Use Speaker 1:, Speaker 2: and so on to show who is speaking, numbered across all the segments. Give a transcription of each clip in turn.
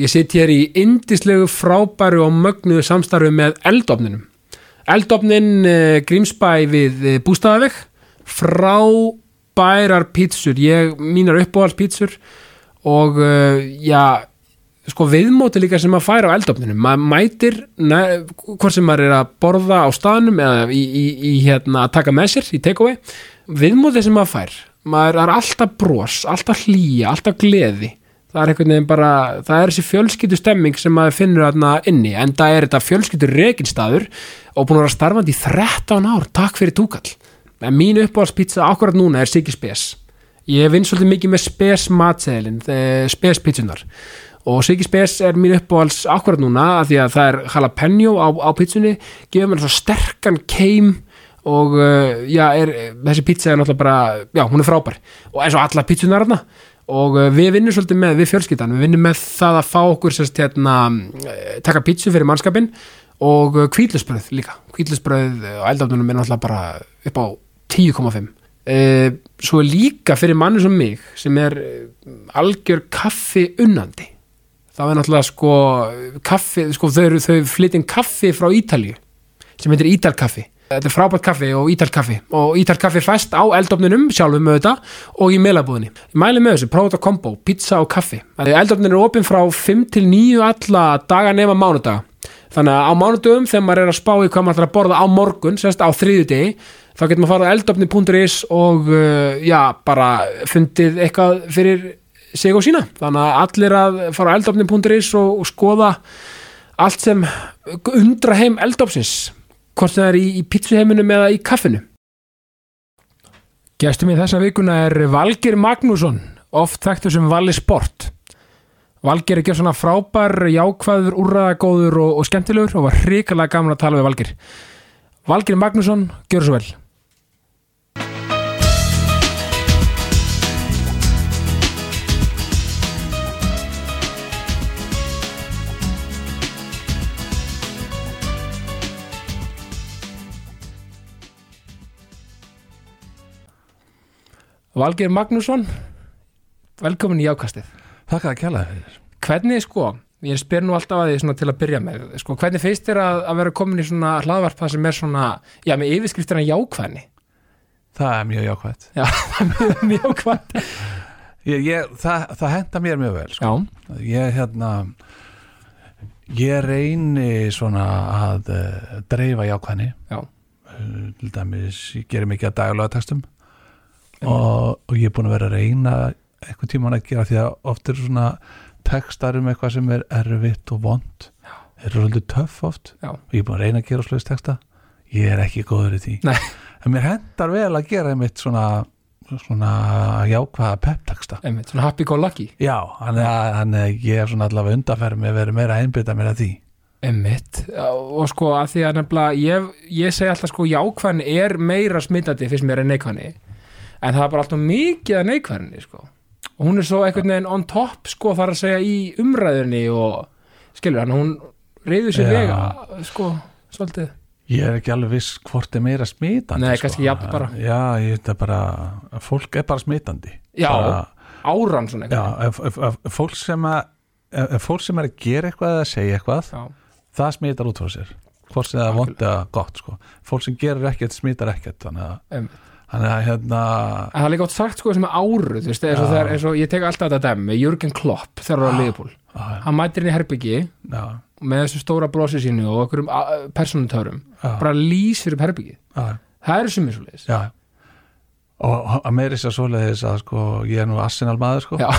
Speaker 1: Ég sitt hér í indislegu frábæru og mögnuðu samstarfi með eldofninum. Eldofnin eh, Grímsbæ við eh, Bústaðaveg, frábærar pítsur, ég mínar uppbúðalspítsur og eh, já, sko viðmóti líka sem maður fær á eldofninum. Maður mætir, ne, hvort sem maður er að borða á staðnum eða í, í, í hérna að taka með sér í takeaway, viðmóti sem maður fær. Maður það er alltaf bros, alltaf hlýja, alltaf gleði það er einhvern veginn bara, það er þessi fjölskyldu stemming sem maður finnur þarna inni en það er þetta fjölskyldu reginstaður og búin að vera starfandi í 13 ár takk fyrir túkall, en mín uppáhaldspizza akkurat núna er Siggi Spes ég vinn svolítið mikið með Spes matseðilin Spes pizzunar og Siggi Spes er mín uppáhalds akkurat núna af því að það er jalapeno á, á pizzunni, gefur mér svo sterkan keim og uh, já, er, þessi pizza er náttúrulega bara, já, hún er frábær og eins og alla pizzunar hana og uh, við vinnum svolítið með, við fjölskyldan við vinnum með það að fá okkur sérst hérna, eh, taka pítsu fyrir mannskapin og uh, kvítlusbröð líka kvítlusbröð og eldafnunum er náttúrulega bara upp á 10,5 uh, svo er líka fyrir manni sem mig sem er eh, algjör kaffi unnandi það er náttúrulega sko kaffi, sko þau, eru- þau flytjum kaffi frá Ítalíu sem heitir Ítalkaffi þetta er frábært kaffi og Ítalkaffi og Ítalkaffi fæst á eldofnunum sjálfum auðvitað og í meilabúðinni ég mæli með þessu, prófa þetta kombo, pizza og kaffi eldofnun er opinn frá 5 til 9 alla daga nema mánudaga þannig að á mánudöfum þegar maður er að spá í hvað maður ætlar að borða á morgun, sérst á þriðjudegi þá getur maður farið á eldofni.is og uh, já, bara fundið eitthvað fyrir sig og sína þannig að allir að fara á eldofni.is og, og skoða allt sem undra heim eldópsins hvort sem það er í, í pítsuheiminum eða í kaffinu Gestum í þessa vikuna er Valgir Magnússon oft þekktur sem Valli Sport Valgir er gefið svona frábær jákvæður, úrraðagóður og, og skemmtilegur og var hrikalega gaman að tala við Valgir Valgir Magnússon, gjör svo vel Valgir Magnússon, velkomin í jákastið
Speaker 2: Takk að kjalla fyrir
Speaker 1: Hvernig sko, ég spyr nú alltaf að því svona til að byrja með, sko, hvernig finnst þér að, að vera komin í svona hlaðvarp það sem er svona, já, með yfirskriftina jákvæðni?
Speaker 2: Það er mjög jákvæmt
Speaker 1: Já, jákvæðni.
Speaker 2: ég, ég, það, það henda mér mjög vel sko.
Speaker 1: Já,
Speaker 2: Ég hérna Ég reyni svona að uh, dreifa jákvæðni
Speaker 1: já,
Speaker 2: uh, til dæmis, ég gerir mikið að daglega textum og, og ég er búin að vera að reyna eitthvað tíman að gera því að oft eru svona textar um eitthvað sem er erfitt og vond þeir eru svolítið töff oft
Speaker 1: Já.
Speaker 2: og ég er búin að reyna að gera svolítið texta ég er ekki góður í því
Speaker 1: Nei.
Speaker 2: en mér hendar vel að gera einmitt svona, svona jákvæða peptaksta
Speaker 1: einmitt, svona happy go lucky.
Speaker 2: já, þannig að þannig að ég er svona allavega undanferð með að vera meira að einbytta mér að því
Speaker 1: Einmitt, Já, og sko að því að nefnilega, ég, ég segi alltaf sko jákvæðni er meira smittandi fyrst mér en neikvæðni, en það er bara alltaf mikið að neikvæðni, sko. Og hún er svo einhvern veginn on top, sko, þar að segja í umræðinni og, skilur, hann hún reyður sér
Speaker 2: Já.
Speaker 1: vega, sko, svolítið.
Speaker 2: Ég er ekki alveg viss hvort er meira smitandi sko.
Speaker 1: Nei, kannski jafn bara.
Speaker 2: Já, ég veit að bara Fólk er bara smitandi
Speaker 1: Já.
Speaker 2: bara,
Speaker 1: Áran svona
Speaker 2: já
Speaker 1: einhvern
Speaker 2: ef, ef, ef, ef fólk sem að ef, ef fólk sem er að gera eitthvað eða segja eitthvað
Speaker 1: Já,
Speaker 2: það smitar út frá sér hvort sem það er vond eða gott sko. fólk sem gerir ekkert smitar ekkert þannig að,
Speaker 1: einmitt.
Speaker 2: þannig að hérna
Speaker 1: En það er líka átt sagt sko sem er áru, þú veist, eins og,
Speaker 2: Já.
Speaker 1: þegar, eins og ég tek alltaf þetta dæmi, Jürgen Klopp þegar hann var á Liverpool.
Speaker 2: að,
Speaker 1: Hann mætir inn í herbyggi
Speaker 2: já,
Speaker 1: með þessu stóra brosi sínu og okkurum personutörum,
Speaker 2: Já.
Speaker 1: bara lýs fyrir herbyggið.
Speaker 2: að,
Speaker 1: Það eru sem er svo leiðis.
Speaker 2: já og að meiri sér svoleiðis að sko ég er nú Arsenal maður sko
Speaker 1: Já.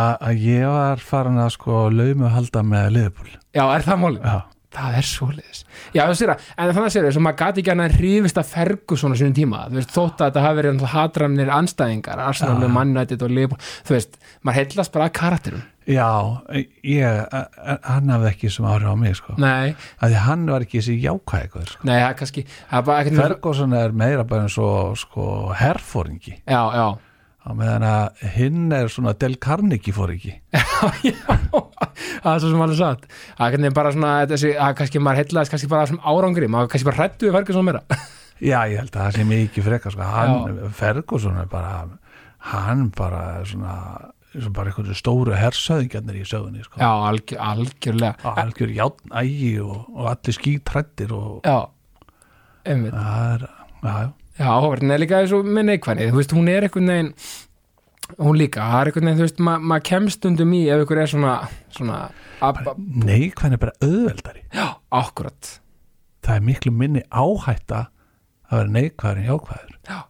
Speaker 2: að að ég var farin að sko laumu halda með liðbúl
Speaker 1: Já, er það málið?
Speaker 2: já
Speaker 1: Það er svo leiðis. Já, þú sér að, en þannig að sér að maður gati ekki annað en hrifist að fergu svona sínum tíma, þú veist, þótt að þetta hafi verið náttúrulega hatramnir anstæðingar, Arsenal, Man United og Liverpool, þú veist, maður heillast bara að karakterum.
Speaker 2: Já, ég, a- a- hann hafði ekki sem áhrif á mig sko.
Speaker 1: Nei,
Speaker 2: Af því hann var ekki þessi jákvæðikur sko.
Speaker 1: nei, það er kannski, það er bara ekkert...
Speaker 2: Ferguson er meira bara eins og sko, herfóringi
Speaker 1: Já, já,
Speaker 2: á meðan að hinn er svona Del Carnegie fóringi
Speaker 1: já, það er svo sem alveg satt. Það er kannski bara svona, þessi, það er kannski maður heillast kannski bara sem árangri, maður kannski bara hrættu við fergu svona meira.
Speaker 2: Já, ég held að það sé mikið frekar sko. hann, Ferguson er bara hann bara er svona eins og bara einhverju stóru hersöðingjarnir í sögunni sko.
Speaker 1: já, algjör, algjörlega
Speaker 2: og algjör játnægi og, og allir skítrættir og
Speaker 1: já, einmitt
Speaker 2: það er, já, já,
Speaker 1: já, áhverðin er líka eins og með neikvæðni þú veist, hún er einhvern veginn hún líka, það er einhvern veginn, þú veist, ma- maður kemst stundum í ef einhver er svona, svona ab,
Speaker 2: bara, nei, hvernig er bara auðveldari
Speaker 1: já, akkurat
Speaker 2: það er miklu minni áhætta að vera neikvæður en jákvæður
Speaker 1: Já.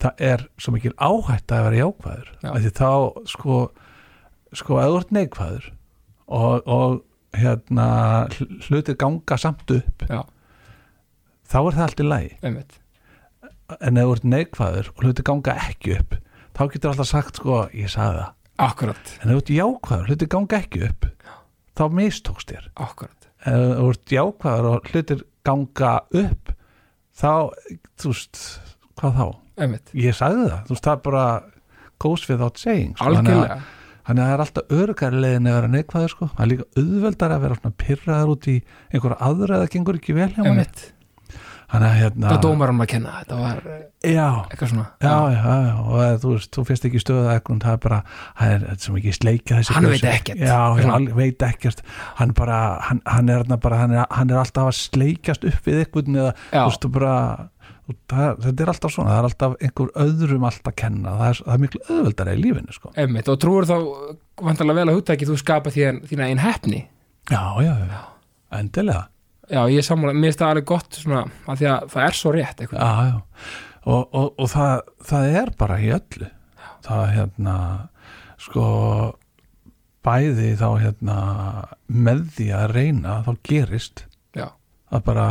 Speaker 2: það er svo mikil áhætta að vera jákvæður
Speaker 1: Já.
Speaker 2: af því þá sko sko að þú ert neikvæður og, og hérna hl- hlutir ganga samt upp
Speaker 1: já,
Speaker 2: þá er það allt í lagi
Speaker 1: einmitt,
Speaker 2: en ef þú ert neikvæður og hlutir ganga ekki upp þá getur alltaf sagt sko ég sagði það
Speaker 1: akkurat
Speaker 2: en ef þú ert jákvæður og hlutir ganga ekki upp þá mistókst þér
Speaker 1: akkurat,
Speaker 2: ef þú ert jákvæður og hlutir ganga upp þá, þú veist, hvað þá?
Speaker 1: einmitt,
Speaker 2: Ég sagði það, þú veist, það er bara goes without saying sko. Þannig að-
Speaker 1: algjörlega
Speaker 2: Þannig að það er alltaf örgari leiðin að vera neikvæður sko. Það er líka auðveldar að vera svona pyrraður út í einhverja aðra eða gengur ekki vel hjá manni
Speaker 1: einmitt,
Speaker 2: Þannig að hérna
Speaker 1: það dómar hann að kenna þetta var eh,
Speaker 2: Já,
Speaker 1: eitthvað svona
Speaker 2: já, já, já og það, þú veist, þú fyrst ekki stöða eitthvað það er bara, það er, þetta er sem ekki sleikja þessi
Speaker 1: Hann
Speaker 2: gausi.
Speaker 1: veit ekkert.
Speaker 2: já,
Speaker 1: Svona.
Speaker 2: hann veit ekkert hann bara, hann, hann er þarna bara hann er, hann er alltaf að sleikjast upp við eitthvað eða,
Speaker 1: Já.
Speaker 2: þú veist, þú bara þú- það, þetta er alltaf svona, það er alltaf einhver öðrum allt að kenna, það er, það er miklu öðveldara í lífinu, sko
Speaker 1: einmitt, og trúir þá vantarlega vel að hugtæki þú skapa þín, þína einn hefni
Speaker 2: já, já, já, endilega
Speaker 1: já, ég er sammála, mér finnst það alveg gott svona, að því að það er svo rétt eitthvað
Speaker 2: já, já. og, og, og það, það er bara í öllu það hérna sko bæði þá hérna með því að reyna þá gerist
Speaker 1: já,
Speaker 2: að bara,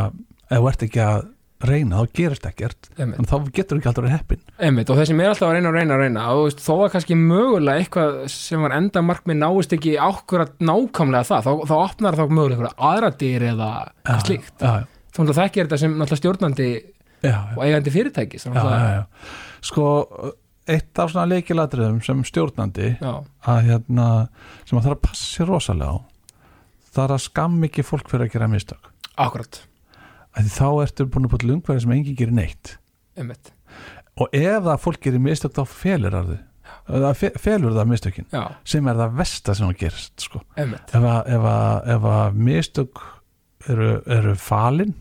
Speaker 2: ef þú ert ekki að reyna þá gerist ekkert
Speaker 1: einmitt,
Speaker 2: en þá getur ekki aldrei heppin
Speaker 1: einmitt og þessi mér er alltaf að reyna og reyna og reyna og þú veist, þó að kannski mögulega eitthvað sem var enda markmið náist ekki ákvörat nákvæmlega það, þá, þá opnar þá mögulega einhverja aðra dyr eða eitthvað slíkt,
Speaker 2: já,
Speaker 1: þá náttúrulega þekkir þetta sem náttúrulega stjórnandi
Speaker 2: já, já,
Speaker 1: og eigandi fyrirtækis
Speaker 2: já, já,
Speaker 1: náttúrulega-
Speaker 2: já. sko eitt af svona leikilatriðum sem stjórnandi
Speaker 1: já,
Speaker 2: að hérna sem að það er að passa sér rosalega á það er að skam ekki fólk fyrir að gera mistök
Speaker 1: akkurat,
Speaker 2: að því þá ertu búin að búin lungverði sem engin gerir neitt
Speaker 1: einmitt
Speaker 2: og ef það fólk gerir mistök þá felur það það fe- felur það mistökin
Speaker 1: já,
Speaker 2: sem er það versta sem það gerist sko.
Speaker 1: einmitt,
Speaker 2: ef, að, ef, að, ef að mistök eru, eru falin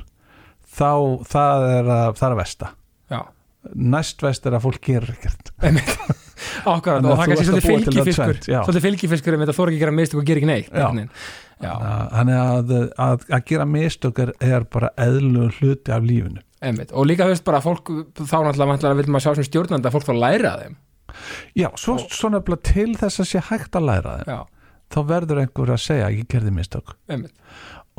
Speaker 2: þá það er að, það er að versta
Speaker 1: já,
Speaker 2: næst vest er að fólk gerir ekkert
Speaker 1: einmitt akkurat, og
Speaker 2: Þannig að
Speaker 1: það
Speaker 2: þú
Speaker 1: kannski
Speaker 2: ert að
Speaker 1: svolítið
Speaker 2: búa til það
Speaker 1: fylgifiskur
Speaker 2: tvennt, já.
Speaker 1: svolítið fylgifiskur um þetta þóra ekki að gera mistök og gera ekki neitt
Speaker 2: Já.
Speaker 1: einhvern veginn. já,
Speaker 2: þannig að, að, að gera mistök er, er bara eðlum hluti af lífinu
Speaker 1: einmitt, og líka þú veist bara að fólk þá náttúrulega vantilega vil maður sjá sem stjórnandi að fólk þá læra af þeim
Speaker 2: já, svo, svo nefnilega til þess að sé hægt að læra þeim
Speaker 1: já,
Speaker 2: þá verður einhver að segja að ég gerði mistök
Speaker 1: einmitt,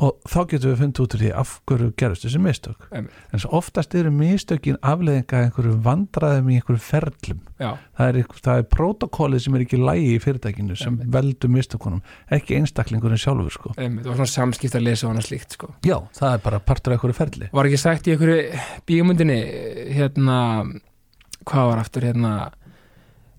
Speaker 2: og þá getum við fundið út úr því af hverju gerist þessi mistök
Speaker 1: einmitt
Speaker 2: en svo oftast eru mistökin afleðinga einhverju vandræðum í einhverju ferlum
Speaker 1: já,
Speaker 2: það er, einhver- það er protokólið sem er ekki lægi í fyrirtækinu sem
Speaker 1: Einmitt.
Speaker 2: veldur mistökunum ekki einstaklingurinn sjálfur sko
Speaker 1: einmitt, og svona samskipt að lesa og annað slíkt sko.
Speaker 2: já, það er bara partur af einhverju ferli
Speaker 1: var ekki sagt í einhverju bíumundinni hérna, hvað var aftur hérna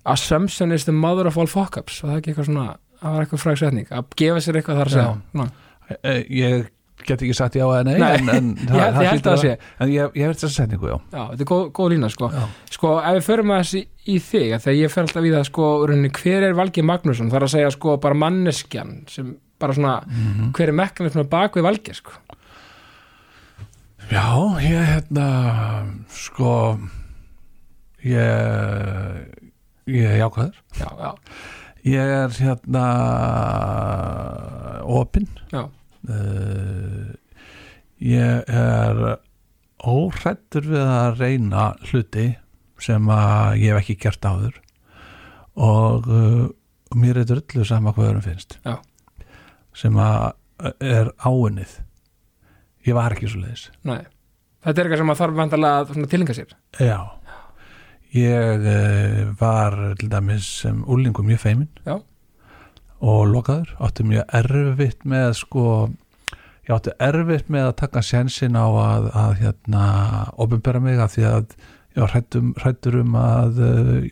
Speaker 1: assumption is the mother of all fuck-ups var það ekki eitthvað svona, það var eitthvað fræksetning að gefa sér eitthvað þar að segja
Speaker 2: Já.
Speaker 1: Ná,
Speaker 2: E, e, ég get ekki sagt já eða nei,
Speaker 1: Nei,
Speaker 2: en, en
Speaker 1: ég held- ég held
Speaker 2: hlýtur
Speaker 1: að sé.
Speaker 2: en ég, ég verð þess að setningu, já,
Speaker 1: já, þetta er góð, góð lína sko.
Speaker 2: já.
Speaker 1: sko, ef við förum að þessi í þig að þegar ég fer alltaf í það sko, rauninni, hver er Valgeir Magnússon, það er að segja sko bara manneskjan sem bara svona hver er mekkanismin bak við Valgeir sko
Speaker 2: Já, ég hérna sko ég ég er jákvæður
Speaker 1: já, já,
Speaker 2: ég er hérna opinn
Speaker 1: já,
Speaker 2: uh, ég er óhrættur við að reyna hluti sem að ég hef ekki gert áður og uh, mér er drullu sama hvað öðrum finnst
Speaker 1: Já.
Speaker 2: sem að eh, er áunnið ég var ekki svo leiðis
Speaker 1: nei þetta er eitthvað sem að þarf vandalega að svona tilinga sér
Speaker 2: Já, ég uh, var til dæmis sem úlingu mjög feiminn
Speaker 1: Já.
Speaker 2: og lokaður, átti mjög erfitt með sko, ég átti erfitt með að taka sensin á að, að hérna, opinbera mig að því að ég var hrættum, hrættur um að, eh,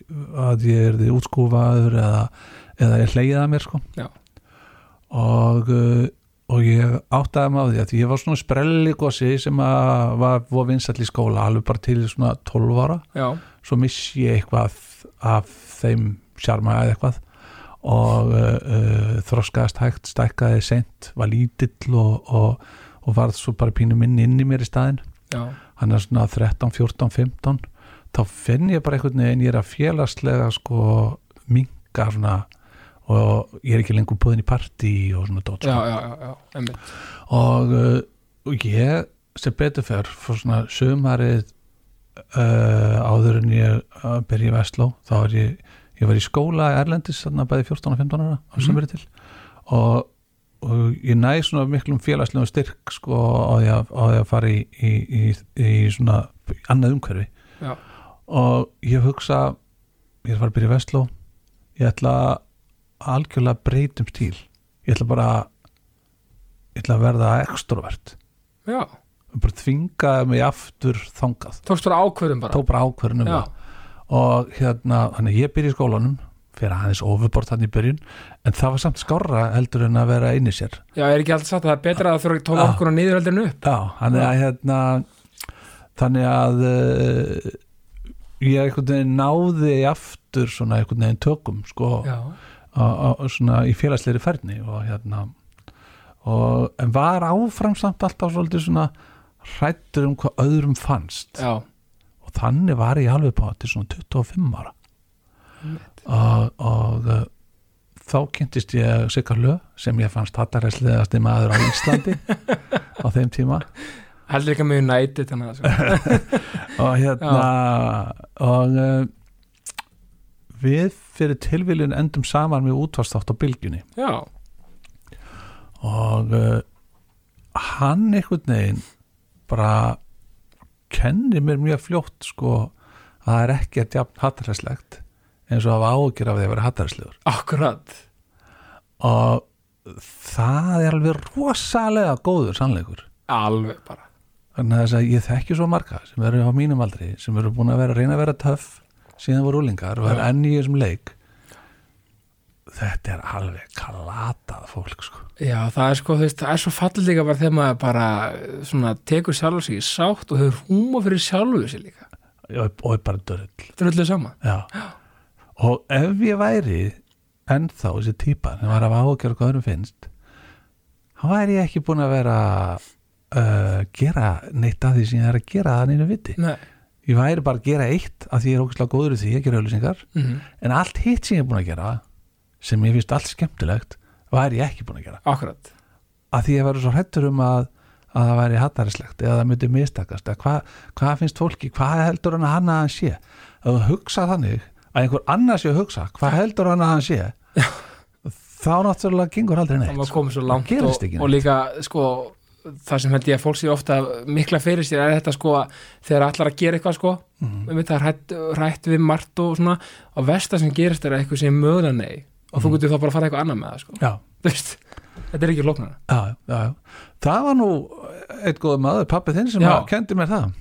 Speaker 2: að ég er því útskúfaður eða, eða ég hleyið að mér sko
Speaker 1: Já.
Speaker 2: og eh, og ég áttaði maður því að ég var svona sprelligosi sem að var var vinsall í skóla alveg bara til svona 12 ára
Speaker 1: já,
Speaker 2: svo missi ég eitthvað af þeim sjarma eða eitthvað og uh, uh, þroskaðast hægt, stækkaði sent, var lítill og, og, og varð svo bara pínu minni inn í mér í staðinn
Speaker 1: já,
Speaker 2: hann er svona 13, 14, 15 þá finn ég bara einhvern veginn ég er að félagslega sko minga svona og ég er ekki lengur búðin í partí og svona dót
Speaker 1: já,
Speaker 2: sko.
Speaker 1: já, já, já, einmitt.
Speaker 2: og, uh, og ég sem betur fer fór svona sömarið uh, áður en ég uh, byrja í Vestló þá er ég, ég var í skóla erlendis þarna bæði 14 og 15 ára á
Speaker 1: Mhm.
Speaker 2: sömurið til og, og ég næ svona miklum félagslegum styrk sko á því að, á því að fara í, í, í, í svona annað umhverfi
Speaker 1: Já.
Speaker 2: og ég hugsa ég er að fara að byrja í Vestló ég ætla að algjörlega breytum stíl ég ætla bara ég ætla að verða extrovert
Speaker 1: já,
Speaker 2: bara þvingaði mig aftur þangað
Speaker 1: tókst þú ákvörðum bara
Speaker 2: tók bara ákvörðunum
Speaker 1: já,
Speaker 2: og hérna, þannig að ég byrja í skólanum fyrir aðeins ofurborð þannig í byrjun en það var samt skárra heldur en að vera einir sér
Speaker 1: já, er ekki alltaf satt að það er betra að þú tók
Speaker 2: Já.
Speaker 1: ákvörðum niður heldur en upp
Speaker 2: Já, þannig að hérna þannig að uh, ég einhvern veginn náði aftur svona einhvern veginn tökum sko,
Speaker 1: já,
Speaker 2: á- á- svona í félagsleiri færni og hérna og, en var áfram samt alltaf svolítið svona hrættur um hvað öðrum fannst
Speaker 1: já,
Speaker 2: og þannig var ég alveg bara til svona 25 ára og, og uh, þá kynntist ég Sigga Lö sem ég fannst hattaræsliðast í maður á Íslandi á þeim tíma
Speaker 1: heldur ekki að mjög næti þannig að sko.
Speaker 2: og hérna og uh, við fyrir tilviljun endum saman með útvarstátt á bylgjunni
Speaker 1: já,
Speaker 2: og uh, hann einhvern veginn bara kenni mér mjög fljótt sko að það er ekki að jafn hattaræslegt eins og hafa ágjur af því að vera hattaræslegur
Speaker 1: akkurat
Speaker 2: og það er alveg rosalega góður sannleikur
Speaker 1: alveg bara
Speaker 2: þannig að þess að ég þekki svo marga sem eru á mínum aldri, sem eru búin að vera reyna að vera töff síðan voru úlingar og er
Speaker 1: Já.
Speaker 2: enn í þessum leik þetta er alveg kalatað fólk sko
Speaker 1: Já, það er sko, þú veist, það er svo fallið líka bara þegar maður bara eh, svona tekur sjálfur sig í sátt og hefur húma fyrir sjálfur sig líka.
Speaker 2: og og er bara dörrull
Speaker 1: Þetta er öllu sama.
Speaker 2: Já. Og ef ég væri ennþá þessi típa sem var af áhugjör hvað öðrum finnst þá væri ég ekki búin að vera uh, gera neitt af því sem ég er að gera það neina viti.
Speaker 1: Nei.
Speaker 2: Ég væri bara að gera eitt af því ég er ógæslega góður í því að gera auðlýsingar
Speaker 1: Mm
Speaker 2: en allt hitt sem ég er búin að gera sem ég finnst allt skemmtilegt væri ég ekki búin að gera.
Speaker 1: Akkurat.
Speaker 2: Af því ég væri svo hrættur um að að það væri hattarislegt eða það myndi mistakast eða hvað hva finnst fólki, hvað heldur hann að hann að hann sé að hugsa þannig að einhver annars sé að hugsa, hvað heldur hann að hann sé þá náttúrulega gengur aldrei
Speaker 1: Það
Speaker 2: neitt
Speaker 1: maður komið svo langt
Speaker 2: sko, gerist
Speaker 1: og,
Speaker 2: ekki
Speaker 1: og
Speaker 2: neitt.
Speaker 1: líka, sko, það sem held ég að fólk sér ofta mikla fyrir sér er þetta, sko, að þegar allar að gera eitthvað, sko,
Speaker 2: Mhm.
Speaker 1: mm. það er hrætt, hrætt við margt og svona, og versta sem gerist er að eitthvað sem mögulega nei og
Speaker 2: Mhm.
Speaker 1: þú getur þá bara að fara eitthvað annað með það, sko.
Speaker 2: já,
Speaker 1: Þú veist, þetta er ekki lóknara.
Speaker 2: já, já, já. það var nú eitt góð maður, pappi þinn sem
Speaker 1: Já.
Speaker 2: að- kenndi mér það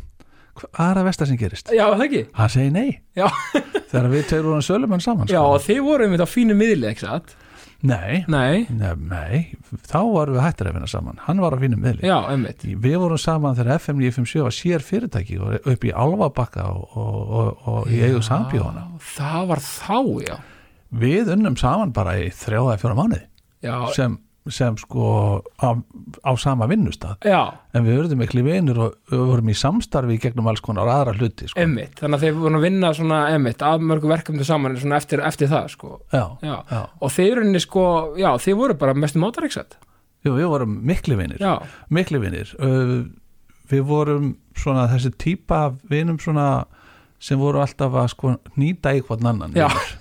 Speaker 2: hvað er að versta sem gerist?
Speaker 1: Já, það ekki.
Speaker 2: hann segi nei
Speaker 1: Já.
Speaker 2: þegar við tveir vorum sölumann saman sko.
Speaker 1: Já, og þið voru einmitt á fínu miðli, ekki satt?
Speaker 2: nei,
Speaker 1: Nei.
Speaker 2: nei, nei, þá varum við hættir að vinna saman hann var að finna miðli
Speaker 1: Já, einmitt.
Speaker 2: Við vorum saman þegar FM 957 var sér fyrirtæki og upp í Alvabakka og, og, og, og í eigu sambjóðana.
Speaker 1: Já, það var þá, já
Speaker 2: Við unnum saman bara í þrjóða fjóra mánuði
Speaker 1: já,
Speaker 2: sem, sem sko á, á sama vinnustad.
Speaker 1: já,
Speaker 2: En við verðum miklu vinur og við vorum í samstarfi í gegnum alls konar aðra hluti. Sko.
Speaker 1: emmitt þannig að þeir voru að vinna svona emmitt að mörgu verkefni saman svona eftir, eftir það sko.
Speaker 2: Já,
Speaker 1: já.
Speaker 2: já.
Speaker 1: og þeir runni sko, já, þeir voru bara mestum átar, ekki satt?
Speaker 2: Jú, við vorum miklu vinir.
Speaker 1: Já,
Speaker 2: Miklu vinir. Uh, Við vorum svona þessi típa af vinum svona sem voru alltaf að sko nýta í hvern annan.
Speaker 1: Já.
Speaker 2: vinur.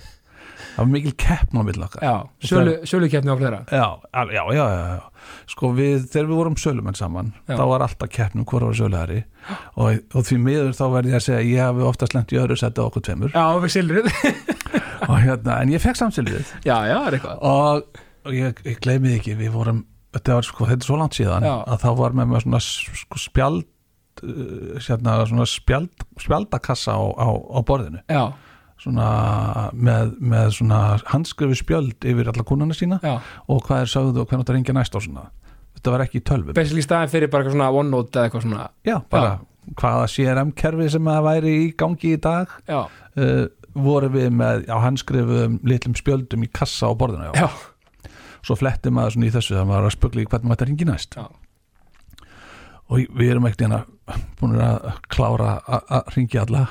Speaker 2: Það var mikil keppn á milli okkar.
Speaker 1: já, sölu, sölukeppni á fleira
Speaker 2: Já, al- já, já, já, já. Sko við, þegar við vorum sölumenn saman
Speaker 1: Já.
Speaker 2: þá var alltaf keppnum hver var söluhari og, og því miður þá verði ég að segja að ég hafi oftast lengt í öðru setja okkur tveimur
Speaker 1: Já, við silrið
Speaker 2: og hérna, en ég fekk samsilvið
Speaker 1: Já, já, það er eitthvað
Speaker 2: og, og ég, ég gleymið ekki, við vorum þetta var sko, þetta er svo langt síðan
Speaker 1: Já.
Speaker 2: að þá var með með svona s- sko, spjald uh, hérna, svona spjald, spjaldakassa á, á, á borðinu
Speaker 1: Já,
Speaker 2: svona með, með svona handskrifu spjöld yfir alla kúnana sína
Speaker 1: já,
Speaker 2: og hvað er sögðu og hvernig þetta ringja næst á svona þetta var ekki í tölvum
Speaker 1: basically staðin fyrir bara eitthvað svona OneNote eða eitthvað svona
Speaker 2: já, bara hvaða CRM kerfi sem að væri í gangi í dag
Speaker 1: Já,
Speaker 2: uh, vorum við með, já hann skrifuðum litlum spjöldum í kassa á borðinu já.
Speaker 1: já,
Speaker 2: svo fletti maður svona í þessu þannig að maður var að spugla í hvernig maður þetta ringi næst
Speaker 1: Já.
Speaker 2: og ég- við erum ekkert hérna búin að klára að- að ringi alla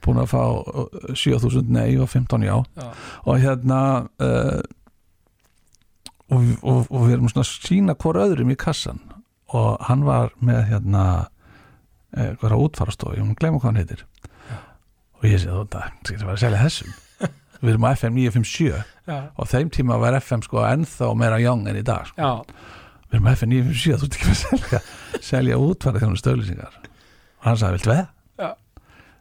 Speaker 2: búin að fá uh, 7000 nei og 15 já
Speaker 1: já,
Speaker 2: og hérna uh, og, og, og við erum svona að sína hvora öðrum í kassan og hann var með hérna eh, hvað er að útfarastofi, ég mun að gleyma hvað hann heitir og ég segi þetta það er að selja þessum við erum á FM 957
Speaker 1: já,
Speaker 2: og þeim tíma var FM sko ennþá meira young en í dag sko.
Speaker 1: já,
Speaker 2: við erum á FM 957, þú ert ekki að selja selja útfara þjónu stöðlýsingar og hann sagði, viltu veð?
Speaker 1: já,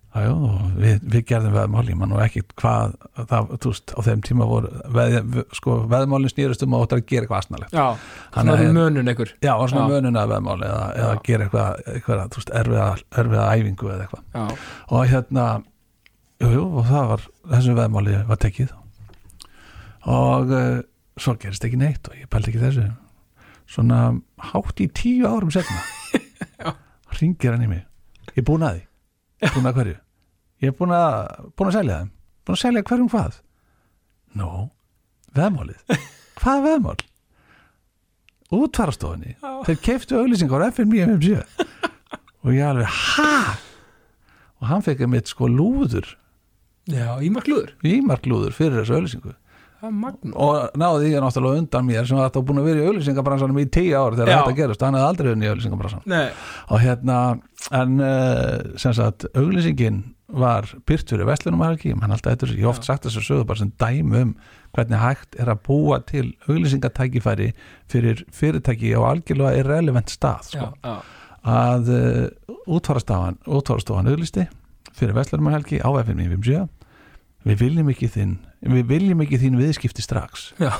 Speaker 2: Já, já, og við, við gerðum veðmáli, mann og ekki hvað, það, þú veist, á þeim tíma voru, veð, sko, veðmálin snýrust um að óttar að gera eitthvað asnalegt.
Speaker 1: já
Speaker 2: Hann
Speaker 1: svona
Speaker 2: er-
Speaker 1: mönun ykkur
Speaker 2: Já, og svona
Speaker 1: Já.
Speaker 2: mönuna veðmáli eða, eða
Speaker 1: Já.
Speaker 2: gera eitthvað, eitthvað, þú veist, erfiða, erfiða æfingu eða eitthvað.
Speaker 1: já,
Speaker 2: Og hérna, jú, jú, og það var, þessu veðmáli var tekið. Og uh, svo gerist ekki neitt og ég pældi ekki þessu. Svona hátt í tíu árum setna. Ringir hann í mig. Ég er búin að því. Búin að hverju? Ég er búin að, búin að selja þeim Búin að selja hverjum hvað? Nó, veðmálið Hvað er veðmál? Útfarastofinni Þeir keiftu auglýsingar á FM 957 Og ég alveg, ha? Og hann fekk mitt sko lúður
Speaker 1: já, ímaklúður
Speaker 2: Ímarklúður fyrir þessu auglýsingu
Speaker 1: það er magna,
Speaker 2: Og náði ég náttúrulega undan mér sem var þetta búin að vera í auglýsingabransanum í tíu ár þegar
Speaker 1: Já.
Speaker 2: þetta gerist, hann hefði aldrei verið í auglýsingabransanum
Speaker 1: nei,
Speaker 2: og hérna en uh, sem sagt auglýsingin var byrt fyrir vestlunum helgi, mann alltaf eitthvað, ég hef oft sagt þessu sögur bara sem dæmi um hvernig hægt er að búa til auglýsingatækifæri fyrir fyrirtæki á algjörlega irrelevant stað
Speaker 1: já,
Speaker 2: sko.
Speaker 1: já,
Speaker 2: að uh, útvarastafan útvarastofan auglýsti fyrir vestlunum helgi á FM 957 við viljum ekki þín við viljum ekki þín viðskipti strax
Speaker 1: já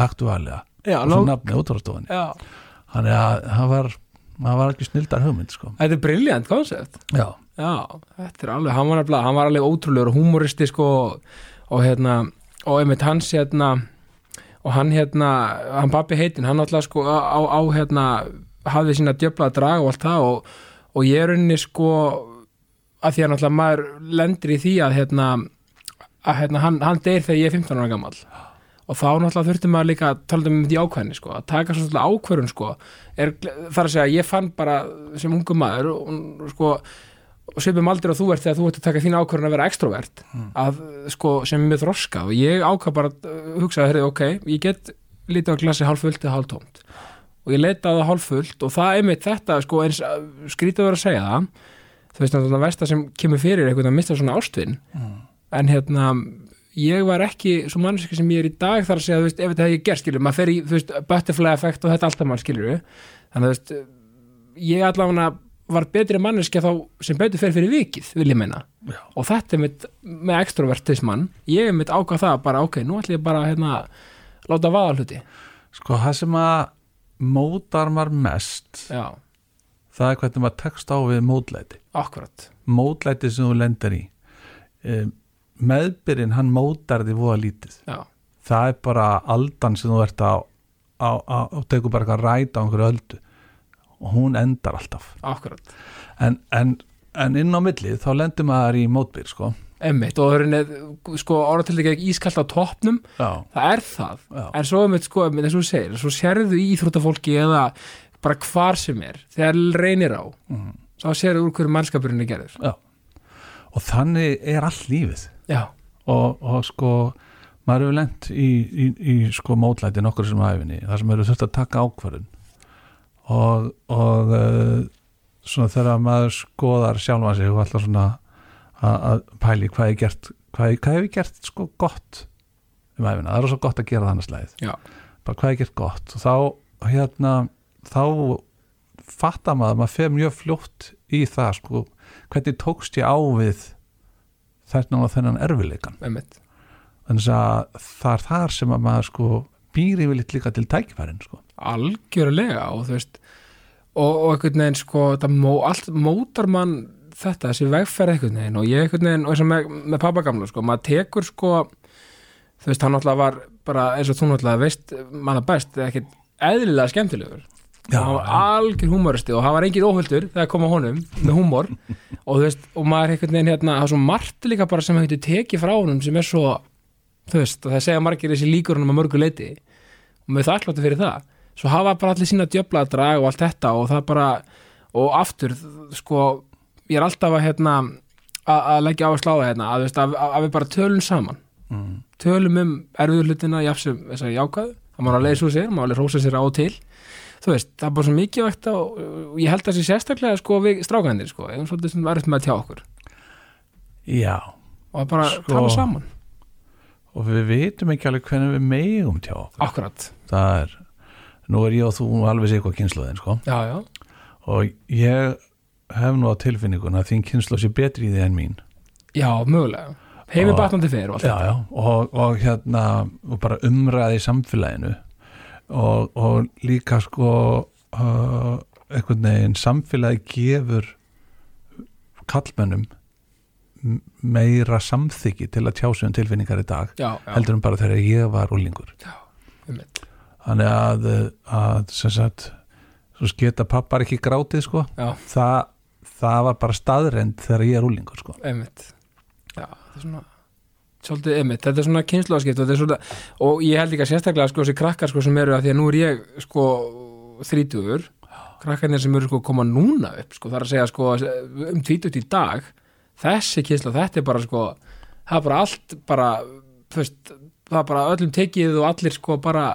Speaker 2: aktuálega,
Speaker 1: já,
Speaker 2: og
Speaker 1: ná,
Speaker 2: svo nafnið útvarastofan
Speaker 1: já,
Speaker 2: þannig að það var, það var ekki snildar hugmynd sko.
Speaker 1: þetta er briljant koncept
Speaker 2: já
Speaker 1: Já, þetta er alveg, hann var alveg, hann var alveg ótrúlegur og humoristisk og, og hérna, og einmitt hans hérna, og hann hérna, hann pappi heitinn, hann alltaf sko á, á- á hérna, hafði sína djöfla að draga og allt það og, og ég er unni sko, að því að náttúrulega maður lendir í því að hérna, að hérna, hann, hann deyr þegar ég er 15 ára gamall og þá náttúrulega þurfti maður líka að tala um þetta í ákveðinni sko, að taka svolítið ákvörun sko, er, þar að segja ég fann bara sem ungu maður og, og, sko, og svipum aldrei að þú ert þegar þú ert að taka þín ákvörun að vera extrovert að, sko, sem er mjög þroska og ég ákvað bara að uh, hugsa heyrðu, ok, ég get lítið á glasi hálffullt eða hálftómt og ég leita á það hálffullt og það er mitt þetta sko, eins uh, skrítið að vera að segja það þú veist að það versta sem kemur fyrir einhvern að mista svona ástvinn en hérna ég var ekki svo mannski sem ég er í dag þar að segja, þú veist, ef þetta hefði ég gert skilur maður fer í, þú veist, butterfly effect og þetta alltaf mann skilur þannig að þú veist, ég allavega var betri manneskja þá sem betur fer fyrir vikið, vil ég meina
Speaker 2: Já.
Speaker 1: og þetta er mitt með extrovertismann ég er mitt ákvað það bara, ok, nú ætlum ég bara hérna, láta vaða hluti
Speaker 2: Sko, það sem að mótar maður mest
Speaker 1: já,
Speaker 2: það er hvernig maður tekst á við mótlæti
Speaker 1: akkurat
Speaker 2: mótlæti sem þú lendar í um, meðbyrinn hann mótar því voða lítið
Speaker 1: já,
Speaker 2: það er bara aldan sem þú ert á, á, á, á tegur bara eitthvað ræta á einhverju öldu og hún endar alltaf
Speaker 1: akkurat,
Speaker 2: en, en, en inn á millið þá lendur maður í mótbyr sko.
Speaker 1: emmitt og það er sko orðatildið ekki ískallt á toppnum
Speaker 2: já,
Speaker 1: það er það,
Speaker 2: Já.
Speaker 1: en svo með sko, með þess að þú segir, svo sérðu í íþróttafólki eða bara hvar sem er þegar reynir á, þá sérðu úr hverju mannskapurinn er gerður
Speaker 2: já. og þannig er allt lífið
Speaker 1: já,
Speaker 2: og, og sko maður hefur lent í, í, í sko mótlæti nokkur sem æfinni, þar sem eru þurft að taka ákvarðun og, og uh, svona þegar maður skoðar sjálfa sig og alltaf svona að að pæli hvað ég gert hvað, ég- hvað hef ég gert sko gott um æfina, það er svo gott að gera það annars leið
Speaker 1: já,
Speaker 2: bara hvað hef ég gert gott og þá hérna, þá fattar maður, maður fer mjög fljótt í það sko, hvernig tókst ég á við þennan og þennan erfileikan
Speaker 1: emmitt
Speaker 2: þannig að það er þar sem að maður sko býr yfirleitt líka til tækifærin sko.
Speaker 1: algjörlega og þú veist og, og einhvern veginn sko það mó, allt mótar mann þetta þessi vegferð einhvern veginn og ég einhvern veginn og eins og með, með pappa gamla sko, maður tekur sko þú veist, hann alltaf var bara eins og þú náttúrulega veist manna best, ekkert eðlilega skemmtilegur
Speaker 2: Já,
Speaker 1: og hann var algjör húmoristi og hann var engin óhöldur þegar kom að honum með húmor og þú veist, og maður einhvern veginn hérna, það er svo margt líka bara sem hann getur tekið frá honum sem er svo, þú veist, og það segja margir þessi líkur honum að mörgu leiti og með það alláttu fyrir það svo hafa bara allir sína djöfladrag og allt þetta og það bara, og aftur sko, ég er alltaf að hérna, að að leggja á að sláða hérna, að, þú veist, að, að við bara tölum saman
Speaker 2: mm,
Speaker 1: tölum um erfiður hlutina jafnsum þess að jákaðu, það má alveg leið svo sér má alveg rósa sér á og til þú veist, það er bara svo mikilvægt að, og ég held að sé sérstaklega sko við strákandir sko eða svolítið sem verður með að tjá okkur
Speaker 2: já
Speaker 1: og að bara
Speaker 2: Sko.
Speaker 1: tala saman,
Speaker 2: og við vitum ekki alveg hvernig við megum tjá okkur
Speaker 1: akkurat
Speaker 2: það er, nú er ég og þú alveg sér hvað kynsluðin sko
Speaker 1: já, já,
Speaker 2: og ég hef nú á tilfinninguna að þín kynslu sé betri í því en mín
Speaker 1: já, mögulega heimi
Speaker 2: Og-
Speaker 1: batnandi fyrir og allt
Speaker 2: já, já, og, og hérna og bara umræði í samfélaginu og, og líka sko uh, einhvern veginn samfélagi gefur kallmönnum m- meira samþyggi til að tjá sig um tilfinningar í dag
Speaker 1: já, já,
Speaker 2: heldur en bara þegar ég var úlingur
Speaker 1: einmitt.
Speaker 2: þannig að, að sem sagt svo sketa pappar ekki grátið sko
Speaker 1: já,
Speaker 2: það, það var bara staðrend þegar ég er úlingur sko
Speaker 1: einmitt já, það er svona svolítið einmitt, þetta er svona kynnslóðaskipt og, þetta er svona, og ég held líka sérstaklega sko þessi krakkar sko sem eru að því að nú er ég sko þrítugur krakkarnir sem eru sko að koma núna upp sko þar að segja sko um tvítut í dag þessi kynsla, þetta er bara sko það er bara allt bara þú veist, það er bara öllum tekið og allir sko bara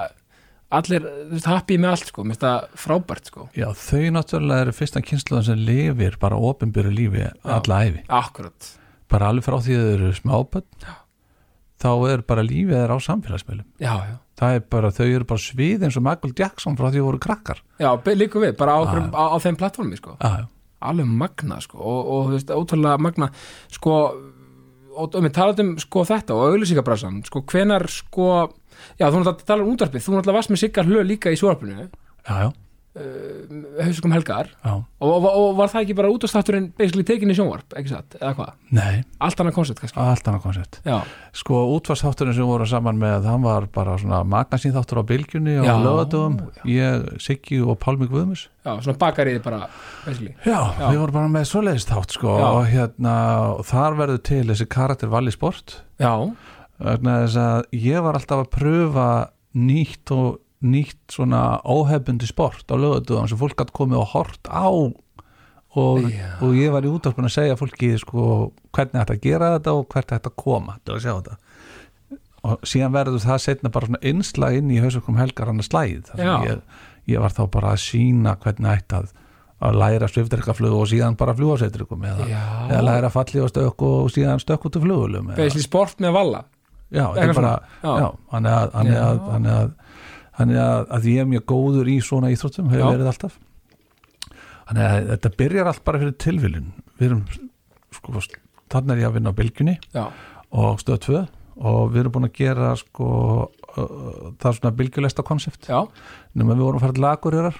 Speaker 1: allir þú veist, happy með allt sko, minnst það frábært sko
Speaker 2: Já, þau náttúrulega eru fyrsta kynsluðan sem lifir bara ofinbyrju lífi alla æfi.
Speaker 1: akkurat,
Speaker 2: Bara alveg frá því að þau eru smábönd,
Speaker 1: Já.
Speaker 2: þá er bara lífið þeirra á samfélagsmiðlum.
Speaker 1: já, já
Speaker 2: Það er bara, þau eru bara svið eins og Michael Jackson frá því að voru krakkar.
Speaker 1: Já, be- líkum við, bara á, okkur, á, á þeim plattformi sko.
Speaker 2: Já,
Speaker 1: alveg magna sko, og, og þú veist, ótrúlega magna sko, og við talaðum um sko þetta og auðlýsingabransan, sko hvenar sko, já þú náttúrulega talar um útvarpið þú náttúrulega varst með Siggar Hlöð líka í sjóarpinu
Speaker 2: já, já,
Speaker 1: hausugum helgar
Speaker 2: já.
Speaker 1: og, og, og var það ekki bara útastátturinn basically tekinni sjónvarp, ekki satt, eða hvað
Speaker 2: Nei,
Speaker 1: allt annað koncept kannski,
Speaker 2: allt annað koncept.
Speaker 1: já,
Speaker 2: Sko, útvarsþátturinn sem voru saman með, hann var bara svona magnasínþáttur á bylgjunni og
Speaker 1: Já.
Speaker 2: lögatum, ég, Siggi og Pálmi Guðmus.
Speaker 1: já, svona bakariði bara basically,
Speaker 2: Já,
Speaker 1: Já.
Speaker 2: við vorum bara með svoleiðist þátt, sko,
Speaker 1: Já.
Speaker 2: og hérna, og þar verður til þessi karakter Valli Sport.
Speaker 1: já,
Speaker 2: vegna þess að ég var alltaf að pröfa nýtt og nýtt svona óhefbundi sport á lögutuðan sem fólk gætt komið og hort á og,
Speaker 1: Já.
Speaker 2: og ég var í útvarpun að segja fólki sko, hvernig ætti að gera þetta og hvert ætti að koma til að sjá þetta og síðan verður það setna bara svona innslag inn í hausökum helgar hann að slæð þar sem
Speaker 1: Já.
Speaker 2: ég, ég var þá bara að sína hvernig ætti að, að læra sviftrykaflug og síðan bara flugáseitrikum eða,
Speaker 1: Já.
Speaker 2: eða læra falli og stökk og síðan stökk út af flugulum eða-
Speaker 1: basically sport með valla
Speaker 2: já, þetta
Speaker 1: Eitthvað
Speaker 2: er bara
Speaker 1: svona, já.
Speaker 2: já, hann er að hann er að, hann er að, hann er að, að ég er mjög góður í svona íþróttum hefur
Speaker 1: Já.
Speaker 2: verið alltaf þannig að þetta byrjar allt bara fyrir tilviljun við erum, sko, þannig er ég að vinna á bylgjunni
Speaker 1: já,
Speaker 2: og stöð 2 og við erum búin að gera sko, uh, það er svona bylgjulesta konsept
Speaker 1: já
Speaker 2: nema við vorum að fara til lagurjörar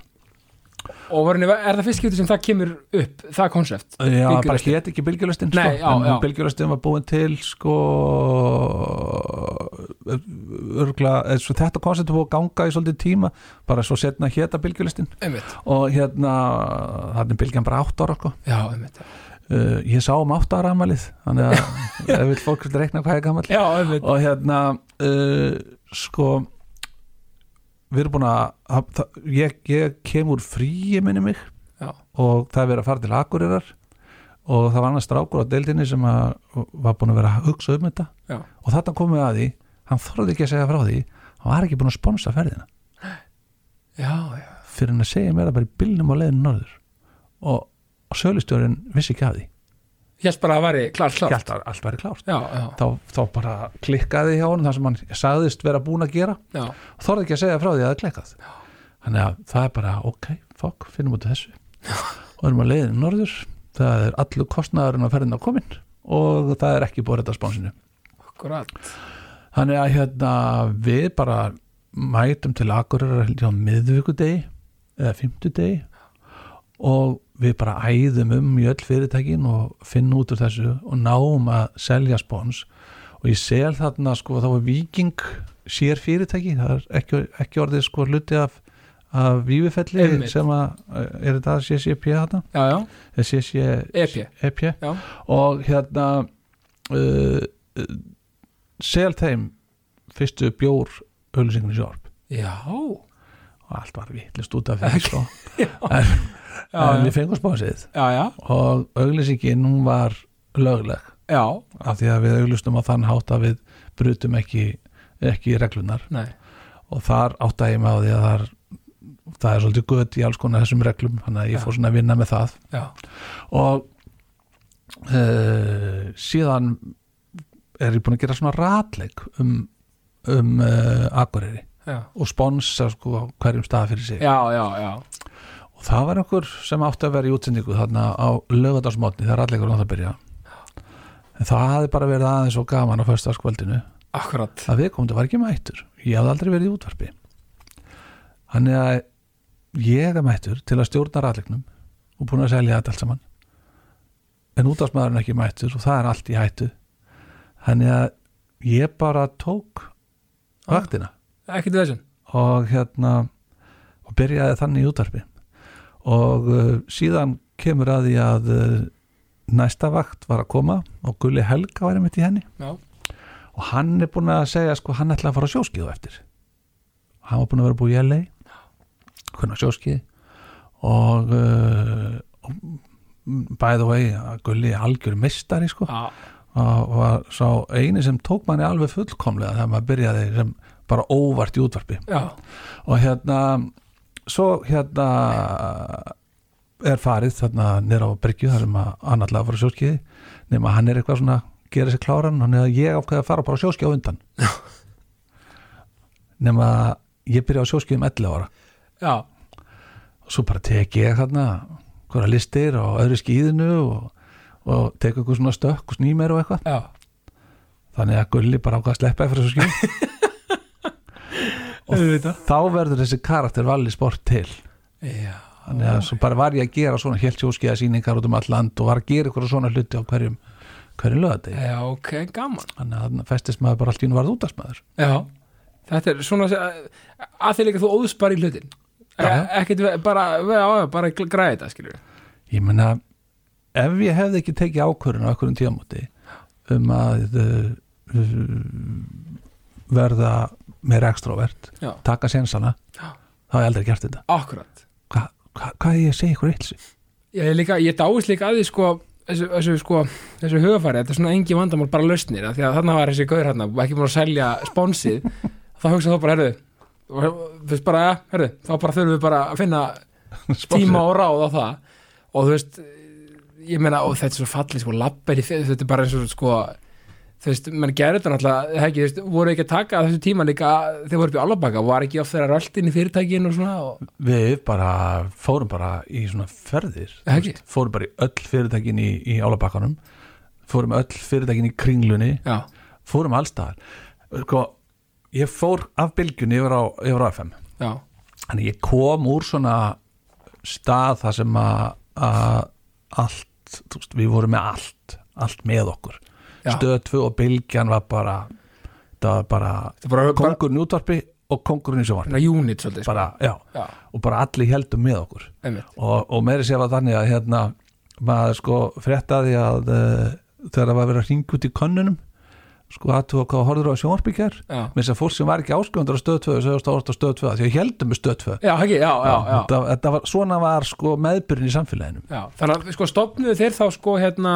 Speaker 1: og var henni, er það fyrst skipti sem það kemur upp það koncept,
Speaker 2: Já, það bara
Speaker 1: Bylgjulestin.
Speaker 2: hétt ekki bylgjulestin
Speaker 1: Nei, já,
Speaker 2: sko, en
Speaker 1: já.
Speaker 2: bylgjulestin var búin til sko örgla, eh, svo þetta koncept var búið að ganga í svolítið tíma bara svo setna hétta bylgjulestin
Speaker 1: einmitt,
Speaker 2: og hérna, þannig er bylgjan bara 8 ára sko.
Speaker 1: já, einmitt
Speaker 2: uh, ég sá um 8 ára amalið þannig að ef vil fólk vil reikna hvað ég er gamall
Speaker 1: já, einmitt,
Speaker 2: og hérna uh, sko við erum búin að það- það- ég, ég kem úr fríi minni mig
Speaker 1: já,
Speaker 2: og það er verið að fara til Akureyrar og það var annars strákur á deildinni sem að, var búin að vera að hugsa um þetta
Speaker 1: já
Speaker 2: og þetta komum við að því hann þorði ekki að segja frá því hann var ekki búin að sponsa ferðina
Speaker 1: Já, já,
Speaker 2: fyrir hann að segja mér það bara í bylnum á leiðinu norður og, og sölustjórin vissi ekki að því
Speaker 1: ég held bara að það væri klart klart
Speaker 2: ég held að allt væri klárt
Speaker 1: Já, já,
Speaker 2: þá, þá bara klikkaði hjá honum það sem hann sagðist vera búin að gera
Speaker 1: já,
Speaker 2: og þorði ekki að segja frá því að það klikkað þannig að það er bara ok, fokk, finnum út af þessu og erum að leiðin norður það er allur kostnaðurinn að ferðin á komin og það er ekki búið þetta spánsinu
Speaker 1: akkurat
Speaker 2: þannig að hérna við bara mætum til Akureyrar held ég á miðvikudegi eða fimmtudegi og við bara æðum um í öll fyrirtækin og finnum út úr þessu og náum að selja spons og ég sel þarna sko þá er viking sér fyrirtæki það er ekki, ekki orðið sko hluti af, af Vífifelli
Speaker 1: Einmitt.
Speaker 2: sem að, er þetta CCP þarna?
Speaker 1: já, E já,
Speaker 2: Eh, CCP
Speaker 1: EP Já.
Speaker 2: E og hérna uh, uh, sel þeim fyrstu bjór auðlýsingunni sjálf
Speaker 1: já,
Speaker 2: og allt var vitlist út af því sko.
Speaker 1: já,
Speaker 2: en
Speaker 1: já,
Speaker 2: við fengum spásið
Speaker 1: já, já,
Speaker 2: og auðlýsingin hún var lögleg
Speaker 1: já,
Speaker 2: af því að við auðlustum á þann hátt að við brutum ekki, ekki reglunar
Speaker 1: nei,
Speaker 2: og þar áttaði ég mig á því að þar, það er svolítið gött í alls konar þessum reglum þannig að ég
Speaker 1: Já.
Speaker 2: fór svona að vinna með það
Speaker 1: já,
Speaker 2: og uh, síðan er ég búin að gera svona ratleik um, um uh, Akureyri
Speaker 1: já,
Speaker 2: og sponsa sko á hverjum stað fyrir sig
Speaker 1: já, já, já,
Speaker 2: og það var einhver sem átti að vera í útsendingu þarna á lögadagsmótni þegar ratleikur á það byrja en það hafði bara verið aðeins og gaman á föstaskvöldinu
Speaker 1: akkurat,
Speaker 2: að viðkomandi var ekki mættur ég hafði aldrei verið í útvarpi þannig að ég er mættur til að stjórna ræðleiknum og búin að selja þetta allt saman en útvarpsmaðurinn er ekki mættur og það er allt í hættu þannig að ég bara tók vaktina
Speaker 1: ekkert veginn,
Speaker 2: og hérna og byrjaði þannig í útvarpi og uh, síðan kemur að því að uh, næsta vakt var að koma og Gulli Helga var einmitt í henni
Speaker 1: já,
Speaker 2: og hann er búin að segja sko hann ætla að fara á sjóskiðu eftir hann var búin að vera búið í LA hvernig á sjóskiði og, uh, og by the way að Gulli er algjör mistari sko
Speaker 1: já,
Speaker 2: og var sá eini sem tók manni alveg fullkomlega þegar maður byrjaði sem bara óvart í útvarpi
Speaker 1: já,
Speaker 2: og hérna svo hérna er farið þarna nýra á Bryggju þar sem að hann alltaf var sjóskiði nema hann er eitthvað svona gera sér kláran hann er að ég ákveði að fara bara á sjóski á undan nema ég byrja á sjóski um 11 ára
Speaker 1: já,
Speaker 2: og svo bara tek ég þarna hverja listir og öðru skíðinu og, og tek eitthvað svona stökk og snýmer og eitthvað
Speaker 1: já,
Speaker 2: þannig að Gulli bara ákveða að sleppa eftir þessu skíð
Speaker 1: auðvitað,
Speaker 2: þá verður þessi karakter valli sport til
Speaker 1: já,
Speaker 2: þannig að svo bara var ég að gera svona helt sjóskiða sýningar út um all land og var að gera ykkur svona hluti á hverjum hverjum lögadegi
Speaker 1: já, ok, gaman,
Speaker 2: þannig að þarna festist maður bara allt í hún varð útastmaður
Speaker 1: já, þetta er svona, að, að þeir líka þú óðust bara í hlutin,
Speaker 2: Já, já.
Speaker 1: ekkert, ve- bara, já, já, bara græði þetta, skiljum við,
Speaker 2: ég meina ef ég hefði ekki tekið ákvörðun á einhverjum tíamóti um að uh, uh, verða meira ekstrovert
Speaker 1: já,
Speaker 2: taka sénsana,
Speaker 1: Já.
Speaker 2: þá hef ég aldrei gert þetta
Speaker 1: akkurat,
Speaker 2: Hva- hva- hvað hva ég segi ykkur eilsi
Speaker 1: Ég, er líka, ég dáist líka að því sko þessu, þessu, sko, þessu hugafæri, þetta er svona engi vandamál bara lausnir, af því að þarna var þessi gaur hérna, ekki múin að selja sponsið þá hugsa þá bara, herðu þú veist bara, ja, herðu, þá bara þurfum við bara að finna tíma og ráð á það og þú veist ég meina, og þetta er svo fallið, sko, lappar í fyrir þetta er bara eins og sko þú veist, menn gerir þetta náttúrulega, það ekki, þú veist, voru ekki að taka að þessu tíma líka, þeir voru upp í álabaka var ekki oft þeirra rölt inn í fyrirtækin og svona og,
Speaker 2: við bara fórum bara í svona ferðir
Speaker 1: Eða ekki?
Speaker 2: þú veist, fórum bara í öll fyrirtækin í, í álabakkanum fórum öll fyrirtækin í kringlunni
Speaker 1: já,
Speaker 2: fórum allstaðar sko, ég fór af bylgjunni yfir á, yfir á FM
Speaker 1: já,
Speaker 2: þannig ég kom úr svona stað þar sem að að allt, þú veist, við vorum með allt allt með okkur
Speaker 1: já
Speaker 2: stöð 2 og bylgjan var bara það var bara
Speaker 1: þetta er bara, bara,
Speaker 2: kongurinn í útvarpi og kongurinn í sjónvarpi
Speaker 1: bara unit svolítið, sko.
Speaker 2: bara, já,
Speaker 1: já,
Speaker 2: og bara allir heldum með okkur
Speaker 1: einmitt
Speaker 2: og, og meiri séfa þannig að hérna maður sko fréttaði að uh, þegar það var verið að ringa út í könnunum sko aðtúa hvað horfður á sjónvarpíkjar
Speaker 1: Já,
Speaker 2: með þess að fólk sem var ekki áskjöndar á stöð 2 sögust að orða stöð 2 því að heldum með stöð 2
Speaker 1: já, ekki, já, já, já.
Speaker 2: þetta, þetta var, svona var sko meðbyrðin í samfélaginu
Speaker 1: já. Þannig að sko stopnuðu þeir þá sko hérna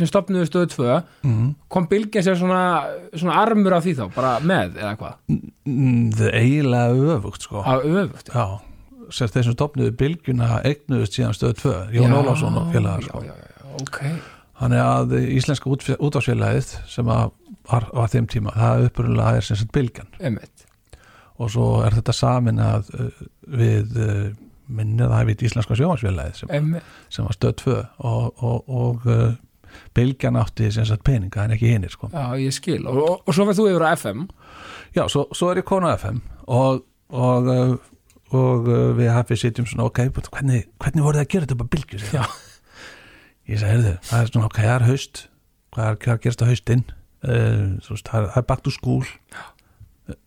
Speaker 1: sem stopnuðu stöðu tvö
Speaker 2: mm.
Speaker 1: kom bylgja sér svona, svona armur af því þá, bara með eða hvað,
Speaker 2: það er eiginlega öfugt sko
Speaker 1: af öfugt
Speaker 2: já, sem þeir sem stopnuðu bylgjuna eignuðust síðan stöð 2 Jón Ólafsson og félagar sko.
Speaker 1: Já, já, já, ok
Speaker 2: Þannig að Íslenska útf- útvarpsfélagið sem að var á þeim tíma, það upprunlega er sem sagt bylgjan
Speaker 1: Einmitt,
Speaker 2: og svo er þetta samin að við uh, minni það við Íslenska sjóhansfélagið sem,
Speaker 1: einmitt,
Speaker 2: sem var stöð 2 og, og, og uh, bylgjan átti sem sagt peninga en ekki hinnir sko.
Speaker 1: já, ég skil og, og, og svo verð þú yfir á FM
Speaker 2: Já, svo, svo er ég konu á FM og, og, uh, og uh, við hafið sitjum svona ok, but hvernig, hvernig voruð það að gera þetta upp að bylgju? segir
Speaker 1: Já.
Speaker 2: hann. Ég sagði, heyrðu, það er svona ok, það er haust hvað er, hvað er gerst á haustinn uh, þú veist, það er, það er bakt úr skúl Uh,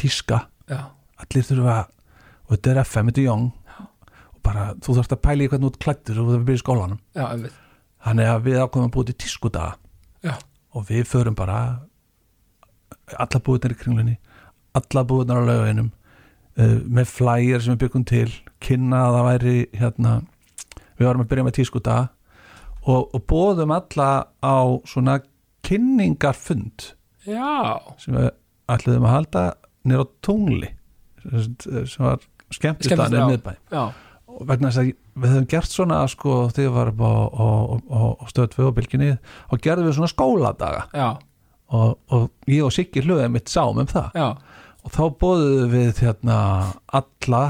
Speaker 2: tíska
Speaker 1: Já,
Speaker 2: allir þurfa og og þetta er FM, þetta er Young og bara, þú þarfst að pæla í hvernig þú ert klættur og þú þarf að byrja í skólanum
Speaker 1: já, einmitt.
Speaker 2: þannig að við ákveðum að búið til tískudaga
Speaker 1: já,
Speaker 2: og við förum bara alla búðunar í kringlunni alla búðunar á laugainum uh, með flyer sem við byggum til kynna að það væri hérna, við varum að byrja með tískuta og, og bóðum alla á svona kynningarfund
Speaker 1: já,
Speaker 2: sem við ætluðum að halda nýr á tungli sem var skemmtistaðan hérna í
Speaker 1: Skemmtistaður, já.
Speaker 2: miðbæ
Speaker 1: já,
Speaker 2: og vegna þess að við höfum gert svona sko þegar við varum á, á, á, á stöð 2 og bylginni og gerðum við svona skóladaga
Speaker 1: já,
Speaker 2: og, og ég og Siggi hlöðið mitt sáum um það
Speaker 1: já,
Speaker 2: og þá bóðuðu við hérna alla,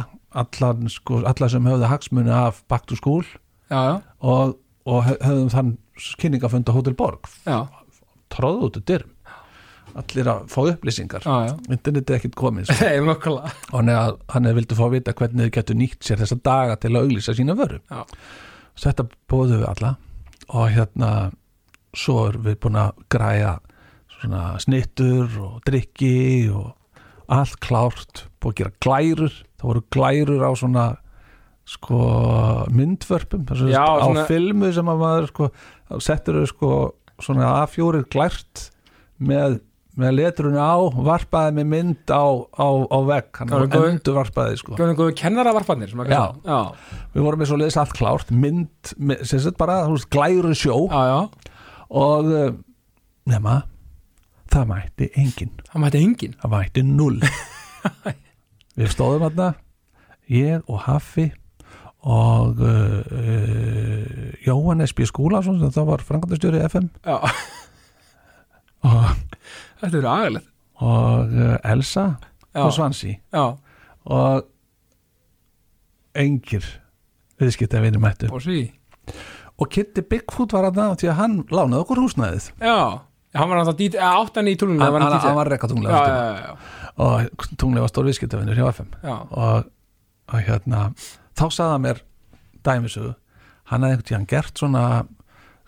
Speaker 2: allan, sko, alla sem höfðu hagsmuni af Back to School
Speaker 1: já, já,
Speaker 2: og, og hö- höfðum þann kynningafund á Hotel Borg,
Speaker 1: já,
Speaker 2: tróðu út úr dyrum allir að fá upplýsingar
Speaker 1: já, já.
Speaker 2: internetið er ekkert komið sko.
Speaker 1: Nei, nokkala
Speaker 2: og hann er, hann er vildi fá að vita hvernig þau getur nýtt sér þessa daga til að auglýsa sína vöru
Speaker 1: Já.
Speaker 2: svo þetta bóðum við alla og hérna svo erum við búin að græja svona snittur og drikki og allt klárt búið að gera glærur það voru glærur á svona sko myndvörpum þessu,
Speaker 1: Já,
Speaker 2: á
Speaker 1: svona-
Speaker 2: filmu sem að maður sko, þá settur þau sko svona A4 glært með, með letrunni á varpaði með mynd á, á, á vegg hann
Speaker 1: Það var góð-
Speaker 2: endur varpaði sko
Speaker 1: Góðum góðu kennaravarfarnir sem að
Speaker 2: Já.
Speaker 1: já,
Speaker 2: við vorum með svo leiðis allt klárt mynd, með- sem sett bara, þú veist, glæru sjó
Speaker 1: já, já
Speaker 2: og eh, nema það mætti engin,
Speaker 1: Það mætti engin
Speaker 2: það mætti null við stóðum þarna ég og Haffi og uh, uh, Jóhannes B. Skúlason sem það var frangandastjóri FM
Speaker 1: Já,
Speaker 2: og,
Speaker 1: þetta eru agalegt
Speaker 2: og uh, Elsa
Speaker 1: Já,
Speaker 2: og Svansi
Speaker 1: já,
Speaker 2: og engir viðskipta vinir mættu
Speaker 1: og sí
Speaker 2: og Kitty Bigfoot var þarna því að hann lánaði okkur húsnæðið
Speaker 1: Já, hann var náttúrulega dít, áttan í túlunum
Speaker 2: hann,
Speaker 1: var
Speaker 2: hann,
Speaker 1: DJ.
Speaker 2: hann var rekka
Speaker 1: já,
Speaker 2: tunglega
Speaker 1: já,
Speaker 2: já,
Speaker 1: já, já,
Speaker 2: og tunglega var stór viðskiptavinnur hjá FM
Speaker 1: já,
Speaker 2: og, og hérna þá sagði hann mér dæmisögu hann hafði einhvern tíðan gert svona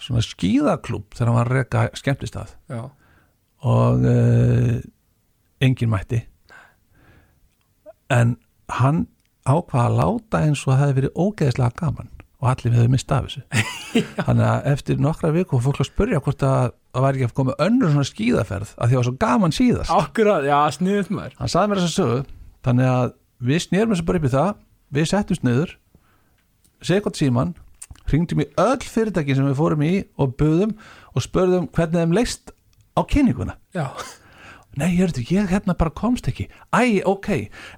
Speaker 2: svona skíðaklúb þegar hann var að rekka skemmtistað
Speaker 1: já,
Speaker 2: og uh, engin mætti en hann ákvað að láta eins og það hefði verið ógeðislega gaman og allir við hefði mist af þessu þannig að eftir nokkra viku fór fólk að spurja hvort að það væri ekki að koma önnur svona skíðaferð að því að var svo gaman síðast
Speaker 1: akkurat, já, sniðut maður
Speaker 2: hann saði mér þess að sögu þannig að við snýrum þessu bara upp í það við settumst niður segkvæmt síman, hringdum í öll fyrirtæki sem við fórum í og buðum og spurðum hvernig þeim leist á kynninguna
Speaker 1: Já,
Speaker 2: nei, hörðu, ég hérna bara komst ekki æ, ok,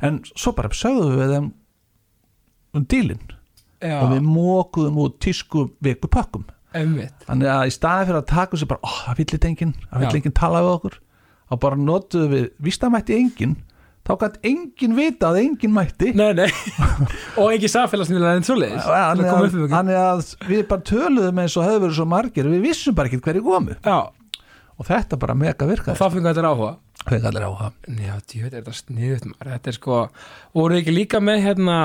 Speaker 2: en svo bara sögðum við þeim um dílinn
Speaker 1: já,
Speaker 2: og við mókuðum út tísku viku pakkum
Speaker 1: einmitt
Speaker 2: þannig að í staði fyrir að taka þessu bara, ó, það vill eitthvað enginn, það
Speaker 1: Já.
Speaker 2: vill enginn tala við okkur og bara notuðu við, víst það mætti enginn þá gætt enginn vita að enginn mætti
Speaker 1: Nei, nei, og ekki samfélagsmiðlega en svoleiðis Til að
Speaker 2: þannig
Speaker 1: koma upp
Speaker 2: að,
Speaker 1: um ykkur.
Speaker 2: þannig að við bara töluðum eins og hefur verið svo margir við vissum bara ekki hverju komu
Speaker 1: Já,
Speaker 2: og þetta bara mega
Speaker 1: og
Speaker 2: virkaði
Speaker 1: það fengur þetta áhuga
Speaker 2: hvernig allir á það
Speaker 1: Já, djúið, er þetta sniðut maður Þetta er sko, voru ekki líka með hérna,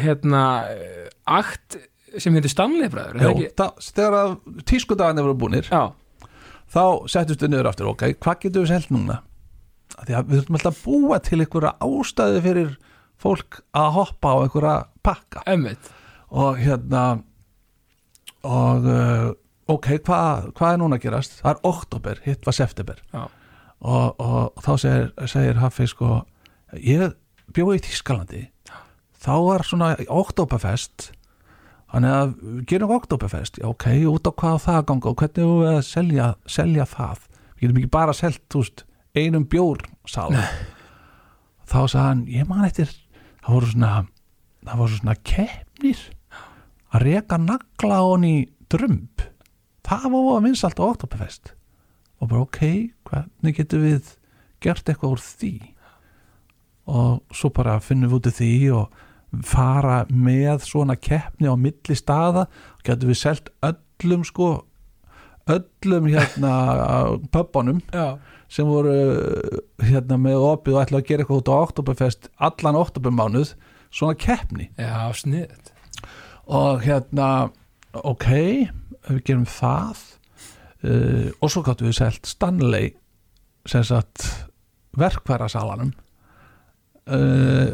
Speaker 1: hérna eh, akt sem heitir Stanley bræður er það
Speaker 2: Jú,
Speaker 1: ekki?
Speaker 2: það- þegar að tískudagarnir voru búnir
Speaker 1: Já,
Speaker 2: þá settust við niður aftur, ok, hvað getum við selt núna? Af Því að við þurfum alltaf að búa til einhverja ástæðu fyrir fólk að hoppa á einhverja pakka
Speaker 1: einmitt
Speaker 2: og hérna og uh, ok, hvað hva er núna að gerast? Það er oktober, hitt var september
Speaker 1: Já,
Speaker 2: og, og, þá segir, segir Haffi sko ég bjóði í Þískalandi þá var svona oktoberfest þannig að við gerum oktoberfest, já ok, út á hvað á það að ganga og hvernig eigum við að selja, selja það við getum ekki bara selt, þú veist einum bjór sá þá sagði hann, ég man eftir það voru svona það voru svona keppnir að reka nagla hon í drömb það var að minnst allt á oktoberfest og bara ok, hvernig getum við gert eitthvað úr því og svo bara finnum við út í því og fara með svona keppni á milli staða getum við selt öllum sko öllum hérna pöppunum
Speaker 1: já,
Speaker 2: sem voru hérna með opið og ætla að gera eitthvað út á oktoberfest allan oktobermánuð svona keppni
Speaker 1: já sniðut
Speaker 2: og hérna ok, við gerum það uh, og svo gáttum við selt Stanley sem sagt verkværasalanum uh,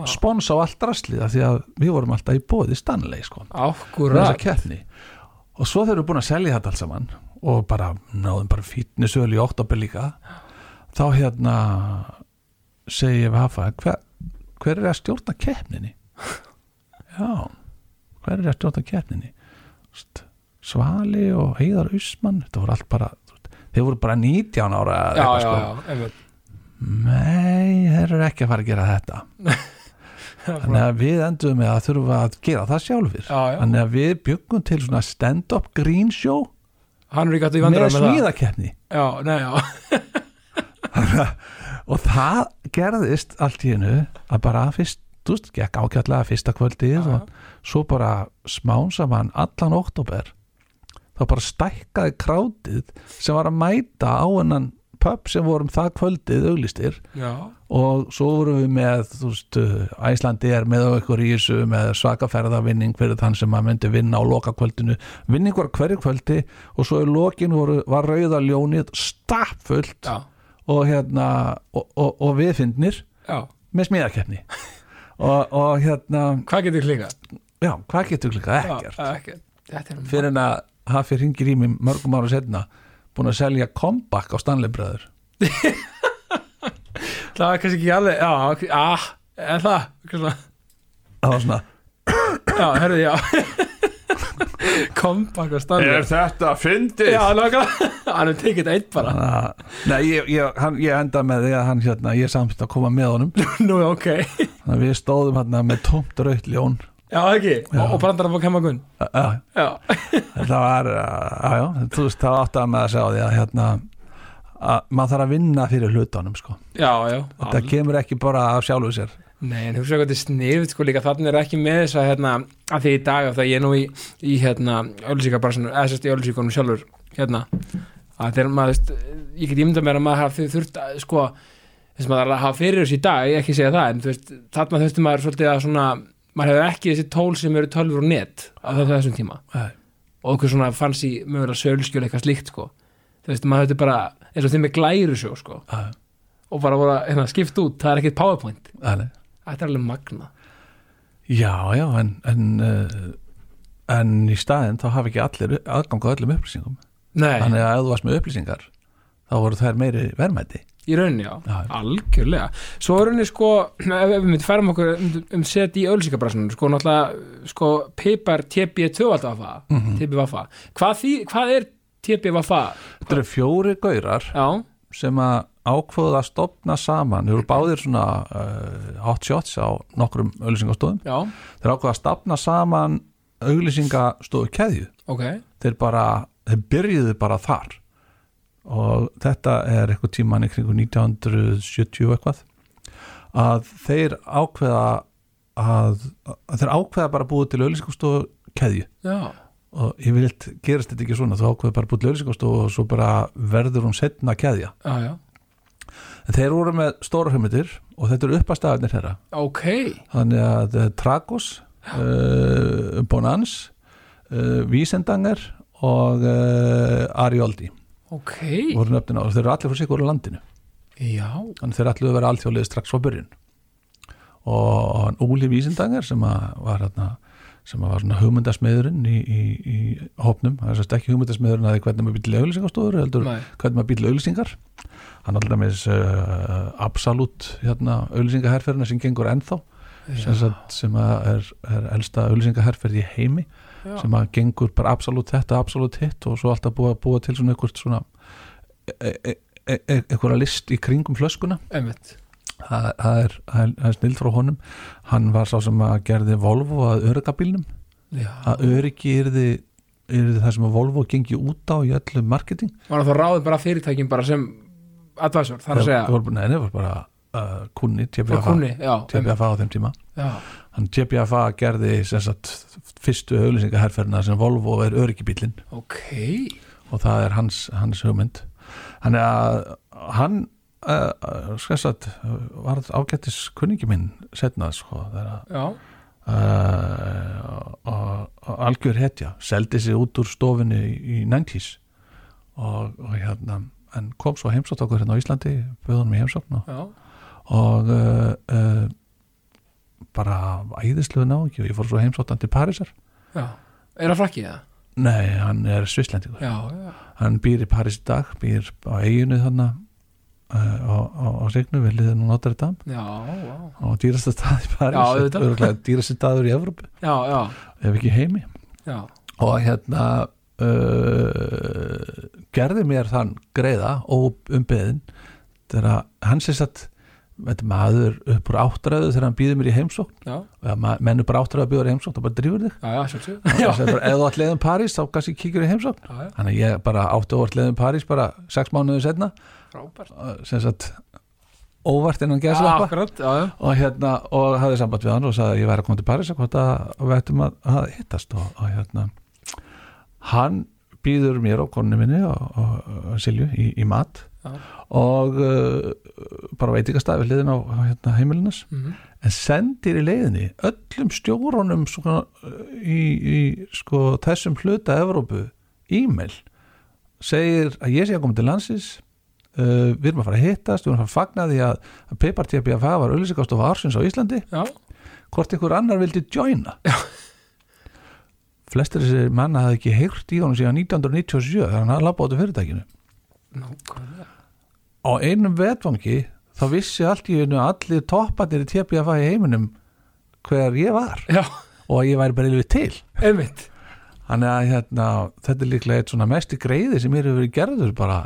Speaker 1: Já,
Speaker 2: spons á allt raslið af því að við vorum alltaf í bóði Stanley sko, með þessa
Speaker 1: Akkurat
Speaker 2: keppni og svo þeir eru búin að selja þetta alls saman og bara náðum bara fítnisölu í oktober líka þá hérna segi ég við hafa hver, hver er að stjórna keppninni já hver er að stjórna keppninni St- Svali og Heiðar Usman þetta voru allt bara þú veist, þeir voru bara 19 ára eða
Speaker 1: Já,
Speaker 2: eitthvað,
Speaker 1: já,
Speaker 2: sko.
Speaker 1: já, einmitt.
Speaker 2: Nei, þeir eru ekki að fara að gera þetta Þannig að við endum með að þurfa að gera það sjálfur
Speaker 1: Já, já.
Speaker 2: Þannig að við byggum til svona stand-up green show
Speaker 1: Hann er ekki alltaf í
Speaker 2: með
Speaker 1: vandrar með það
Speaker 2: smíðakeppni
Speaker 1: Já, nei, já
Speaker 2: og það gerðist allt í hennu að bara fyrst, þú veist, gekk ágætlega fyrsta kvöldið
Speaker 1: Já.
Speaker 2: og svo bara smán saman allan oktober þá bara stækkaði krátið sem var að mæta á hennan pub sem vorum það kvöldið auglistir
Speaker 1: Já,
Speaker 2: og svo vorum við með þú veist, Æslandi er með okkur í þessu með svakaferðavinning fyrir þann sem að myndi vinna á lokakvöldinu vinning var hverju kvöldi og svo í lokin voru, var rauða ljónið stappfullt
Speaker 1: já,
Speaker 2: og, hérna, og, og, og viðfindnir
Speaker 1: já
Speaker 2: með smíðakeppni og, og hérna,
Speaker 1: Hvað getur klingað?
Speaker 2: já, hvað getur klika ekkert
Speaker 1: Já, ekkert Þetta er
Speaker 2: fyrir en að hafi hringir í mig mörgum ára setna búin að selja comeback á Stanley Bröður
Speaker 1: Það er kannski ekki alveg Já, ok, ah, er það Kannski svona-
Speaker 2: það var svona
Speaker 1: Já, herrðu, já Kompakt og stannir
Speaker 2: Er þetta fyndið?
Speaker 1: Já, nákvæmlega Hann er tekið þetta eitt bara
Speaker 2: Ah, Nei, ég, ég, hann, ég enda með því að hann hérna, ég samfitt að koma með honum
Speaker 1: Nú, ok
Speaker 2: þannig að við stóðum hann með tómt rautt ljón
Speaker 1: Já, ekki
Speaker 2: Já.
Speaker 1: Og, og brandar að fá kemmagun
Speaker 2: Ah, ah,
Speaker 1: Já,
Speaker 2: þetta var, ah, já, þú veist það átti að með að sjá því að hérna að maður þarf að vinna fyrir hlutunum sko.
Speaker 1: já, já
Speaker 2: þetta kemur ekki bara af sjálfu sér
Speaker 1: Nei, en hugsaðu hvað þetta er sniðut sko líka þannig er ekki með þess að hérna að því í dag af því að ég er nú í, í hérna öllisíkabarsanur, eða sérst í öllisíkunum sjálfur hérna, að þegar maður veist, ég get ímynda mér að maður hafi þurft að sko, þess maður að hafa fyrir þessu í dag ég ekki segja það, en þú veist, þarna þurfti maður svolítið að svona, maður hefur ekki þessi tól sem eru tölfur og net á þessum tíma
Speaker 2: Nei.
Speaker 1: og okkur svona fanns í mögulega sölskjöl eitthvað slíkt sko, þú veist, maður hefði bara eins og þeim með glæru sko
Speaker 2: Ah,
Speaker 1: og bara voru að hérna, skipta út, það er ekkit powerpoint
Speaker 2: þannig.
Speaker 1: þetta er alveg magna
Speaker 2: Já, já, en en, uh, en í staðin þá hafi ekki allir aðgang á öllum upplýsingum
Speaker 1: Nei,
Speaker 2: þannig að ef þú varst með upplýsingar þá voru þær meiri verðmæti
Speaker 1: í rauninni já,
Speaker 2: Já.
Speaker 1: algjörlega Svo í rauninni sko, ef ef við myndum færum okkur um, um set í ölsíkabrassunum sko, náttúrulega, sko, pipar TB2 alltaf vafa, mm
Speaker 2: Mhm.
Speaker 1: -hmm. TB-vafa hvað, þý- hvað er TB-vafa?
Speaker 2: Þetta eru fjóri gaurar
Speaker 1: Já,
Speaker 2: sem að ákvöðu að stopna saman þeir eru báðir svona uh, hot shots á nokkrum auglýsingastofum
Speaker 1: já,
Speaker 2: þeir ákvöðu að stopna saman auglýsingastofu keðju
Speaker 1: ok
Speaker 2: þeir bara, þeir byrjuðu bara þar og þetta er eitthvað tíman í kringu 1970 og eitthvað að þeir ákveða að, að þeir ákveða bara að búið til auglýsingastofu keðju
Speaker 1: Já,
Speaker 2: og ég vil gerist þetta ekki svona þú ákveða bara að búið til auglýsingastofu og svo bara verður hún setna keðja
Speaker 1: já, já,
Speaker 2: En þeir voru með stóra hugmyndir og þetta eru uppastæðanir þeirra.
Speaker 1: ok
Speaker 2: Þannig að eh, Tragos, uh, Bonans, uh, Vísendanger og uh, Arioldi
Speaker 1: ok,
Speaker 2: voru nöfnina og þeir eru allir fyrir sig voru landinu.
Speaker 1: já
Speaker 2: Þannig þeir eru allir að vera allþjóðlega strax frá byrjun. Og hann Úli Vísendanger sem að var hérna sem að var svona hugmyndasmiðurinn í, í, í hópnum, það er sérst ekki hugmyndasmiðurinn að því hvernig maður býtla auðlýsingastofur heldur
Speaker 1: Nei.
Speaker 2: hvernig maður býtla auðlýsingar hann alltaf með þess uh, absolutt hérna, auðlýsingaherferðina sem gengur ennþá sem, sagt, sem að er, er elsta auðlýsingaherferð í heimi
Speaker 1: Já.
Speaker 2: sem að gengur bara absolutt þetta, absolutt hitt og svo alltaf búið að búa til svona einhvert svona e- e- e- e- einhverja list í kringum flöskuna
Speaker 1: Einmitt.
Speaker 2: það það er, það er, það er snill frá honum hann var sá sem að gerði Volvo að öryggabílnum
Speaker 1: Já.
Speaker 2: að öryggi yrði, yrði það sem að Volvo gengi út á í öllu marketing
Speaker 1: Var það ráðið bara fyrirtækin bara sem advisor, þar að segja
Speaker 2: það var, nei, það var bara uh, kunni,
Speaker 1: frá
Speaker 2: TBFA,
Speaker 1: kunni, já, einmitt.
Speaker 2: TBFA á þeim tíma
Speaker 1: já,
Speaker 2: hann TBFA gerði sem sagt, fyrstu auðlýsingaherferðina sem Volvo er öryggibílinn
Speaker 1: ok
Speaker 2: og það er hans, hans hugmynd þannig að hann uh, uh, skessat var ágættis kunningi minn setna sko, þegar að
Speaker 1: Já,
Speaker 2: uh, og- og algjör hetja seldi sig út úr stofinu í, í 90s og, og hérna en kom svo heimsótt okkur hérna á Íslandi böðunum í heimsókn og,
Speaker 1: já,
Speaker 2: og uh, uh, bara æðisluðu náungi og ég fór svo heimsóttan til Parísar
Speaker 1: já. Er það frakkið það?
Speaker 2: nei, hann er svislendingur
Speaker 1: Já, já,
Speaker 2: hann býr í París í dag, býr á eiginu þannig uh, á, á, á Signu við liðinu Notre Dame
Speaker 1: já, já,
Speaker 2: á dýrasta stað í París
Speaker 1: Já, auðvitað.
Speaker 2: Örugglega dýrasti staður í Evrópu,
Speaker 1: já, já,
Speaker 2: ef ekki í heimi
Speaker 1: já.
Speaker 2: og hérna uh, gerði mér þann greiða og umbeðin þegar að hann sér satt þetta er maður upp úr áttræðu þegar hann býður mér í heimsókn
Speaker 1: Já,
Speaker 2: og ef maður- menn upp úr áttræðu að býður í heimsókn þá bara drífur þig
Speaker 1: já, já, sjálfsög
Speaker 2: Og hann sagði bara, ef þú ætti leiðum París þá kannski kíkir í heimsókn
Speaker 1: Já, já,
Speaker 2: þannig að ég bara átti óvart leiðum París bara sex mánuðu setna
Speaker 1: frábært
Speaker 2: sem sagt óvart innan
Speaker 1: Já,
Speaker 2: geðslappa
Speaker 1: akkurat, já, já
Speaker 2: og hérna og hafði samband við hann og sagði að ég væri að koma til Paris og hvort að og við ættum að, að hittast og, og hérna hann býður mér og konni minni og, og, og Silju í, í mat
Speaker 1: Já.
Speaker 2: og uh, bara veitingastæði við hliðin á á, hérna, heimilinnes
Speaker 1: Mhm.
Speaker 2: en sendir í leiðinni öllum stjórunum svona, eh, í, í sko, þessum hluta Evrópu e-mail segir að ég sé að koma til landsins uh, við erum að fara að hittast við erum að fara að fagna því að, að Peppartjabjaf var auðlýsingastofa ársins á Íslandi
Speaker 1: Já,
Speaker 2: hvort einhver annar vildi joina flestir þessir manna hafði ekki heyrt í honum síðan 1997 þegar hann hafði labbað út af fyrirtækinu
Speaker 1: nákvæmlega
Speaker 2: á einum vetfangi þá vissi allt í einu allir topparnir í Tjabjaf í heiminum hver ég var
Speaker 1: Já,
Speaker 2: og að ég væri bara yfir til
Speaker 1: einmitt
Speaker 2: þannig að hérna, þetta er líklega eitt svona mesti greiði sem mér hefur verið gerður bara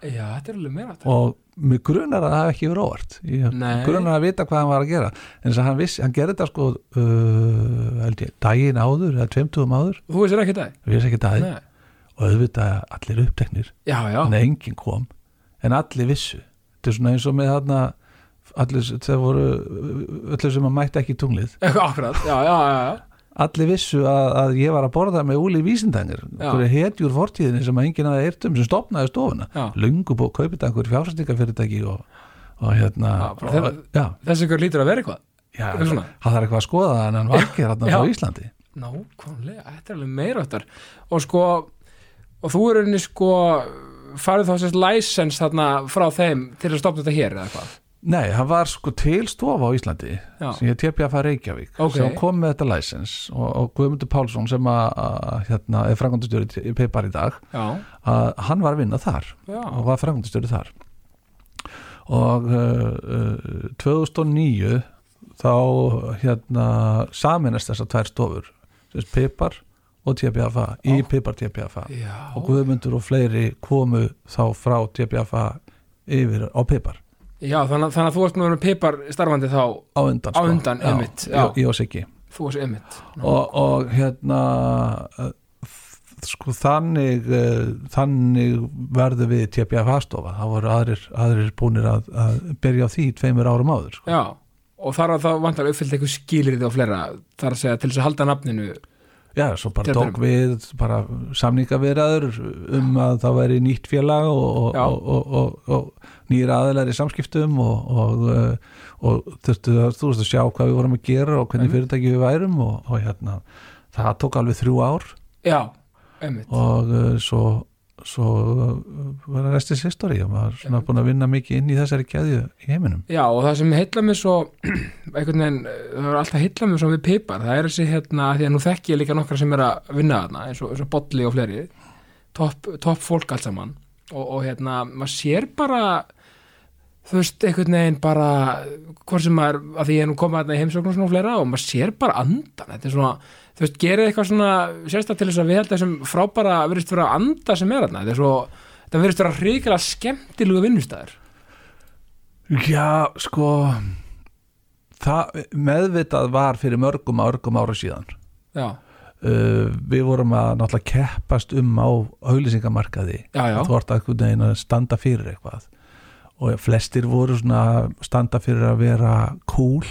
Speaker 1: Já, þetta er alveg meira þetta
Speaker 2: og mig grunar að það hef ekki verið óvart ég
Speaker 1: Nei.
Speaker 2: grunar að vita hvað hann var að gera en þess að hann vissi, hann gerði þetta sko uh, held ég, daginn áður eða tveimtugum áður,
Speaker 1: Þú veist þér ekki það?
Speaker 2: við erum ekki daginn
Speaker 1: Nei
Speaker 2: og auðvitað allir uppteknir
Speaker 1: Já, já,
Speaker 2: en enginn kom, en allir vissu þetta er svona eins og með þarna allir, það voru allir sem að mætti ekki í tunglið
Speaker 1: Eitthvað, akkurat, já, já, já, já
Speaker 2: allir vissu að, að ég var að borða með Úli Vísindangir,
Speaker 1: Já.
Speaker 2: hverju hetjur fortíðinni sem að enginn aðeins eirtum sem stopnaði stofuna
Speaker 1: Já.
Speaker 2: lungu búið kaupið einhver fjárfæstingafyrirtæki og, og hérna
Speaker 1: Já, bara
Speaker 2: og, já,
Speaker 1: Þessi ykkur lítur að vera eitthvað
Speaker 2: já,
Speaker 1: er
Speaker 2: það
Speaker 1: svona.
Speaker 2: það er eitthvað að skoða það en hann var ekki
Speaker 1: Já.
Speaker 2: þarna á Íslandi
Speaker 1: Nákvæmlega, þetta er alveg meira þetta og sko og þú er henni sko farið þá sérst license þarna frá þeim til að stopna þetta hér eða hvað
Speaker 2: nei, hann var sko til stofa á Íslandi
Speaker 1: Já.
Speaker 2: sem ég tepja að fara Reykjavík
Speaker 1: Ok.
Speaker 2: sem kom með þetta læsens og, og Guðmundur Pálsson sem að, að hérna, er frangandastjóri í Peipar í dag
Speaker 1: Já,
Speaker 2: að hann var að vinna þar
Speaker 1: já,
Speaker 2: og var framkvæmdastjóri þar og uh, uh, 2009 þá hérna saminast þessar tvær stofur sem sagt Pipar og TPFA í
Speaker 1: Ó.
Speaker 2: Pipar TPFA
Speaker 1: já
Speaker 2: og Guðmundur og fleiri komu þá frá TPFA yfir á Pipar
Speaker 1: Já, þannig, að- þannig að þú ert nú með pipar starfandi þá
Speaker 2: á undan, sko.
Speaker 1: Á undan,
Speaker 2: já,
Speaker 1: einmitt, já.
Speaker 2: Ég, ég og Siggi
Speaker 1: þú erst ymmit
Speaker 2: og, og hérna uh, f- sko þannig uh, þannig verðu við TPF aðstofa, það voru aðrir, aðrir búnir að, að byrja á því tveimur árum áður sko.
Speaker 1: Já, og þar að þá vantar uppfyllt eitthvað skilirði á fleira þar að segja til þess að halda nafninu
Speaker 2: já, svo bara
Speaker 1: Þetta er-
Speaker 2: tók við bara samningaveraður um að það væri nýtt félag og, og,
Speaker 1: Já.
Speaker 2: og, og, og, og nýra aðilar í samskiptum og, og, uh, og þurftu að þú veist að sjá hvað við vorum að gera og
Speaker 1: Mhm.
Speaker 2: hvernig fyrirtæki við værum og, og hérna, það tók alveg þrjú ár
Speaker 1: Já, ymmit
Speaker 2: og uh, svo, svo uh, var restis history og maður svona búin að vinna mikið inn í þessari keðju í heiminum
Speaker 1: Já, og það sem heilla mig svo einhvern veginn, það er alltaf heilla mig svo við pipar, það er þessi hérna því að nú þekki ég líka nokkra sem er að vinna þarna eins og, eins og bolli og fleiri topp top fólk allt saman og, og hérna, maður sér bara þú veist, einhvern veginn bara hvort sem maður, að því ég er nú koma þarna í heimsóknum svona og fleira og maður sér bara andan þetta er svona, þú veist, gerir eitthvað svona sérstak til þess að við held þessum frábara verðist vera anda sem er þarna, þetta er svo þetta verðist vera hrikalega skemmtilegu vinnustæður
Speaker 2: Já, sko það meðvitað var fyrir mörgum örgum ára síðan
Speaker 1: Já,
Speaker 2: uh, við vorum að náttúrulega keppast um á auðlýsingamarkaði
Speaker 1: já, já
Speaker 2: þú ert að einhvern veginn að standa fyrir eitthvað og flestir voru svona að standa fyrir að vera cool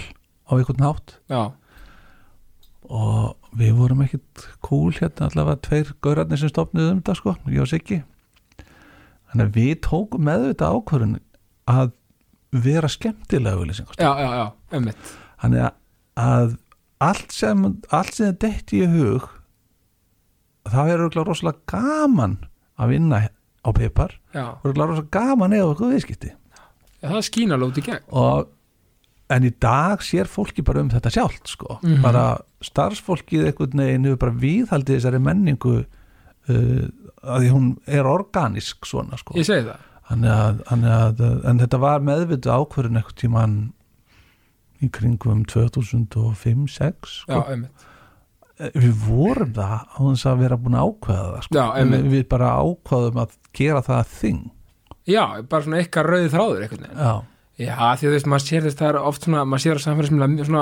Speaker 2: á einhvern hátt
Speaker 1: Já,
Speaker 2: og við vorum ekkit cool hérna allavega tveir gaurarnir sem stopnuðu um þetta sko, ég og Siggi þannig að við tókum með þetta ákvörun að vera skemmtilega auðlýsingast
Speaker 1: já, já, já, einmitt
Speaker 2: þannig að- að allt sem allt sem detti í hug það er auðvitað rosalega gaman að vinna á pipar
Speaker 1: Já,
Speaker 2: og auðvitað rosalega gaman eða okkur viðskipti
Speaker 1: já það skína lóti gegn
Speaker 2: og en í dag sér fólki bara um þetta sjálft sko.
Speaker 1: Mhm.
Speaker 2: bara starfsfólkið einhvern veginn hefur bara viðhaldið þessari menningu uh, að því hún er organisk svona sko.
Speaker 1: ég segi það
Speaker 2: Þannig að, þannig að, en þetta var meðvitað ákvörðin eitthvað tíman í kringum 2005-06
Speaker 1: já,
Speaker 2: sko. Eh,
Speaker 1: einmitt,
Speaker 2: við vorum það á þess að vera búin að ákveða það sko.
Speaker 1: Já, einmitt.
Speaker 2: við bara ákveðum að gera það að þing
Speaker 1: já, bara svona eitthvað rauði þráður einhvern veginn
Speaker 2: já,
Speaker 1: Já, því að þú veist, maður sér þess, það er oft svona, maður sér á samfélagsmiðla svona,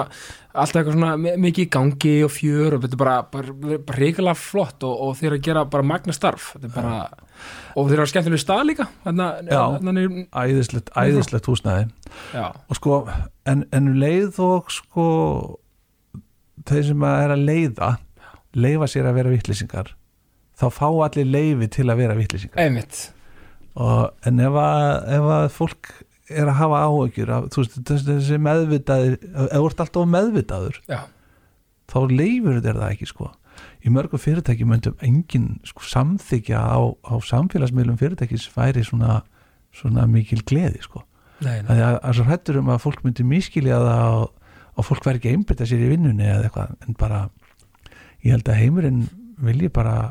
Speaker 1: alltaf eitthvað svona mi- mikið í gangi og fjör og þetta er bara, bara, bara reikala flott og, og þeir eru að gera bara magna starf, þetta er bara, og þeir eru að skemmtilega stað líka, þannig
Speaker 2: Já.
Speaker 1: að,
Speaker 2: æðislegt, æðislegt húsnæði
Speaker 1: já,
Speaker 2: og sko, en, en um leið og sko þeir sem að er að leiða leifa sér að vera vittlýsingar þá fá allir leifi til að vera vittlýsingar
Speaker 1: einmitt,
Speaker 2: og, en ef að, ef að fólk er að hafa áhyggjur af, þú veist, þessi- þessi meðvitaður ef þú ert alltaf meðvitaður
Speaker 1: já,
Speaker 2: þá leifur þér það ekki sko í mörgum fyrirtæki möndum engin sko, samþykja á, á samfélagsmiðlum fyrirtækis væri svona, svona mikil gleði sko
Speaker 1: nei, nei,
Speaker 2: að, að, að svo hrættur um að fólk myndi miskilja það og, og fólk væri ekki að einbytta sér í vinnunni eða eitthvað en bara ég held að heimurinn vilji bara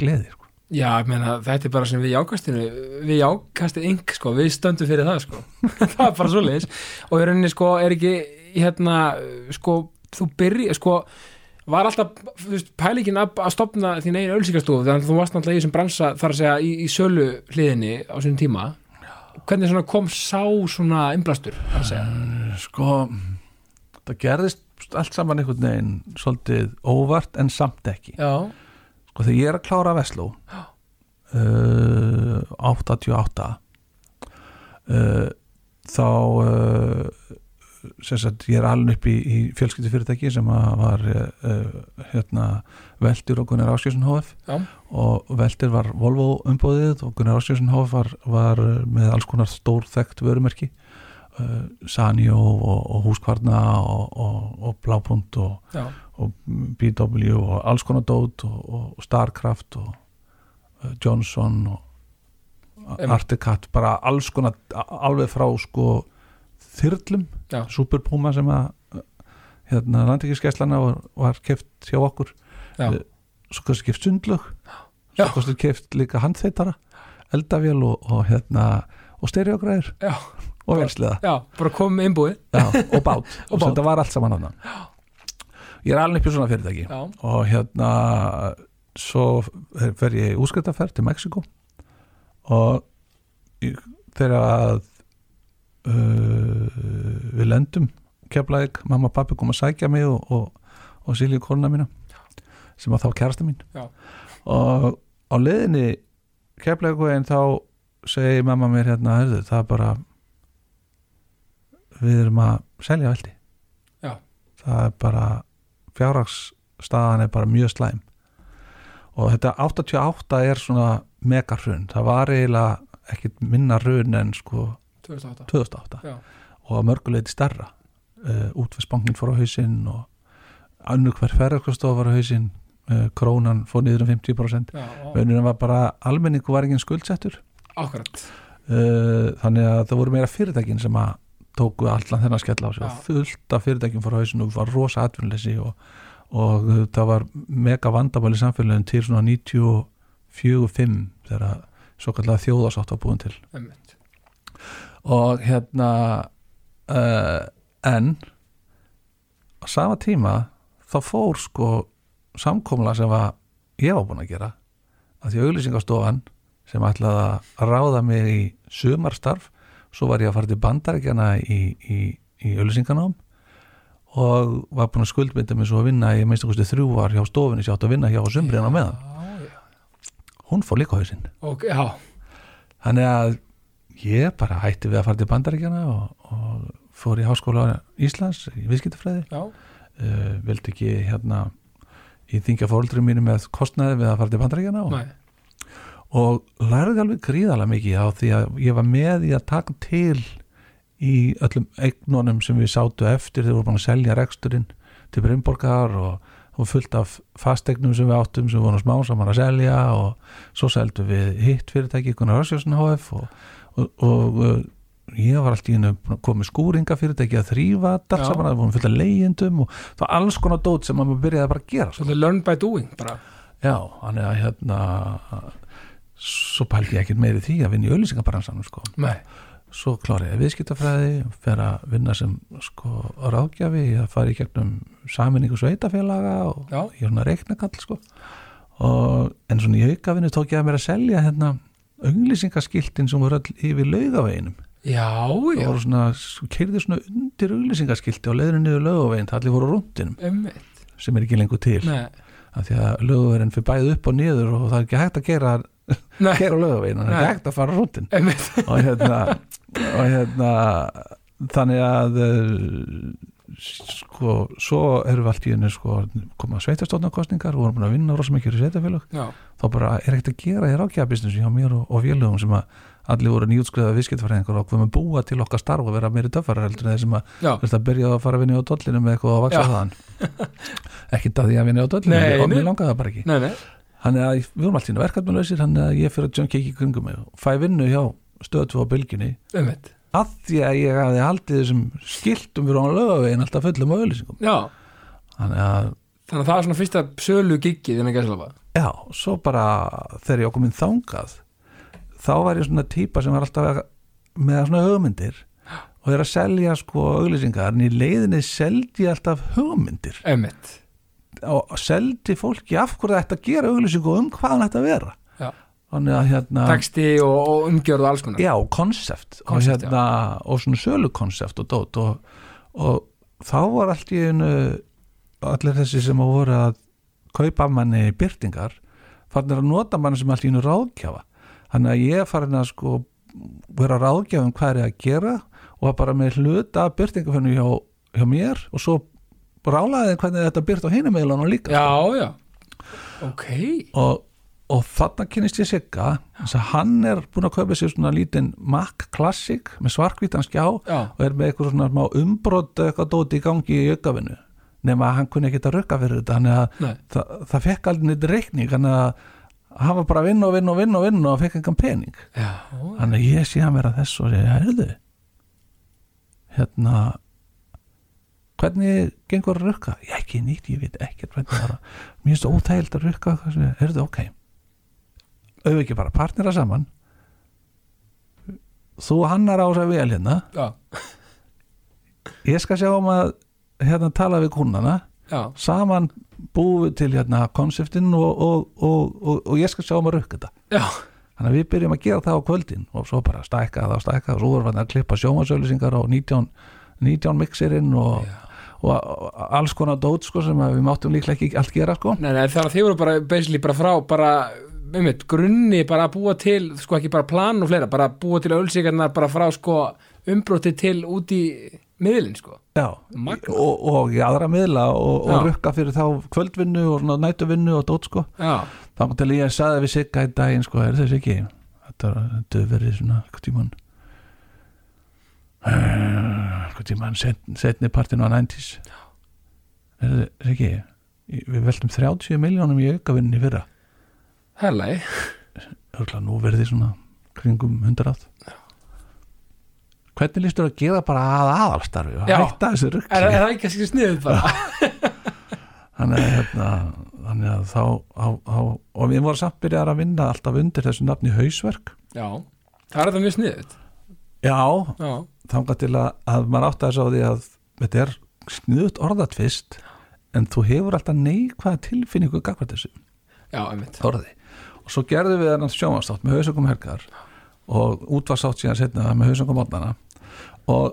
Speaker 2: gleði sko
Speaker 1: já, ég meina, þetta er bara sem við í ákastinu, við í ákastinu yng, sko, við stöndum fyrir það, sko, það er bara svo leiðis, og í rauninni, sko, er ekki, hérna, sko, þú byrji, sko, var alltaf, þú veist, pælingin að, að stopna þín eigin ölsíkastofu, þannig að þú varst náttúrulega í þessum bransa, þar að segja, í, í sölu hliðinni á sinni tíma, hvernig svona kom sá svona innblastur, þar að segja,
Speaker 2: sko það gerðist allt saman einhvern veginn svolítið óvart en samt ekki
Speaker 1: já,
Speaker 2: sko þegar ég er að klára Vesló uh, 88 uh, þá uh, sem sagt ég er alveg upp í, í fjölskyldu fyrirtæki sem að var uh, uh, hérna Veldur og Gunnar Áskjösson HF
Speaker 1: já,
Speaker 2: og Veldur var Volvo umbóðið og Gunnar Áskjösson HF var, var uh, með alls konar stór þekkt vörumerki uh, Sanjó og, og Húskvarna og, og, og Blápunt og,
Speaker 1: já,
Speaker 2: og BW og alls konar dót og, og Starcraft og uh, Johnson og
Speaker 1: Einmitt.
Speaker 2: Articat, bara alls konar a- alveg frá sko þyrlum,
Speaker 1: Já.
Speaker 2: Superpuma sem að uh, hérna landingiskesslana var, var keft hjá okkur
Speaker 1: já,
Speaker 2: Eh, svo kannski keft sundlög
Speaker 1: Já.
Speaker 2: svo kannski keft líka handþeitara eldavél og, og hérna og stereogræður
Speaker 1: já,
Speaker 2: og velsliða
Speaker 1: já, bara komum með innbúið,
Speaker 2: já, og bát,
Speaker 1: Og
Speaker 2: og
Speaker 1: bát.
Speaker 2: þetta var allt saman hann ég er alveg upp í svona fyrirtæki
Speaker 1: já,
Speaker 2: og hérna svo fer ég í útskriftafærð til Mexiko og í- þegar að uh, við lendum keflaðið, mamma og pappi kom að sækja mig og, og, og Silju konuna mína sem að þá kærasta mín
Speaker 1: Já.
Speaker 2: og á leiðinni keflaðið en þá segi mamma mér hérna heyrðu, það er bara við erum að selja veldi
Speaker 1: Já.
Speaker 2: það er bara fjárhags staðan er bara mjög slæm og þetta 88 er svona megarhrun, það var eiginlega ekkit minna hrun en sko
Speaker 1: 2008,
Speaker 2: 2008
Speaker 1: Já.
Speaker 2: og að mörguleiti starra uh, útversbankin fór á hausinn og annur hver ferðarkostofa var á hausinn uh, krónan fór niður um 50%
Speaker 1: já, já,
Speaker 2: önurinn var bara almenningu var enginn skuldsettur
Speaker 1: akkurat,
Speaker 2: uh, þannig að það voru meira fyrirtækin sem að tóku allan þennan skell á sig og
Speaker 1: Já.
Speaker 2: fullt af fyrirtækin fór á hausinu og var rosa atvinnleysi og, og eh, það var mega vandamæli samfélagin til svona 94-5 þegar að svo kallega þjóðasátt var búin til
Speaker 1: einmitt,
Speaker 2: og hérna uh, en á sama tíma þá fór sko samkomla sem var ég var búin að gera að því auðlýsingastofan sem ætlaði að ráða mig í sumarstarf svo var ég að fara til bandaríkjana í, í, í auðlýsinganám og var búin að skuldbinda mig svo að vinna ég minnst að þrjú var hjá stofunni sem ég átt að vinna hjá sumriðan á meðan
Speaker 1: já, já,
Speaker 2: hún fór líka á hausinn
Speaker 1: ok, já,
Speaker 2: Þannig að ég bara hætti við að fara til bandaríkjana og, og fór í háskóla Íslands í viðskiptafræði
Speaker 1: já,
Speaker 2: uh, vildi ekki hérna í þingja fóruldrum mínu með kostnaði við að fara til bandaríkjana og,
Speaker 1: næ,
Speaker 2: og lærði alveg gríðalega mikið á því að ég var með í að taka til í öllum eignunum sem við sátu eftir þegar við vorum búin að selja reksturinn til Brynborgar og, og fullt af fastegnum sem við áttum sem við vorum smá saman að selja og svo seldum við hitt fyrirtæki Gunnar Örsjósson HF og, og, og uh, ég var alltaf í hennu komið skúringa fyrir þetta ekki að þrýfa
Speaker 1: Já.
Speaker 2: allt saman að það vorum fullt af leyendum og það var alls konar dót sem að maður byrjaði bara að gera sko.
Speaker 1: Svolítið learn by doing bara.
Speaker 2: já, hann er að hérna svo pældi ég ekkert meiri því að vinna í auðlýsingabransanum sko.
Speaker 1: Nei.
Speaker 2: svo kláraði ég viðskiptafræði fer að vinna sem sko ráðgjafi, ég fari í gegnum saminningu sveitafélaga og
Speaker 1: Já.
Speaker 2: ég er svona reiknakall sko og, en svona í aukavinnu tók ég að mér að selja hérna auglýsingaskiltin sem voru öll yfir laugaveginum
Speaker 1: Já,
Speaker 2: það
Speaker 1: já,
Speaker 2: voru svona, keirði svona undir auglýsingaskilti og leiðinu niður laugavegin það allir voru rúndinum
Speaker 1: einmitt.
Speaker 2: sem er ekki lengur til
Speaker 1: Nei.
Speaker 2: af því að laugavegin fyrir bæði upp og niður og það er ekki hægt að gera,
Speaker 1: Nei,
Speaker 2: gera laugavegin það er
Speaker 1: Nei.
Speaker 2: ekki hægt að fara rúndin
Speaker 1: einmitt.
Speaker 2: og hérna, og hérna þannig að eh, sko, svo erum við allt í henni sko, koma sveitastóðnarkostningar vorum búin að vinna rosa mikið fyrir sveitafélag
Speaker 1: Já,
Speaker 2: þá bara er ekkert að gera hér ákjæðabisnes hjá mér og, og félögum sem að allir voru nýjútskriða viðskiptfæringar og hvað með búa til okkar starf og vera meiri töffara heldur en þeir sem að,
Speaker 1: já,
Speaker 2: þess að byrja að fara að vinna á dollinu með eitthvað og vaksa
Speaker 1: Já.
Speaker 2: þaðan ekkert að því að vinna á dollinu
Speaker 1: Nei,
Speaker 2: og
Speaker 1: nei.
Speaker 2: mér langaði það bara ekki
Speaker 1: nei, nei.
Speaker 2: Þannig að við vorum alltaf verkefnuleysir þannig að ég fyrir að jönk ekki í kringum mig og fæ vinnu hjá stöðtú á bylginni
Speaker 1: Einmitt.
Speaker 2: að því að ég hafði haldið þessum skiltum fyrir án lögavegin alltaf fullum af auðlýsingum
Speaker 1: Já,
Speaker 2: þannig að,
Speaker 1: þannig að það var svona fyrsta sölu giggið innan gæslafa.
Speaker 2: já, svo bara þegar ég okkur minn þangað þá var ég svona típa sem var alltaf að- með svona hugmyndir og er að selja sko auðlýsingar en í leiðinni seldi ég alltaf hugmyndir
Speaker 1: Einmitt.
Speaker 2: og seldi fólki af hverju þetta gera auðlýsingu og um hvað hann ætti að vera
Speaker 1: Já.
Speaker 2: þannig að hérna
Speaker 1: Texti og, og umgjörð og alls konar.
Speaker 2: Já, konsept og,
Speaker 1: Konsept,
Speaker 2: hérna, og svona sölukonsept og dót og, og þá var allt í einu allir þessi sem að voru að kaupa af manni byrtingar farnir að nota manni sem allt í einu ráðgjafa þannig að ég er farin að sko vera ráðgjafa um hvað er ég að gera og var bara með hluta af byrtingafennu hjá, hjá mér og svo rálaði hvernig þetta byrt á hinum meðlunum líka
Speaker 1: Já, já. Ok.
Speaker 2: og, og þarna kynist ég Sigga þess að hann er búin að kaupa sér svona lítinn Mac Classic með svarkvítan skjá
Speaker 1: Já,
Speaker 2: og er með eitthvað svona smá umbrot eitthvað dóti í gangi í aukafinu nema að hann kunni ekki að rökka fyrir þetta þannig að
Speaker 1: nei.
Speaker 2: það, það fekk aldrei neitt reikning þannig að hann var bara að vinna og vinna og vinna og vinna og fekk engan pening
Speaker 1: Já,
Speaker 2: þannig að ég sé að vera þess og segja, heyrðu hérna hvernig gengur að rukka? Ég ekki nýtt, ég veit ekkert hvernig það er að- mér finnst óþægild að rukka eitthvað sem- heyrðu, ok auðvitað ekki bara partnera saman þú hannar á þess að vel hérna
Speaker 1: já,
Speaker 2: ég skal sjá um að hérna tala við kúnana
Speaker 1: já.
Speaker 2: saman búið til hérna konseptin og, og, og, og, og ég skal sjá um að rukka þetta
Speaker 1: Já,
Speaker 2: Þannig að við byrjum að gera það á kvöldin og svo bara stækka það og stækka og svo vorum við að klippa sjómasauðlýsingar á 19, 19 mixerinn og, og, og alls konar dót sko, sem að við máttum líklega ekki allt gera sko.
Speaker 1: nei, nei, það er að þið voru bara basically bara frá, bara, einmitt, grunni bara að búa til, sko ekki bara plan og fleira, bara búa til ölsíkarnar bara frá, sko, umbróti til út í miðlinn, sko.
Speaker 2: Já,
Speaker 1: Magnað.
Speaker 2: og, og í aðra miðla og,
Speaker 1: Já.
Speaker 2: og rukka fyrir þá kvöldvinnu og svona nætuvinnu og dót sko.
Speaker 1: Já,
Speaker 2: Þannig til ég saði við Sigga í daginn sko, er þessi ekki? Þetta er- þetta hefur verið svona einhvern tímann Eh, einhvern tímann setn- setni partinu á 90s er þessi ekki? Við veltum 30 miljónum í aukavinni í fyrra
Speaker 1: herrlegi.
Speaker 2: Örgulega nú verði svona kringum 100 Hvernig lístur að gera bara að aðalstarfi og
Speaker 1: Já.
Speaker 2: hætta þessu rugg
Speaker 1: Er, er það ekki kannski sniðið bara?
Speaker 2: þannig að, hérna, þannig að þá, á, á, og við vorum samt byrjaðar að vinna alltaf undir þessu nafni hausverk
Speaker 1: Já, það er það mjög sniðið.
Speaker 2: Já,
Speaker 1: Já,
Speaker 2: þangað til að, að maður átti að þessu á því að þetta er sniðut orðatvist en þú hefur alltaf neikvæða tilfinningu gagvart þessu
Speaker 1: já, einmitt.
Speaker 2: orði og svo gerðum við þennan sjómanstátt með hausökum helgar og útvarsátt síðan setna með hausökum mótnana og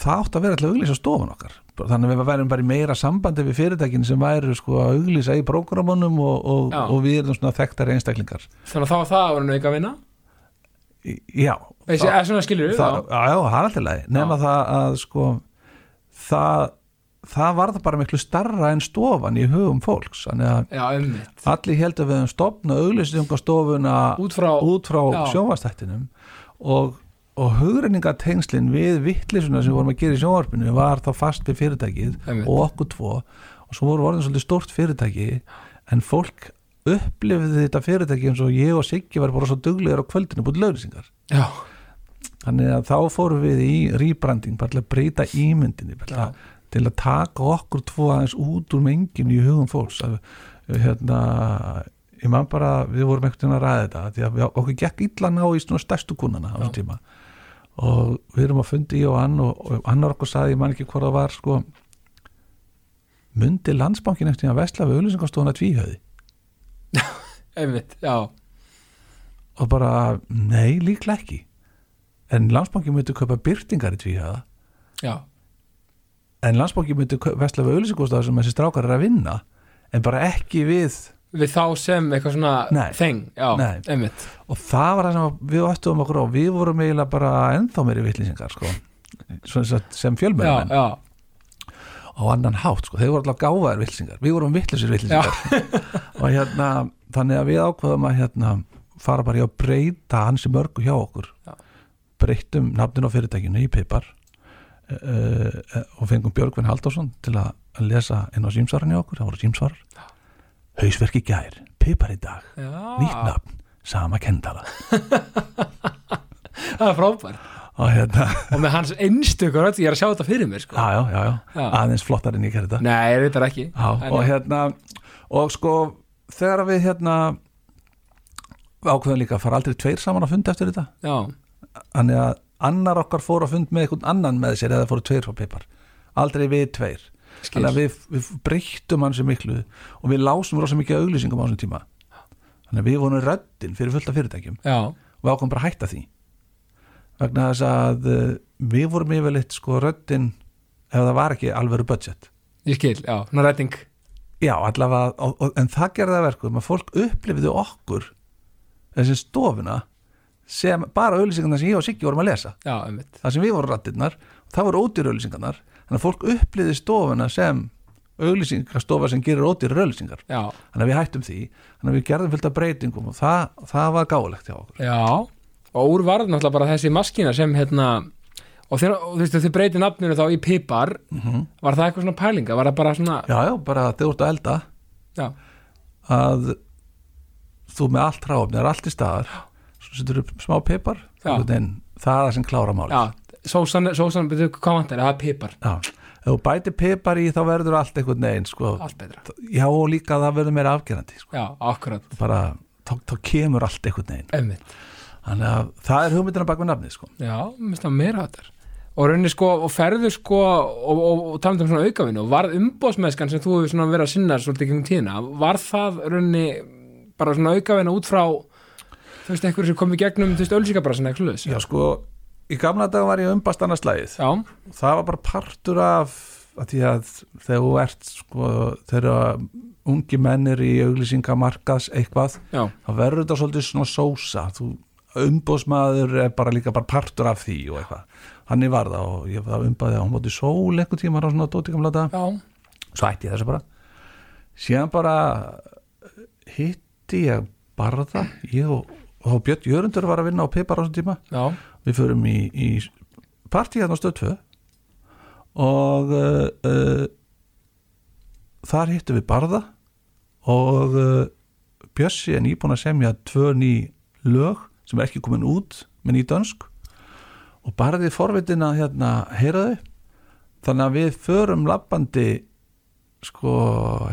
Speaker 2: það átti að vera alltaf auglýsa stofan okkar þannig að við værum bara í meira sambandi við fyrirtækin sem væru sko að auglýsa í prógramunum og, og,
Speaker 1: Já.
Speaker 2: og við erum svona þekktar einstaklingar
Speaker 1: Þannig að þá var það var hann auka að vinna.
Speaker 2: Í- Já,
Speaker 1: Þessi,
Speaker 2: það-
Speaker 1: eða svona skilur við
Speaker 2: það,
Speaker 1: þá.
Speaker 2: já, já, það er alltaf leið nema það að sko það, það var það bara miklu starra en stofan í hugum fólks þannig að
Speaker 1: Já, einmitt.
Speaker 2: allir heldur við höfum stofna auglýsingastofuna
Speaker 1: Út frá,
Speaker 2: út frá
Speaker 1: Já.
Speaker 2: sjónvastættinum og, og hugreiningatengslin við vittlisuna sem við vorum að gera í sjónvarpinu var þá fast við fyrirtækið
Speaker 1: Einmitt.
Speaker 2: og okkur tvo og svo voru orðin svolítið stórt fyrirtæki en fólk upplifði þetta fyrirtæki eins og ég og Siggi var bara svo duglegar á kvöldinu búið lauglýsingar
Speaker 1: já,
Speaker 2: þannig að þá fórum við í rýbranding, bara til að breyta ímyndinni bara til að, til að taka okkur tvo aðeins út úr menginu í hugum fólks að, hérna ég man bara, við vorum ekkert að ræða þetta því að við, okkur gekk illa að ná í svona stærstu kunnana á þessum tíma og við erum að fundi í og hann og, og annar okkur saði, ég man ekki hvað það var sko myndi landsbankin eftir að vesla við auðlýsingastofuna tvíhöði
Speaker 1: einmitt, já,
Speaker 2: og bara, nei, líklega ekki en landsbankin myndi kaupa byrtingar í tvíhöða
Speaker 1: já
Speaker 2: en landsbankin myndi kau- vesla við auðlýsingastofuna sem þessi strákar er að vinna en bara ekki við
Speaker 1: við þá sem eitthvað svona
Speaker 2: Nei.
Speaker 1: þeng, já,
Speaker 2: Nei.
Speaker 1: einmitt
Speaker 2: og það var það sem við ættum okkur á við vorum eiginlega bara ennþá meiri vittlýsingar sko. Svo sem sagt, sem
Speaker 1: já,
Speaker 2: fjölmennamenn
Speaker 1: já,
Speaker 2: á annan hátt, sko. þeir voru alltaf gáfaðar vittlýsingar við vorum vittlisir vittlýsingar og hérna, þannig að við ákvaðum að hérna, fara bara í að breyta hansi mörgu hjá okkur
Speaker 1: Já.
Speaker 2: breytum nafnin á fyrirtækinu í Pipar uh, uh, og fengum Björgvin Halldórsson til að að lesa inn á símsvararni hjá okkur, það voru símsvarar hausverki gær, Pipar í dag
Speaker 1: já
Speaker 2: nýtt nafn, sama kendala
Speaker 1: það er frábært
Speaker 2: og hérna
Speaker 1: og með hans einstökur öll, ég er að sjá þetta fyrir mér sko.
Speaker 2: já, já, já, já,
Speaker 1: Já.
Speaker 2: aðeins flottar en ég gerði þetta
Speaker 1: nei, þetta er ekki
Speaker 2: já,
Speaker 1: En
Speaker 2: og
Speaker 1: já.
Speaker 2: hérna og sko, þegar við hérna ákveðum líka að fara aldrei tveir saman að funda eftir þetta
Speaker 1: já,
Speaker 2: þannig að annar okkar fór að fund með einhvern annan með sér eða fóru tveir frá pipar aldrei við tveir
Speaker 1: skil,
Speaker 2: þannig að við, við breyttum hann sem miklu og við lásum rosa mikið af auglýsingum á þessum tíma þannig að við vorum röddin fyrir fullta fyrirtækjum
Speaker 1: já,
Speaker 2: og við ákvæm bara að hætta því vegna þess að eh, við vorum yfirleitt sko röddin ef það var ekki alvöru budget
Speaker 1: ég skil, já, svona retting
Speaker 2: já, allavega, og, og, en það gerði það verkum að fólk upplifiðu okkur þessi stofuna sem bara auðlýsingarnar sem ég og Siggi vorum að lesa
Speaker 1: já, einmitt,
Speaker 2: það sem við vorum rættirnar, það voru ódýr auðlýsingarnar þannig að fólk upplifiðu stofuna sem auðlýsingarstofa sem gerir ódýr auðlýsingar,
Speaker 1: já,
Speaker 2: þannig að við hættum því þannig að við gerðum fylgta breytingum og það, það var gáulegt hjá okkur
Speaker 1: já og úr varð náttúrulega bara þessi maskina sem hérna og þeir, og, þú veist, þau breyti nafninu þá í pipar var það eitthvað svona pælinga, var það bara svona
Speaker 2: já, já, bara þegar þú ert að elda
Speaker 1: já,
Speaker 2: að þú með allt ráfni, það er allt í staðar svo setur upp smá pipar
Speaker 1: Já.
Speaker 2: það er það sem klára máli
Speaker 1: já, sósan, sósan byrju, hvað vantar, það er pipar
Speaker 2: ef þú bætir pipar í þá verður allt einhvern veginn sko.
Speaker 1: allt betra,
Speaker 2: já og líka það verður meira afgerandi sko.
Speaker 1: já, akkurat
Speaker 2: bara þá, þá kemur allt einhvern veginn
Speaker 1: einmitt
Speaker 2: þannig að það er hugmyndina bak við nafnið sko.
Speaker 1: Já, minnst það meira hattar og rauninni sko, og ferður sko og, og, og talandi um svona aukavinu og varð umbóðsmeðskan sem þú hefur svona verið að sinna svolítið kringum tíðina, var það rauninni bara svona aukavinu út frá þú veist, einhverju sem kom í gegnum þú veist, ölsíkabrassin eða kluðis
Speaker 2: já sko, í gamla dag var ég umbast annars lagið
Speaker 1: Já,
Speaker 2: það var bara partur af að því að þegar þú ert sko, þegar ungi mennir í auglýsingamarkas eitthvað
Speaker 1: já,
Speaker 2: þá verður þetta svolítið svona sósa þú umbóðsmaður er bara líka bara partur af því og eitthvað þannig var það og ég það umbaði að hún móti sól einhvern tíma á svona dótikamlata
Speaker 1: já,
Speaker 2: svo ætti ég þessu bara síðan bara eh, hitti ég barða ég og, og Björn Jörundur var að vinna á Pipar á þessum tíma
Speaker 1: já,
Speaker 2: við förum í, í partí hérna á stöð 2 og uh, uh, þar hittum við barða og uh, Bjössi er nýbúin að semja tvö ný lög sem er ekki komin út með ný dönsk og barði forvitin að hérna heyra þau þannig að við förum lappandi sko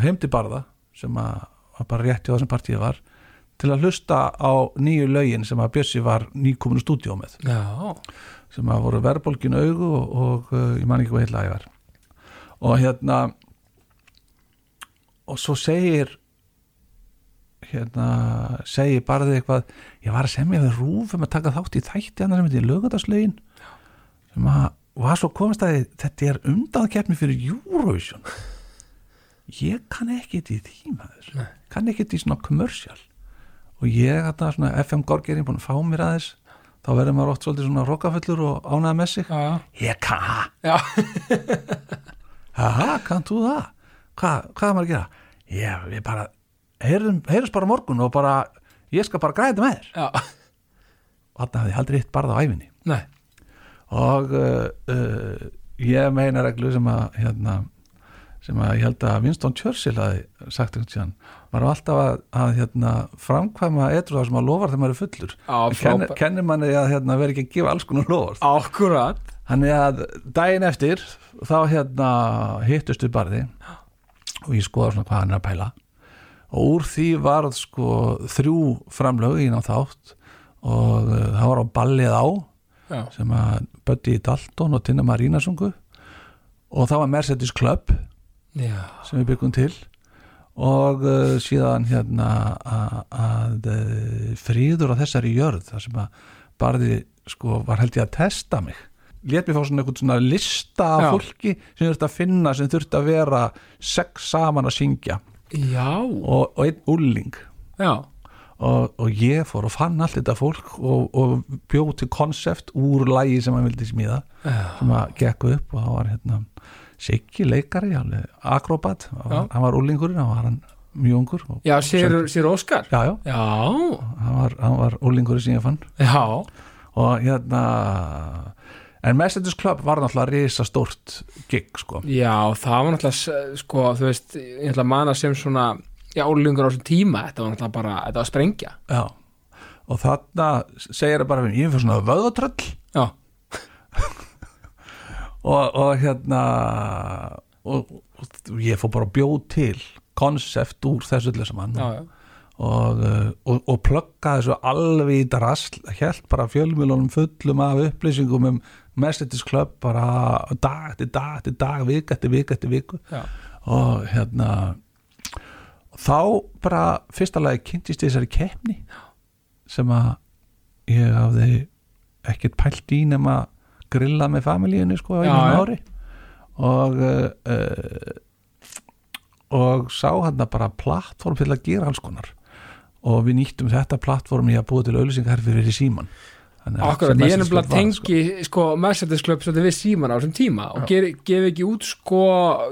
Speaker 2: heim til barða sem að var bara rétti á þessum partíð var til að hlusta á nýju lögin sem að Bjössi var nýkominu stúdíó með
Speaker 1: já,
Speaker 2: sem að voru verðbólgin augu og, og uh, ég man ekki hvað heila ég var og hérna og svo segir hérna segir barðið eitthvað ég var að semja við rúfum að taka þátt í þætti annar sem heitir lögataslaugin sem að, og að svo komist að þið, þetta er undankeppni fyrir Eurovision ég kann ekki þetta í því maður
Speaker 1: Nei.
Speaker 2: kann ekki þetta í svona commercial og ég þarna svona FM Gorgerinn búin að fá mér aðeins þá verður maður oft svolítið svona rokafullur og ánæða með sig
Speaker 1: já, já,
Speaker 2: ég kann það,
Speaker 1: já,
Speaker 2: haha, kann þú það hvað, hvað er maður að gera ég, við bara, heyrðum, heyrðum bara á morgun og bara, ég skal bara græða þetta með þér
Speaker 1: já,
Speaker 2: og þarna hafði ég aldrei hitt barða á eh, æfinni
Speaker 1: nei,
Speaker 2: og uh, uh, ég meina reglu sem að hérna, sem að ég held að Winston Churchill hafi sagt einhvern tíðan maður er alltaf að, að hérna, framkvæma eitthvað sem maður lofar þegar maður er fullur
Speaker 1: Á,
Speaker 2: En kennir,
Speaker 1: frábæ-
Speaker 2: kennir manni að hérna, vera ekki að gefa alls konar lofar
Speaker 1: Akkurat
Speaker 2: Þannig að daginn eftir þá hérna hittust við barði og ég skoða svona hvað hann er að pæla og úr því varð sko þrjú framlög í ná þátt og uh, það var á ballið á
Speaker 1: Já,
Speaker 2: sem að Böddi í Dalton og Tinna Marína sungu og það var Mercedes Club
Speaker 1: já.
Speaker 2: sem við byggum til og uh, síðan hérna a- að uh, fríður á þessari jörð þar sem að barði sko var held ég að testa mig let mér fá svona einhvern svona lista af
Speaker 1: Já.
Speaker 2: fólki sem þurfti að finna sem þurfti að vera sex saman að syngja
Speaker 1: Já,
Speaker 2: og, og einn úlling
Speaker 1: já.
Speaker 2: og, og ég fór og fann allt þetta fólk og, og bjóð til konsept úr lægi sem hann vildi smíða
Speaker 1: Já.
Speaker 2: sem að gekk upp og það var hérna Siggi leikari, alveg akrobat hann var-
Speaker 1: Já.
Speaker 2: hann var úlingurinn, hann var hann mjög ungur og,
Speaker 1: Já, sér, sér Óskar
Speaker 2: já, já,
Speaker 1: Já,
Speaker 2: hann var, hann var úlingurinn sem ég fann
Speaker 1: já,
Speaker 2: og hérna en Mercedes Club var náttúrulega risastórt gig sko
Speaker 1: já, það var náttúrulega s- sko, þú veist, ég ætla að mana sem svona, já, úlingur á þessum tíma þetta var náttúrulega bara, þetta var að sprengja
Speaker 2: já. og þarna segir það bara við, ég fyrir svona vöðotröll
Speaker 1: Já,
Speaker 2: og, og hérna og, og ég fór bara að bjóð til konsept úr þessu öllu saman
Speaker 1: já, já,
Speaker 2: og, uh, og, og pluggaði þessu alveg í drasl held bara fjölmjölunum fullum af upplýsingum um Mercedes Club bara dag eftir dag eftir dag vik eftir vik eftir viku
Speaker 1: já.
Speaker 2: og hérna þá bara fyrsta lagi kynntist ég þessari keppni sem að ég hafði ekkert pælt í nema grilla með familíunni sko á
Speaker 1: Já,
Speaker 2: einu
Speaker 1: já.
Speaker 2: ári og uh, uh, og sá hann bara plattform til að gera alls konar og við nýttum þetta plattform í að búa til auðlýsingar fyrir síman
Speaker 1: Akkurat, ég er nefnilega tengi sko, Mercedes Club svolítið við síman á þessum tíma og ger, gef ekki út sko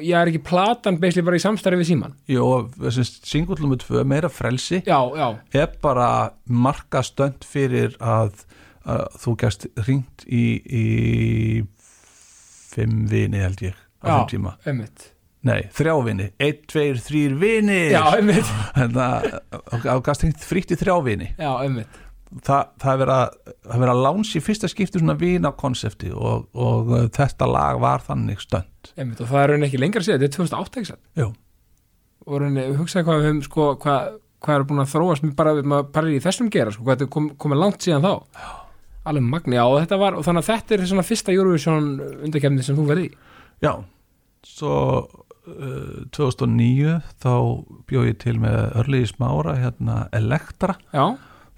Speaker 1: ég er ekki platan, beislega bara í samstarfi við síman
Speaker 2: Jó, singullum með tvö meira frelsi
Speaker 1: Já, já,
Speaker 2: er bara marka stönd fyrir að, að þú gæst ringt í, í fimm vini held ég á þeim
Speaker 1: já,
Speaker 2: tíma,
Speaker 1: einmitt
Speaker 2: nei, þrjá vini einn, tveir, Hérna, þrýr vini
Speaker 1: Já, einmitt,
Speaker 2: þú gæst ringt frítt í þrjá vini
Speaker 1: já, einmitt
Speaker 2: Þa, það er verið að- það er verið að lánsi fyrsta skipti svona vina konsepti og, og uh, þetta lag var þannig stönd
Speaker 1: Einmitt, og það er raunin ekki lengra síðan, þetta er 2008 ekki satt?
Speaker 2: Jú.
Speaker 1: og rauninni, hugsaði hvað við höfum sko, hvað, hvað er búin að þróast mér bara við maður parir í þessum gera sko, hvað þetta er kom, komið langt síðan þá alveg magni, já, og þetta var, og þannig að þetta er svona fyrsta Eurovision undarkefni sem þú verði í
Speaker 2: já, svo uh, 2009 þá bjóð ég til með örlíði smára hérna Elektra
Speaker 1: já,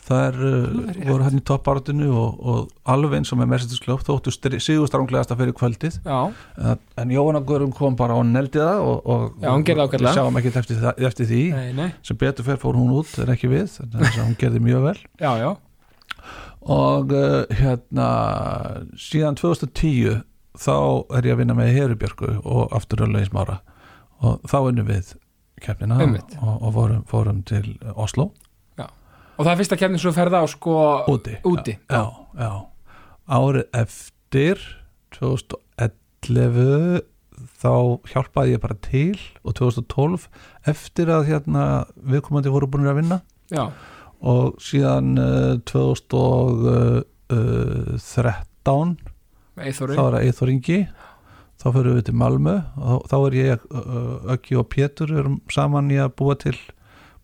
Speaker 2: þær uh, voru hann í toppartinu og, og alveg eins og með Mercedes Club þóttu sigurstranglegasta fyrir kvöldið
Speaker 1: já,
Speaker 2: uh, en Jóhanna Guðrum kom bara og neldi það og, og,
Speaker 1: Já, hún gerði
Speaker 2: og
Speaker 1: ágætlega.
Speaker 2: við sjáum ekki eftir, það- eftir því
Speaker 1: nei, nei
Speaker 2: sem betur fer fór hún út, en ekki við þannig að hún gerði mjög vel
Speaker 1: já, já,
Speaker 2: og uh, hérna síðan 2010 þá er ég að vinna með Herubjörgu og aftur Röðleis Mára og þá vinnum við keppnina og,
Speaker 1: Einmitt.
Speaker 2: og fórum, fórum til Oslo
Speaker 1: og það er fyrsta kefni sem þú ferði á sko
Speaker 2: úti,
Speaker 1: úti.
Speaker 2: Já, já, árið eftir 2011 þá hjálpaði ég bara til og 2012 eftir að hérna viðkomandi voru búin að vinna
Speaker 1: já,
Speaker 2: og síðan uh, eh, 2013
Speaker 1: Eithori
Speaker 2: þá er það Eithor Ingi þá fyrir við til Malmö og þá þá er ég, uh, Öggi og Pétur erum saman í að búa til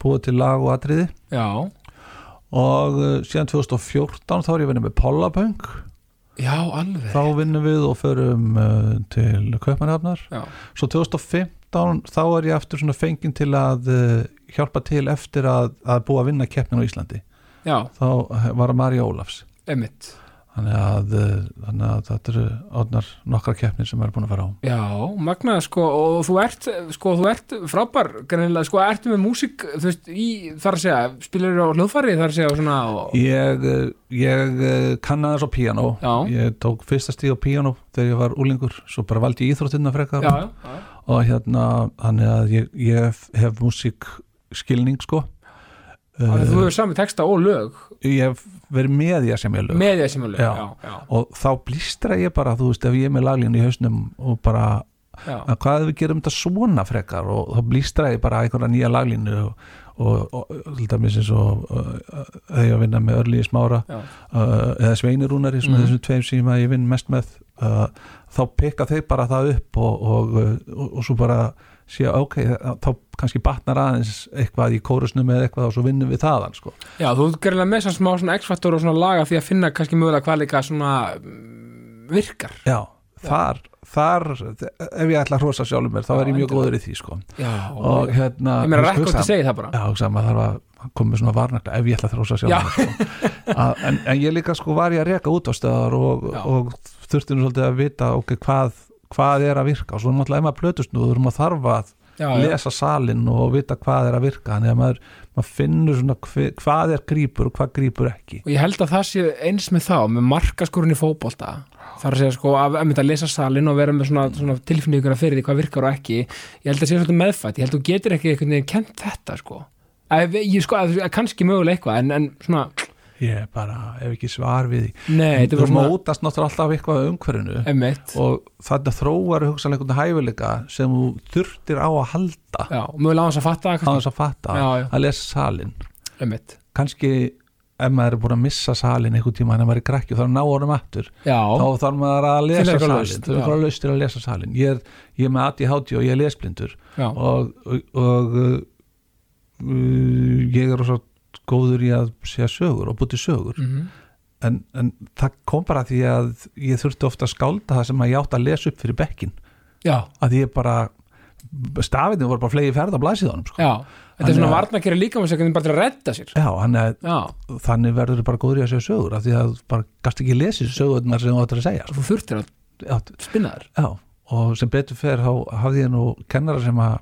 Speaker 2: búa til lag og atriði
Speaker 1: já,
Speaker 2: og uh, síðan 2014 þá er ég að vinna með Pollapunk
Speaker 1: já, alveg
Speaker 2: þá vinnum við og förum uh, til Kaupmannhafnar
Speaker 1: já,
Speaker 2: svo 2015 þá er ég aftur svona fengin til að uh, hjálpa til eftir að, að búa að vinna keppnin á Íslandi
Speaker 1: já,
Speaker 2: þá eh, var að Marja Ólafs
Speaker 1: einmitt
Speaker 2: þannig að, eh, þannig að þetta eru orðnar nokkra keppnir sem er búin að fara á
Speaker 1: já, magnað sko og þú ert, sko, þú ert frábær greinilega, sko, ertu með músík þú veist, í, þar að segja, spilar á hljóðfari þar að segja og svona og,
Speaker 2: ég, eh, ég eh, kannaði þess á píanó
Speaker 1: Já.
Speaker 2: ég tók fyrsta stíð á píanó þegar ég var úlingur, svo bara valdi ég íþróttina frekar
Speaker 1: já, já, já
Speaker 2: og hérna þannig að ég, ég hef, hef músík skilning sko Eh,
Speaker 1: Þannig að þú hefur sami texta og lög
Speaker 2: ég hef verið með ég sem ég lög
Speaker 1: með því sem lög
Speaker 2: Já.
Speaker 1: já, já,
Speaker 2: og þá blístra ég bara, þú veist, ef ég er með laglínu í hausnum og bara
Speaker 1: já,
Speaker 2: að hvað ef við gerum þetta svona frekar og þá blístraði bara einhverja nýja laglínu og, og, og til dæmis eins og uh, uh, þegar ég var að vinna með Örlíði Smára
Speaker 1: já,
Speaker 2: uh, eða Sveinirúnari svona
Speaker 1: Mhm.
Speaker 2: þessum tveim sem að ég vinn mest með uh, þá peka þau bara það upp og, og, uh, og, og svo bara sé ok, þá kannski batnar aðeins eitthvað í kórusnum eða eitthvað og svo vinnum við þaðan sko.
Speaker 1: já, þú gerðilega með þess að smá svona x-faktor og svona laga því að finna kannski mögulega hvað líka svona mm, virkar
Speaker 2: já, þar, þar ef ég ætla að hrósa sjálfum mér þá
Speaker 1: Já,
Speaker 2: er ég mjög
Speaker 1: endilega.
Speaker 2: góður í því sko.
Speaker 1: já,
Speaker 2: og hérna
Speaker 1: ég meira
Speaker 2: hugsa-
Speaker 1: rekord að segja það bara
Speaker 2: Já, hugsa, maður þarf að koma með svona varnakla ef ég ætla að þrósa sjálf
Speaker 1: Já.
Speaker 2: mig, sko. Að- en, en ég líka sko var ég að reka út á stöðar og,
Speaker 1: Já.
Speaker 2: og þurfti nú svolítið að vita ok, hvað, hvað er að virka og svo náttúrulega ef maður plötust nú, þú erum að þarfa að
Speaker 1: já, já,
Speaker 2: lesa salin og vita hvað er að virka þannig að maður, maður finnur svona hve, hvað er grípur og hvað grípur ekki
Speaker 1: og ég held að það sé eins með þá með markaskurinn í fótbolta þar að segja sko að, að mynda að lesa salin og vera með svona, svona tilfinninguna fyrir því hvað virkar og ekki ég held að sé svolítið meðfætt, ég held að þú getur ekki einhvern veginn kent þetta sko að, ég, sko, að, að kannski mögulega eitthvað en, en svona,
Speaker 2: ég bara hef ekki svar við því
Speaker 1: nei, þetta
Speaker 2: þú
Speaker 1: var svona
Speaker 2: mótast náttúrulega alltaf eitthvað af umhverfinu
Speaker 1: emitt,
Speaker 2: og þannig að þróar hugsanleikund hæfileika sem þú þurftir á að halda
Speaker 1: já, og mögulega á þess að fatta
Speaker 2: á
Speaker 1: það
Speaker 2: þess að fatta
Speaker 1: Já, já.
Speaker 2: að lesa salin
Speaker 1: kannski, emitt,
Speaker 2: kannski ef maður er búin að missa salin einhvern tíma en maður er krakki og þá er ná orðum aftur
Speaker 1: já
Speaker 2: þá þarf maður
Speaker 1: Finna
Speaker 2: að lesa
Speaker 1: eitthvað
Speaker 2: salin
Speaker 1: laust,
Speaker 2: þú er
Speaker 1: já.
Speaker 2: eitthvað laustir að lesa salin ég er, ég er með ADHD og ég er lesblindur
Speaker 1: já,
Speaker 2: og, og, og uh, uh, ég er svo góður í að segja sögur og búti sögur
Speaker 1: mhm,
Speaker 2: en, en það kom bara því að ég þurfti ofta að skálda það sem að ég átt að lesa upp fyrir bekkin
Speaker 1: já,
Speaker 2: að ég bara stafinu voru bara flegi ferð á blæsiðanum sko.
Speaker 1: já þetta er
Speaker 2: Þannig
Speaker 1: svona
Speaker 2: að-
Speaker 1: varna að gera líka með bara til að redda sér
Speaker 2: já, hann er
Speaker 1: já,
Speaker 2: þannig verður þau bara góður í að segja sögur af því að þú bara gast ekki lesið sögurnar sem þú ættir að segja sko.
Speaker 1: þú þurftir að
Speaker 2: já,
Speaker 1: spinna þér
Speaker 2: já, og sem betur fer þá hafði ég nú kennara sem að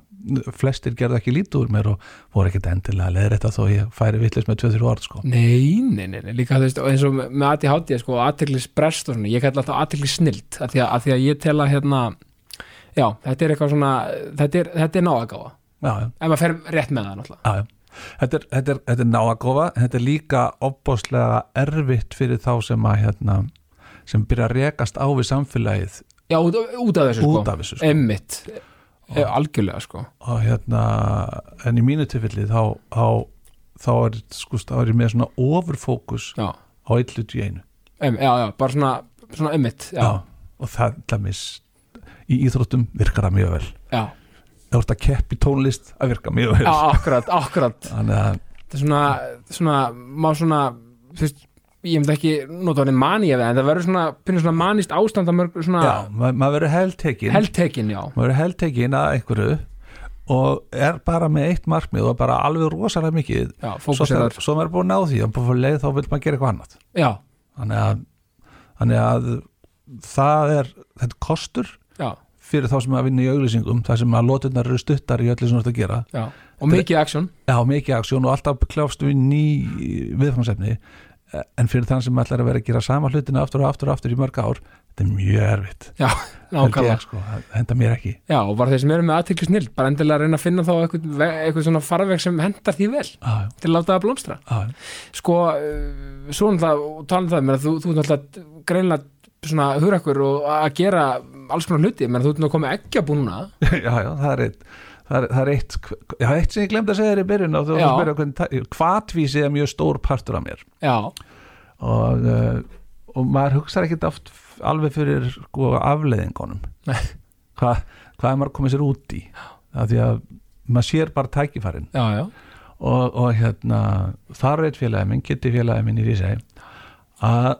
Speaker 2: flestir gerðu ekki lítið úr mér og voru ekkit endilega leður þetta þó ég færi vitlis með 2-3 orð sko.
Speaker 1: Nei, nei, nei, nei, líka þú veist og eins og með ADHD, sko, aðteglisbrest og svona, ég kalla alltaf aðteglisnild að því að, að því að ég tel að hérna já, þetta er eitthvað svona, þetta er, þetta er náðagáfa,
Speaker 2: já, já,
Speaker 1: ef maður fer rétt með það náttúrulega,
Speaker 2: já, já. Þetta er, þetta, er, þetta er náagofa en þetta er líka opbóðslega erfitt fyrir þá sem að hérna, sem byrja að rekast á við samfélagið
Speaker 1: já, út, út af þessu
Speaker 2: út
Speaker 1: sko,
Speaker 2: af þessu sko.
Speaker 1: emmitt algjörlega, sko,
Speaker 2: og hérna en í mínu tilfelli þá, þá, þá er sko, þá er ég með svona overfókus
Speaker 1: já,
Speaker 2: á eitt hlut í einu
Speaker 1: em, já, já bara svona, svona emmitt, já,
Speaker 2: og það dæmis í íþróttum virkar það mjög vel
Speaker 1: já,
Speaker 2: ef þú ert að keppi tónlist að virka mjög vel
Speaker 1: já, akkurat, akkurat
Speaker 2: þannig að
Speaker 1: þetta er svona, svona má svona, þú veist ég myndi ekki nota hann manið en það verður svona, pynir svona manist ástand að mörg svona
Speaker 2: já, ma maður verður heldtekin
Speaker 1: heldtekin, já,
Speaker 2: maður verður heldtekin að einhverju og er bara með eitt markmið og bara alveg rosalega mikið
Speaker 1: já,
Speaker 2: svo,
Speaker 1: fókuseraður
Speaker 2: svo maður er búin að ná því og búin að leið þá vil maður gera eitthvað annað
Speaker 1: já,
Speaker 2: þannig að, þannig að það er þetta er kostur
Speaker 1: já,
Speaker 2: fyrir þá sem að vinna í auglýsingum þar sem að lóturnar eru stuttar í öllu sem þú ert að gera
Speaker 1: já og mikið aksjón,
Speaker 2: já, mikið aksjón og alltaf kljást við ný viðfangsefni Eh, en fyrir þann sem ætlar að vera að gera sama hlutina aftur og aftur og aftur í mörg ár þetta er mjög erfitt
Speaker 1: já,
Speaker 2: Held
Speaker 1: nákvæmlega
Speaker 2: ég, sko, það henda mér ekki
Speaker 1: já, og bara þeir sem eru með aðtekli snill bara endilega að reyna að finna þá eitthvað, ve- eitthvað svona farveg sem hendar því vel
Speaker 2: á,
Speaker 1: til að láta það blómstra
Speaker 2: á,
Speaker 1: sko, eh, svo náttúrulega, og tala um það menn, þú, þú náttúrulega greinlega svona hurakkur og að gera alls konar hluti, menn þú ert nú að koma með ekki að búna
Speaker 2: já, já, það er eitt það er, það er eitt, já, eitt sem ég glemd að segja þér í byrjun og þú
Speaker 1: Já.
Speaker 2: varst að spyrja hvernig hvatvísi er mjög stór partur af mér
Speaker 1: já,
Speaker 2: og, eh, og maður hugsar ekkit oft f- alveg fyrir sko, afleiðingunum
Speaker 1: Nei.
Speaker 2: Hva, hvað er maður komið sér út í af því að maður sér bara tækifærin
Speaker 1: já, já,
Speaker 2: og, og hérna þar veit félagið minn, kitti félagið minn í Rísæ að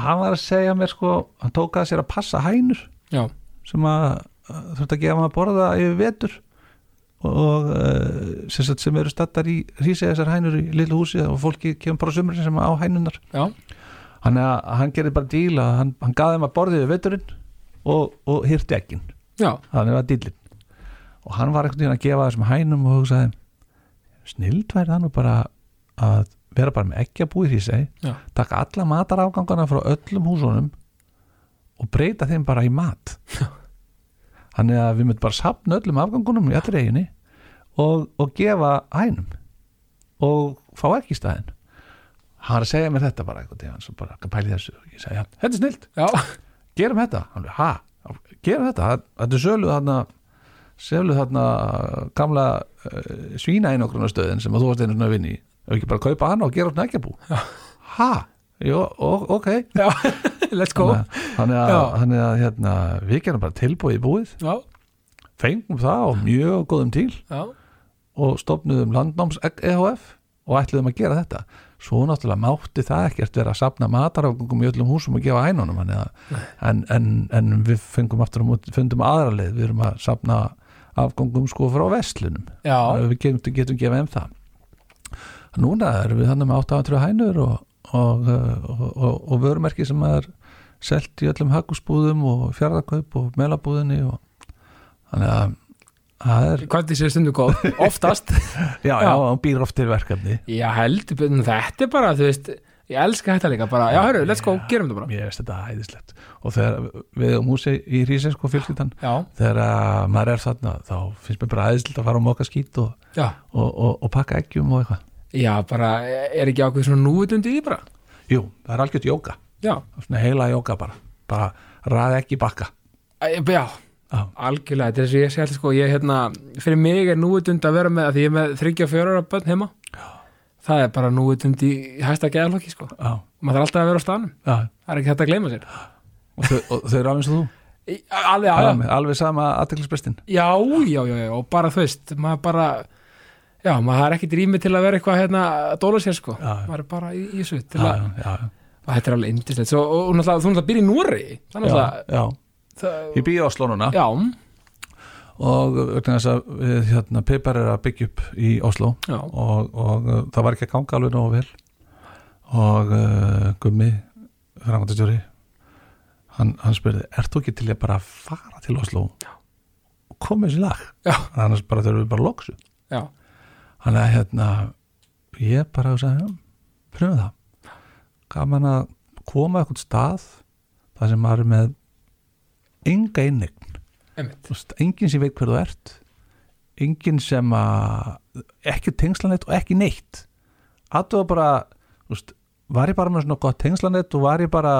Speaker 2: hann var að segja mér sko, hann tók að sér að passa hænur
Speaker 1: já,
Speaker 2: sem að að þurfti að gefa maður að borða yfir vetur og uh, sem, sagt, sem eru stattar í Rísæ þessar hænur í litlu húsi og fólki kemur bara sömur sem á hænunar
Speaker 1: já,
Speaker 2: hann, hann gerði bara díl að hann, hann gaði þeim að borðið við veturinn og, og hýrti ekkin
Speaker 1: já,
Speaker 2: þannig var dílinn og hann var einhvern veginn að gefa þessum hænum og hugsaði snild væri það nú bara að vera bara með ekki að búið því seg
Speaker 1: já,
Speaker 2: taka alla matarafgangana frá öllum húsunum og breyta þeim bara í mat þannig að við möttum bara sapna öllum afgangunum í allir eiginni og, og gefa hænum og fá ekki í staðinn hann var að segja mér þetta bara einhvern tíðan svo bara pæli þessu, ég sagði já, þetta er snild
Speaker 1: já,
Speaker 2: gerum þetta, hann er, ha, gera þetta, það- þetta er sölu þarna sölu þarna gamla uh, svína einogrunarstöðin sem að þú varst einu svona að vinna í ef ekki bara kaupa hana og gera svona ekki að bú ha, jú, ó- ok
Speaker 1: Já, let's go
Speaker 2: Þannig að- þannig
Speaker 1: Sko.
Speaker 2: að,
Speaker 1: Já.
Speaker 2: þannig að hérna, við gerum bara tilbúið í búið
Speaker 1: Já,
Speaker 2: fengum það á mjög góðum til
Speaker 1: já,
Speaker 2: og stofnuðum landnáms EHF og ætluðum að gera þetta svo náttúrulega mátti það ekkert vera að safna matarafgöngum í öllum húsum og gefa hænunum þannig að- en, en, en við fengum aftur á móti, fundum aðra leið við erum að safna afgöngum sko frá vestlunum
Speaker 1: já,
Speaker 2: við getum, getum gefið um það núna erum við þannig með 800 hænur og, og, og, og, og vörumerki sem er selt í öllum hagusbúðum og fjárðakaup og melabúðinni og þannig að það er
Speaker 1: hvað þið séu stundu góð oftast, Já.
Speaker 2: já, já, hún býr oft til verkefni
Speaker 1: já heldur betur, þetta er bara, þú veist ég elska þetta líka, bara, já, hörru, let's go, gerum þetta bara
Speaker 2: Mér veist þetta hæðislegt og þegar við um húsi í Rísinsko fjölskyldan
Speaker 1: já,
Speaker 2: þegar að maður er þarna þá finnst mér bara hæðislegt að fara og móka skít og,
Speaker 1: já,
Speaker 2: og, og, og pakka eggjum og eitthvað
Speaker 1: já, bara er ekki ákveð svona núvitund í því bara
Speaker 2: Jú, það er algjört jóka,
Speaker 1: já,
Speaker 2: svona heila jóka bara bara ræð ekki bakka
Speaker 1: Æ, já,
Speaker 2: Já.
Speaker 1: algjörlega þetta er þess að ég sé alltaf sko, ég hérna fyrir mig er núvitund að vera með, að því ég er með 34 ára bönn heima það er bara núvitund í hæsta geðalokki sko,
Speaker 2: Já,
Speaker 1: maður þarf alltaf að vera á stanum
Speaker 2: já
Speaker 1: það er ekki þetta að gleyma sér
Speaker 2: og þau, og þau eru alveg svo þú
Speaker 1: Í- alveg, já, já,
Speaker 2: alveg, alveg sama aðteklisbrestin
Speaker 1: Já, já, já, já, og bara þú veist, maður bara, já, maður er ekkit rými til að vera eitthvað hérna að dóla sér sko,
Speaker 2: Já.
Speaker 1: maður er bara í, í þessu til
Speaker 2: Já,
Speaker 1: að,
Speaker 2: já, já,
Speaker 1: og þetta er alveg indislegt, Svo, og og náttúrulega, þú náttúrulega byrja í Núri, þannig
Speaker 2: já,
Speaker 1: að
Speaker 2: já.
Speaker 1: það,
Speaker 2: Ég býði á slónuna
Speaker 1: já,
Speaker 2: og vegna þess að við, hérna, Pipar er að byggja upp í Oslo
Speaker 1: já,
Speaker 2: og, og uh, það var ekki að ganga alveg nógu vel og uh, Gummi framkvæmdastjóri hann, hann spurði, ert þú ekki til ég bara að fara til Oslo Já. og koma þessi lag
Speaker 1: Já.
Speaker 2: annars bara þurfum við bara loksu
Speaker 1: já,
Speaker 2: hann er hérna ég bara að segja, pröfum það gaman að koma eitthvað stað þar sem maður er með enga innign
Speaker 1: einmitt,
Speaker 2: Þú veist, enginn sem veit hver þú ert enginn sem að ekki tengslanett og ekki neitt aðtöða bara þú veist, var ég bara með svona gott tengslanett og var ég bara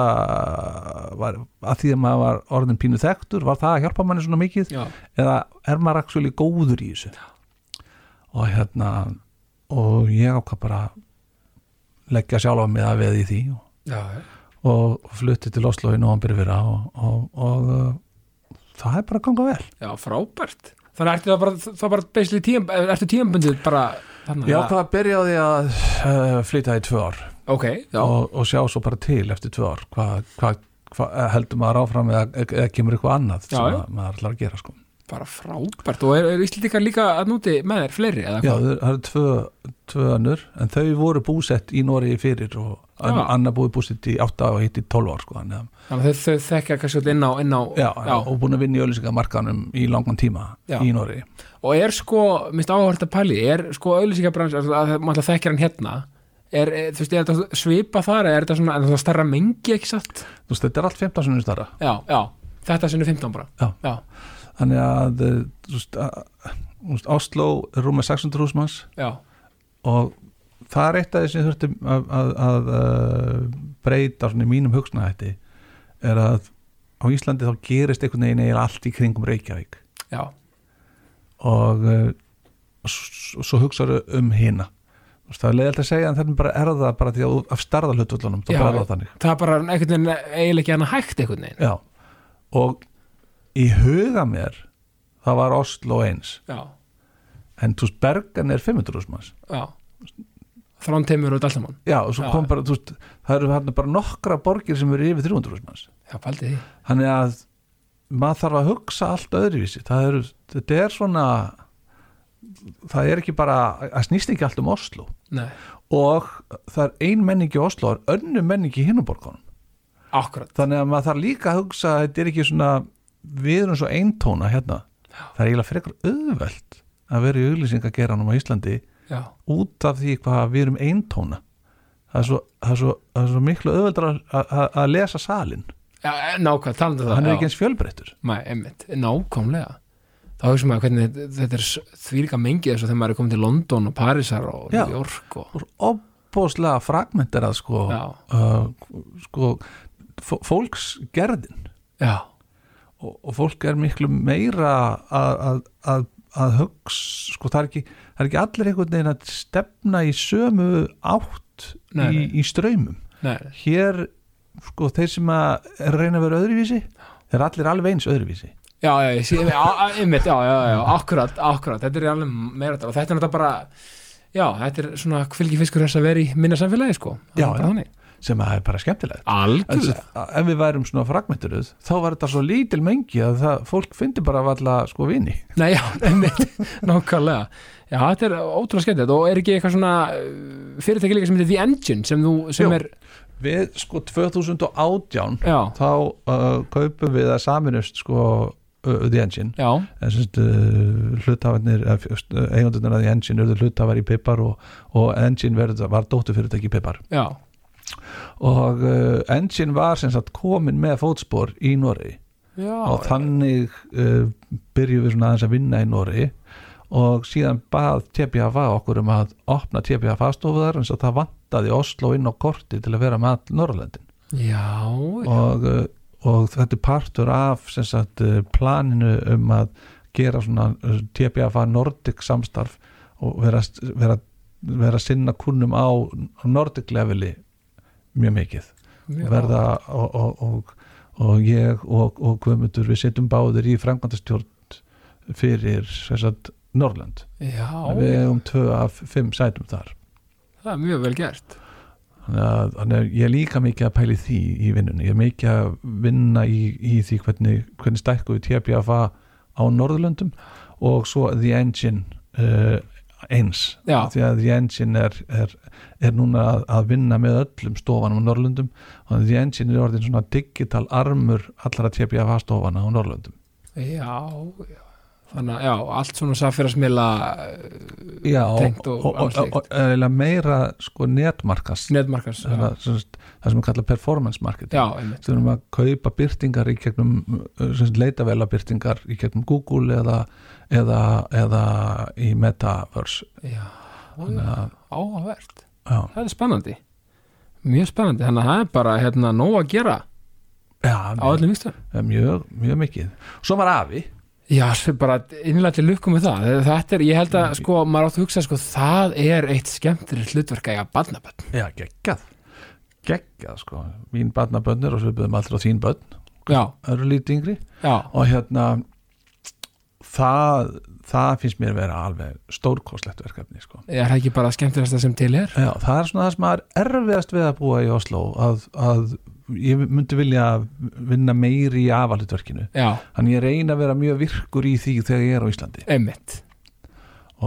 Speaker 2: var, að því að maður var orðin pínu þekktur var það að hjálpa manni svona mikið
Speaker 1: já,
Speaker 2: eða er maður aksjóli góður í þessu og hérna og ég ákvað bara leggja sjálfa mig að veði í því og
Speaker 1: já,
Speaker 2: og flutti til Oslo í nóvambir fyrra og, og, og uh, það er bara að ganga vel
Speaker 1: já, frábært, þannig ertu það bara, það bara beisli tíum, ertu tíumbundið bara, þannig
Speaker 2: Ég ákvað að byrja á því að uh, flytja í tvö ár
Speaker 1: ok, já,
Speaker 2: og, og sjá svo bara til eftir tvö ár hvað hva, hva, heldur maður áfram eða, eða kemur eitthvað annað sem
Speaker 1: Já, já.
Speaker 2: að, maður ætlar að gera sko.
Speaker 1: bara frábært, og er, er Íslendingar líka að núti með þér, fleiri, eða
Speaker 2: Já,
Speaker 1: hvað,
Speaker 2: það eru tvö, tvö önnur en þau voru búsett í Noregi fyrir og
Speaker 1: Já.
Speaker 2: ja. annar búið búsett í 8 og hitt í 12 ár sko, þannig að-
Speaker 1: þannig að þau, þau þekkja kannski öll inn á, inn á,
Speaker 2: já, og búin að vinna í öllisingamarkanum í langan tíma
Speaker 1: Já.
Speaker 2: í Noregi
Speaker 1: og er sko, minnst áhvert að pæli er sko auðlýsingabrans, að að maður alltaf þekkir hann hérna er, er, þú veist, er þetta svipa þar eða er þetta svona, er þetta starra mengi ekki satt?
Speaker 2: Þú veist, þetta er allt 15 sunnum starra
Speaker 1: Já, já, þetta sinni 15 bara
Speaker 2: Já.
Speaker 1: já,
Speaker 2: þannig að, eh, þú veist, að þú veist, Oslo er rúmið 600 húsmanns
Speaker 1: já,
Speaker 2: og það er eitt af því sem þurfti að, að, að uh, breyta svona í mínum hugsnahætti er að á Íslandi þá gerist einhvern veginn eiginlega allt í kringum Reykjavík
Speaker 1: já,
Speaker 2: og uh, svo, svo hugsaðu um hina Þú veist, það er leiðilegt að segja en þannig bara er það bara því að af starða hlutvöldunum þá
Speaker 1: Já,
Speaker 2: bara er
Speaker 1: já.
Speaker 2: það þannig
Speaker 1: það er bara einhvern veginn eiginlega ekki hann að hægt einhvern veginn
Speaker 2: já. og í huga mér það var Oslo eins
Speaker 1: já,
Speaker 2: en þú veist Bergen er 500 húsmanns
Speaker 1: já þránteimur og daltamann,
Speaker 2: já og
Speaker 1: Já.
Speaker 2: svo kom bara þú veist, það eru hérna bara nokkra borgir sem eru yfir 300 húsmanns
Speaker 1: já, pældi því
Speaker 2: þannig að maður þarf að hugsa allt öðruvísi það eru, þetta er svona það er ekki bara það snýst ekki allt um Oslo
Speaker 1: nei,
Speaker 2: og það er ein menning í Oslo og önnu menning í hinnuborgunum
Speaker 1: akkurat,
Speaker 2: þannig að maður þarf líka að hugsa að þetta er ekki svona við erum svo eintóna hérna það er eiginlega frekar auðvelt að vera í auglýsingageranum á Íslandi
Speaker 1: já,
Speaker 2: út af því hvað við erum eintóna það er svo, það er svo, það er svo miklu auðveldar að, að, að lesa salin
Speaker 1: já e, nákvæmt, talandi um það
Speaker 2: hann er
Speaker 1: já.
Speaker 2: ekki eins fjölbreyttur
Speaker 1: Mæ, einmitt, nákvæmlega þá hugsa maður hvernig þetta- þetta er þvílika mengið þessu þegar maður er komin til London og Parísar og
Speaker 2: Já.
Speaker 1: New York og,
Speaker 2: og opbóðslega fragmenterað sko,
Speaker 1: já,
Speaker 2: uh, sko fólksgerðin
Speaker 1: já,
Speaker 2: og, og fólk er miklu meira að, að, að, að hugs sko það er ekki, það er ekki allir einhvern veginn að stefna í sömu átt
Speaker 1: Nei,
Speaker 2: í,
Speaker 1: nei.
Speaker 2: í ströymum
Speaker 1: Nei,
Speaker 2: hér sko þeir sem að reyna að vera öðruvísi þeir eru allir alveg eins öðruvísi
Speaker 1: já, já, ég sé, já, einmitt, já, já, já, já, akkurat, akkurat, þetta er alveg meira þetta og þetta er náttúrulega bara, já, þetta er svona fylgifiskur þess að vera í minna samfélagi, sko, það
Speaker 2: Já,
Speaker 1: er
Speaker 2: já.
Speaker 1: bara þannig.
Speaker 2: sem að það er bara skemmtilegt En
Speaker 1: Algjörlega.
Speaker 2: s- ef við værum svona fragmenturuð þá var þetta svo lítil mengi að það, fólk fyndi bara valla sko vini
Speaker 1: Nei, já, einmitt, nákvæmlega Já, þetta er ótrúlega skemmtilegt og er ekki eitthvað svona uh, fyrirtæki líka sem heitir The Engine sem þú, sem
Speaker 2: Jú.
Speaker 1: er,
Speaker 2: við sko 2018
Speaker 1: já,
Speaker 2: þá uh, kaupum við að saminust sko uh, The Engine
Speaker 1: já
Speaker 2: en semst uh, hlutafarnir eða, fyrst, uh, eigundurnir að The Engine urðu hlutafar í Pippar og, og Engine verð, var dóttufyrirtæki í Pippar
Speaker 1: Já,
Speaker 2: og uh, Engine var sem sagt komin með fótspor í Noregi
Speaker 1: já
Speaker 2: og þannig uh, byrjum við svona aðeins að vinna í Nóri og síðan bað TBFA okkur um að opna TBFA stofu þar eins og það vantaði Oslo inn á korti til að vera með all Norrlöndin
Speaker 1: Já,
Speaker 2: og, uh, og þetta er partur af sem sagt, uh, planinu um að gera svona uh, TBFA Nordic samstarf og vera, vera, vera að sinna kunnum á Nordic leveli mjög mikið
Speaker 1: já
Speaker 2: verða og, og, og, og ég og, og Guðmundur við sittum báðir í framkvæmdastjórn fyrir sem sagt, Norrland
Speaker 1: Já,
Speaker 2: við hefum tvö af fimm sætum þar
Speaker 1: það er mjög vel gert
Speaker 2: þannig að, þannig að ég er líka mikið að pæli því í vinnunni, ég er mikið að vinna í, í því hvernig, hvernig stækku við TBFA á Norðurlöndum og svo The Engine uh, eins
Speaker 1: Já.
Speaker 2: því að The Engine er, er, er núna að, að vinna með öllum stofanum á Norðurlöndum og The Engine er orðin svona digital armur allra TBFA stofana á Norðurlöndum
Speaker 1: Já, já Þannig að, já, allt svona eh, saffélagsmiðla
Speaker 2: Já, og,
Speaker 1: Tengt og
Speaker 2: og, og,
Speaker 1: annað slíkt.
Speaker 2: og, og eiginlega meira sko netmarkast
Speaker 1: netmarkars
Speaker 2: það,
Speaker 1: Já,
Speaker 2: það sem er kallað performance marketing
Speaker 1: já einmitt
Speaker 2: við erum að kaupa byrtingar í gegnum eh, leitavela byrtingar í gegnum Google eða, eða, eða í Metaverse
Speaker 1: Já,
Speaker 2: þannig að
Speaker 1: áhvert
Speaker 2: já,
Speaker 1: Það er spennandi Mjög spennandi, þannig að það er bara, hérna, nóg að gera
Speaker 2: já,
Speaker 1: á
Speaker 2: mjög, eh,
Speaker 1: öllum vikstöðum
Speaker 2: mjög, mjög mikið svo var afi
Speaker 1: Já, svo bara innlætti lukku með það Þetta er, ég held að, sko, maður átt að hugsa sko, það er eitt skemmtileg hlutverk að ég að badnabönd
Speaker 2: já, geggjað, geggjað sko mín barnabönnur og svo byrðum allir á um þín bönn
Speaker 1: Já,
Speaker 2: eru lítið yngri
Speaker 1: já,
Speaker 2: og hérna það, það finnst mér vera alveg stórkostlegt verkefni sko
Speaker 1: er það ekki bara skemmtilegasta sem til er
Speaker 2: Já, það er svona það sem er erfiðast við að búa í Oslo að, að ég myndi vilja vinna meiri í afalutverkinu
Speaker 1: Já,
Speaker 2: þannig ég reyna að vera mjög virkur í því þegar ég er á Íslandi
Speaker 1: einmitt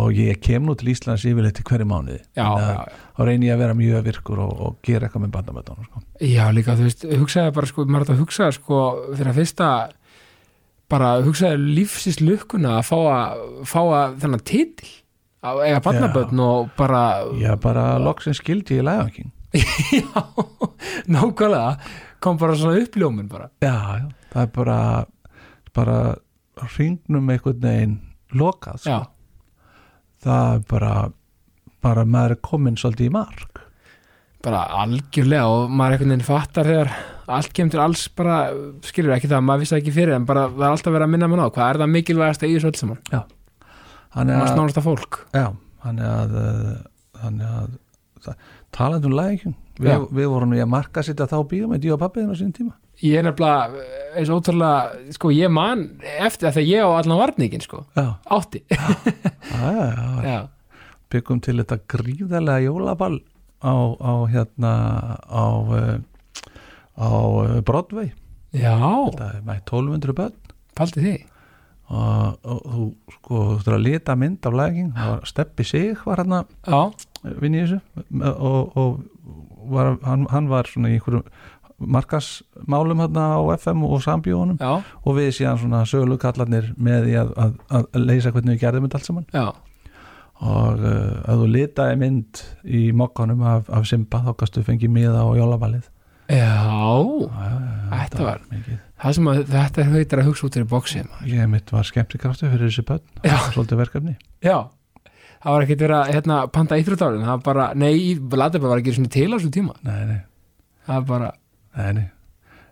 Speaker 2: og ég kem nú til Íslands yfirleitt til hverju mánuði
Speaker 1: Já,
Speaker 2: Þannig
Speaker 1: já,
Speaker 2: að- þá reyni ég að vera mjög virkur og, og gera eitthvað með bandamöndunum sko.
Speaker 1: já, já, líka, þú veist, hugsaði bara, sko, maður átt að hugsa, sko, fyrir að fyrsta bara hugsaði lífsins lukkuna að fá að fá að þennan titil að eiga badnabönd og bara
Speaker 2: ég bara loksin skildi í lægangin
Speaker 1: Já, nákvæmlega kom bara svona uppljómin bara
Speaker 2: já, já, það er bara bara hringnum einhvern veginn lokað sko.
Speaker 1: Já,
Speaker 2: það er bara bara maður er komin svolítið í mark
Speaker 1: bara algjörlega og maður einhvern veginn fattar þegar allt kemur til alls bara skilur ekki það, maður vissi það ekki fyrir en bara það er alltaf verið að minna mann á, hvað er það mikilvægasta í þessu öll saman,
Speaker 2: Þannig
Speaker 1: maður
Speaker 2: að-
Speaker 1: snánast að fólk
Speaker 2: Já, þannig að eh, þannig að það- talandi um lægjum
Speaker 1: Já.
Speaker 2: við, við vorum í að marka sitja þá bíum ég og pappiðin á sín tíma
Speaker 1: ég er nefnilega eh, eins og ótrúlega, sko ég man eftir að þegar ég á allan varningin sko
Speaker 2: Já,
Speaker 1: átti,
Speaker 2: já, já, já,
Speaker 1: já,
Speaker 2: byggum til þetta gríðarlega jólaball á, á hérna á, eh, á eh, Broadway
Speaker 1: já
Speaker 2: það er mætt 1200 börn
Speaker 1: paldi því,
Speaker 2: og, og þú sko þú þurftur að lita mynd af lægjum það var Steppi Sig var hérna
Speaker 1: já,
Speaker 2: vinn í þessu og, og var, hann, hann var svona í einhverjum markasmálum hérna á FM og sambjóðunum
Speaker 1: já,
Speaker 2: og við síðan svona sölu kallarnir með því að, að, að leysa hvernig við gerðum þetta allt saman
Speaker 1: já
Speaker 2: og uh, að þú litaði mynd í mokkanum af, af Simba þá kannstu fengið miða á jólabalið
Speaker 1: já,
Speaker 2: Já, já, já,
Speaker 1: Þetta var-
Speaker 2: mikið
Speaker 1: það sem að þetta er hautir að hugsa út fyrir bóksið maður.
Speaker 2: ég mitt var skemmtikraftu fyrir þessu börn
Speaker 1: Já.
Speaker 2: svolítið verkefni
Speaker 1: já, það var ekkert verið að hérna, panta íþróttárin, það var bara nei, Ladabæ var ekki svona til á svo tíma
Speaker 2: nei, nei,
Speaker 1: það var bara,
Speaker 2: nei, nei.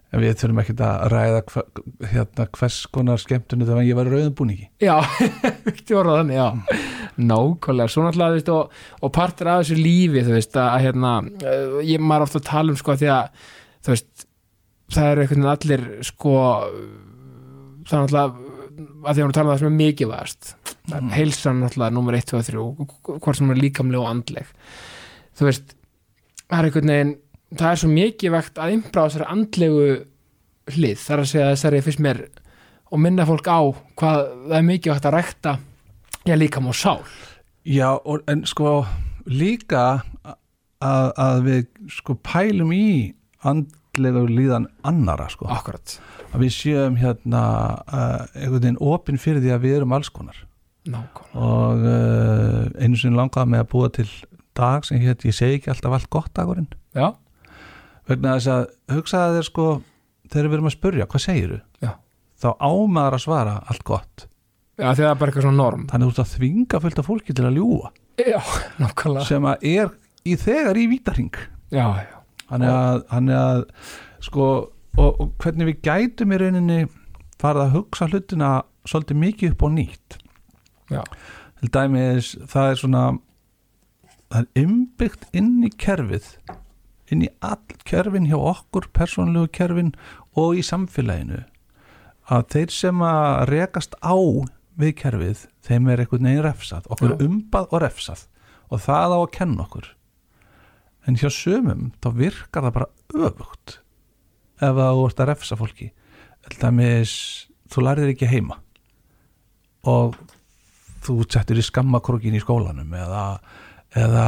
Speaker 2: en við þurfum ekki að ræða hva, hérna, hvers konar skemmtunni þegar ég var í rauðum búningi
Speaker 1: Já, ekki orða þannig, já Nákvæmlega, svo náttúrulega, þú veist og, og partur af þessu lífi, þú veist að hérna, eh, ég maður ofta að tala um sko því að, þú veist það eru einhvern veginn allir sko það er náttúrulega að því að hún tala um það sem er mikið vast mm. heilsan náttúrulega nummer 1, 2, 3 hvort sem er líkamleg og andleg þú veist, það er einhvern veginn það er svo mikið vakt að imbra á þessari andlegu hlið, þar að segja þessari fyrst mér og minna fólk á hvað það er mikið vakt að rækta ég líka má sál
Speaker 2: Já, og, en sko líka að, að við sko pælum í andlega líðan annara sko,
Speaker 1: akkurat,
Speaker 2: að við séum hérna uh, einhvern veginn opin fyrir því að við erum alls konar
Speaker 1: nákvæmlega
Speaker 2: og uh, einu sinni langaði með að búa til dag sem hétt ég segi ekki alltaf allt gott dagurinn
Speaker 1: já,
Speaker 2: vegna þess að hugsaði þér sko þegar við erum að spurja hvað segiru
Speaker 1: já,
Speaker 2: þá ámaður að svara allt gott
Speaker 1: já því það er bara eitthvað svona norm
Speaker 2: þannig að þú ert að þvinga fullt af fólki til að ljúa
Speaker 1: já, nákvæmlega
Speaker 2: sem að er í þegar í vítaring
Speaker 1: já, já,
Speaker 2: þannig að, þannig að sko og, og hvernig við gætum í rauninni farið að hugsa hlutina svolítið mikið upp á nýtt
Speaker 1: já,
Speaker 2: til dæmis það er svona það er innbyggt inn í kerfið inn í all kerfin hjá okkur persónlegu kerfin og í samfélaginu að þeir sem að rekast á við kerfið, þeim er einhvern veginn refsað, okkur
Speaker 1: Já.
Speaker 2: er umbað og refsað og það á að kenna okkur en hjá sömum þá virkar það bara öfugt ef að þú ert að refsa fólki til dæmis, þú lærðir ekki heima og þú settur í skammakrókin í skólanum eða, eða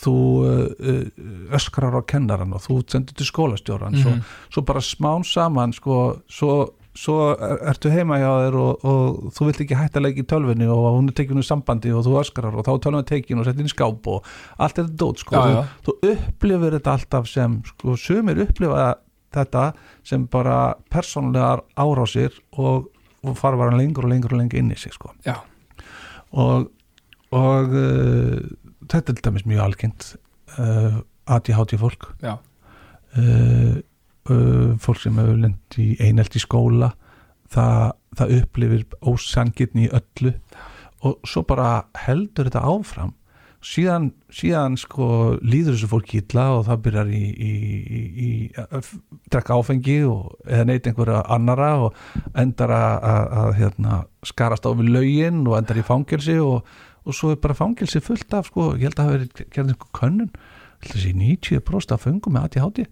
Speaker 2: þú uh, uh, öskrar á kennaran og þú sendur til skólastjóran
Speaker 1: Mhm.
Speaker 2: svo, svo bara smán saman sko, svo, svo er, ertu heima hjá þér og, og þú vilt ekki hætta að leika í tölvinni og hún er tekinu sambandi og þú öskrar og þá er tölvinni tekin og settir í skáp og allt er þetta dót sko,
Speaker 1: Já, já.
Speaker 2: Þú, þú upplifir þetta alltaf sem sko, sumir upplifa þetta sem bara persónulegar árásir og, og fara bara lengur og lengur og lengur inn í sig sko
Speaker 1: já,
Speaker 2: og, og uh, þetta er til dæmis mjög algengt uh, ADHD fólk
Speaker 1: já,
Speaker 2: uh, uh, fólk sem hefur lent í einelt í skóla það, það upplifir ósangirni í öllu og svo bara heldur þetta áfram síðan, síðan sko líður þessu fólk illa og það byrjar í, í, í, í að f- drekka áfengi og, eða neitt einhverja annara og endar að, að, að hérna, skarast á við lögin og endar í fangelsi og, og svo er bara fangelsi fullt af sko, ég held að hafa verið gerðið einhver könnun ég held að sé 90% af föngum með ADHD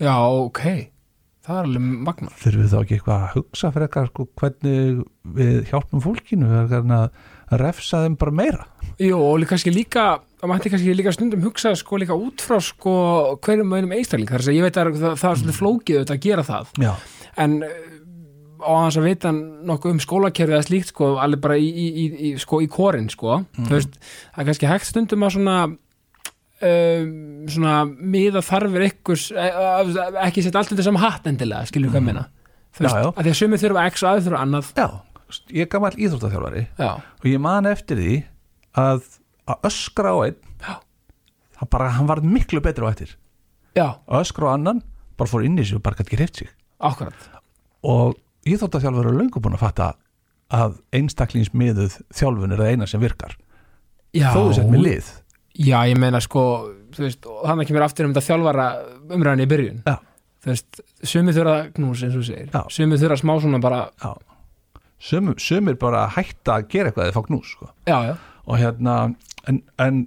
Speaker 1: já, ok það er alveg magna
Speaker 2: þurfum við þá ekki eitthvað að hugsa fyrir eitthvað sko, hvernig við hjálpum fólkinu við erum að refsa þeim bara meira
Speaker 1: Jú, og líka kannski líka, það mætti kannski líka stundum hugsa sko líka út frá sko hverjum einum einstakling, þar að segja, ég veit að það, það er svolítið flókið auðvitað að gera það
Speaker 2: já,
Speaker 1: en eh, á hans að vita nokkuð um skólakerfið eða slíkt sko, alveg bara í, í, í, í, sko, í korin sko, þú veist, það er kannski hægt stundum að svona um, svona miða þarfir ykkurs, eh, eh, ekki setja allt undir saman hatt endilega, skilur hvað mm. minna þú
Speaker 2: Já,
Speaker 1: veist,
Speaker 2: já.
Speaker 1: að því að sumið þurfa x og aðeins þurfa annað
Speaker 2: já, ég er gamall íþróttaþjálfari
Speaker 1: já,
Speaker 2: og ég man eftir því að, að öskra á einn
Speaker 1: Já.
Speaker 2: það bara, hann varð miklu betri á eftir
Speaker 1: já,
Speaker 2: að öskra á annan, bara fór inn í sig og bara gæti ekki hreift sig
Speaker 1: akkurat
Speaker 2: og íþróttaþjálfari er löngu búin að fatta að einstaklingsmiðuð þjálfun er það eina sem virkar
Speaker 1: já,
Speaker 2: þó þú sett með lið
Speaker 1: já, ég meina sko þú veist, og þannig kemur aftur um þetta þjálfara umræðan í byrjun
Speaker 2: já,
Speaker 1: þú veist, sumið þurfa knús eins og þú segir,
Speaker 2: Já.
Speaker 1: sumið þurfa smá svona bara,
Speaker 2: já Sumir, sumir bara hætta að gera eitthvað eða fá knús sko.
Speaker 1: já, já,
Speaker 2: og hérna en, en,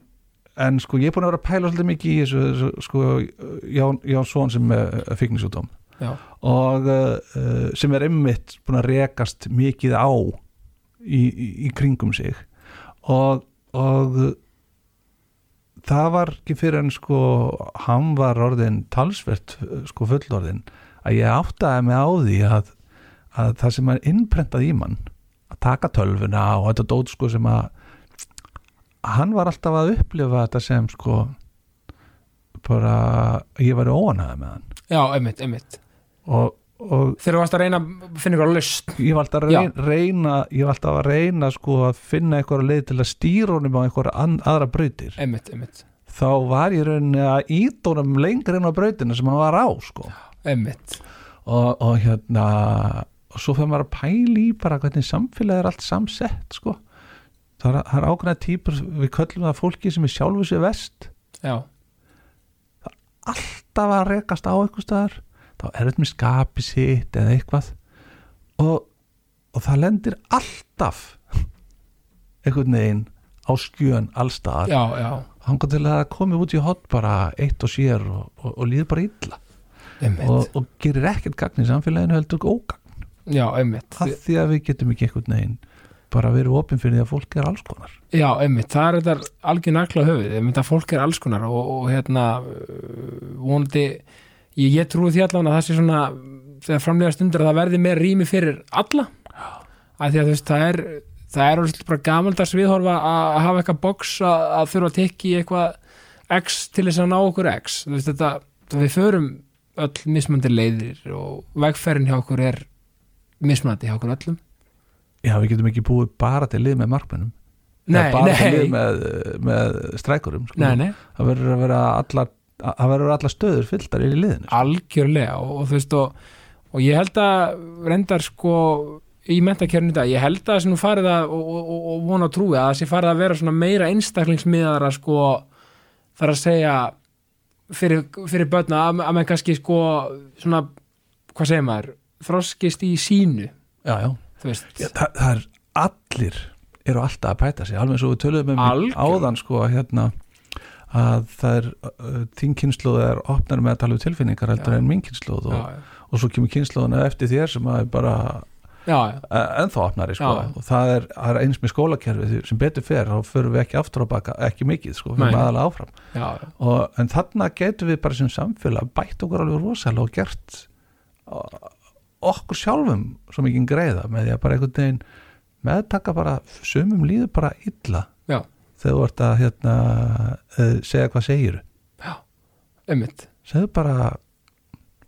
Speaker 2: en sko ég er búin að vera að pæla svolítið mikið í þessu, þessu sko Ján, Ján Són sem er fíknisjúdóm
Speaker 1: já,
Speaker 2: og uh, uh, sem er einmitt búin að rekast mikið á í, í, í kringum sig og, og uh, það var ekki fyrir en sko hann var orðin talsvert uh, sko fullorðin að ég áttaði mig á því að, að það sem er innprentað í mann að taka tölvuna og þetta dót sko sem að hann var alltaf að upplifa þetta sem sko bara ég væri óanæði með hann
Speaker 1: já, einmitt, einmitt
Speaker 2: og, og
Speaker 1: þegar þú varst að reyna að finna ykkur lust
Speaker 2: ég var alltaf að reyn- reyna ég var alltaf að reyna sko að finna einhverja leið til að stýra honum á einhverja ann- aðra brautir
Speaker 1: einmitt, einmitt,
Speaker 2: þá var ég í rauninni að íta honum lengur inn á brautina sem hann var á sko
Speaker 1: einmitt
Speaker 2: og, og hérna og svo fyrir maður að pæla í bara hvernig samfélagið er allt samsett sko. það er, það er ákveðna típur við köllum það fólki sem er sjálfu sér vest
Speaker 1: já,
Speaker 2: alltaf að rekast á eitthvað staðar þá er þetta með skapi sitt eða eitthvað og, og það lendir alltaf einhvern veginn á skjön allstaðar
Speaker 1: já, já
Speaker 2: þangar til að það komi út í hot bara eitt og sér og, og, og líður bara illa
Speaker 1: einmitt,
Speaker 2: og, og gerir ekkert gagn í samfélaginu heldur ógagn
Speaker 1: já, einmitt
Speaker 2: það því að við getum ekki einhvern veginn bara verið opin fyrir því að fólk er alls konar
Speaker 1: já, einmitt, það er þetta algjör nakla höfuð, einmitt að fólk er alls konar og, og hérna uh, vonandi, ég, ég trúi því allan að það sé svona, þegar framlega stundur að það verði meira rými fyrir alla að því að þú veist, það er það er alveg bara gamaldags viðhorfa að hafa eitthvað box að, að þurfa að tekki eitthvað x til þess að ná okkur x þú veist þetta, við förum öll mismandi leiðir og vegferðin hjá okkur er mismandi hjá okkur öllum
Speaker 2: já við getum ekki búið bara til lið með markmennum
Speaker 1: Nei,
Speaker 2: bara til
Speaker 1: nei.
Speaker 2: lið með, með strækurum sko.
Speaker 1: Nei, nei,
Speaker 2: það verður að vera allar að- það verður allar stöður fylltar í liðinu sko.
Speaker 1: algjörlega og, og þú veist og, og ég held að reyndar sko í mentakjörnum í dag, ég held að sem nú farið að og, og, og- og vona að trúi að það sé farið að vera svona meira einstaklingsmiðara sko þar að segja fyrir, fyrir börna að, að menn kannski sko svona, hvað segir maður þroskist í sínu
Speaker 2: já, já.
Speaker 1: þú veist,
Speaker 2: Já, það, það er allir eru alltaf að bæta sig alveg eins og við töluðum um
Speaker 1: Algjörlega.
Speaker 2: áðan sko, hérna, að það er uh, þín kynnslóð er opnar með að tala um tilfinningar heldur
Speaker 1: Já.
Speaker 2: en mín kynnslóð og,
Speaker 1: já,
Speaker 2: og svo kemur kynnslóðuna eftir þér sem að er bara
Speaker 1: já, já,
Speaker 2: uh, ennþá opnari sko.
Speaker 1: Já.
Speaker 2: og það er, það er eins með skólakerfið sem betur fer, þá förum við ekki aftur á baka ekki mikið, sko, við
Speaker 1: Nei.
Speaker 2: erum aðalega áfram
Speaker 1: já,
Speaker 2: og, en þarna getum við bara sem samfélag bætt okkur alveg rosalega og gert uh, okkur sjálfum svo mikið greiða með því að bara einhvern veginn meðtaka bara sumum líður bara illa
Speaker 1: já,
Speaker 2: þegar þú ert að hérna, eh, segja hvað segir
Speaker 1: ummitt
Speaker 2: segðu bara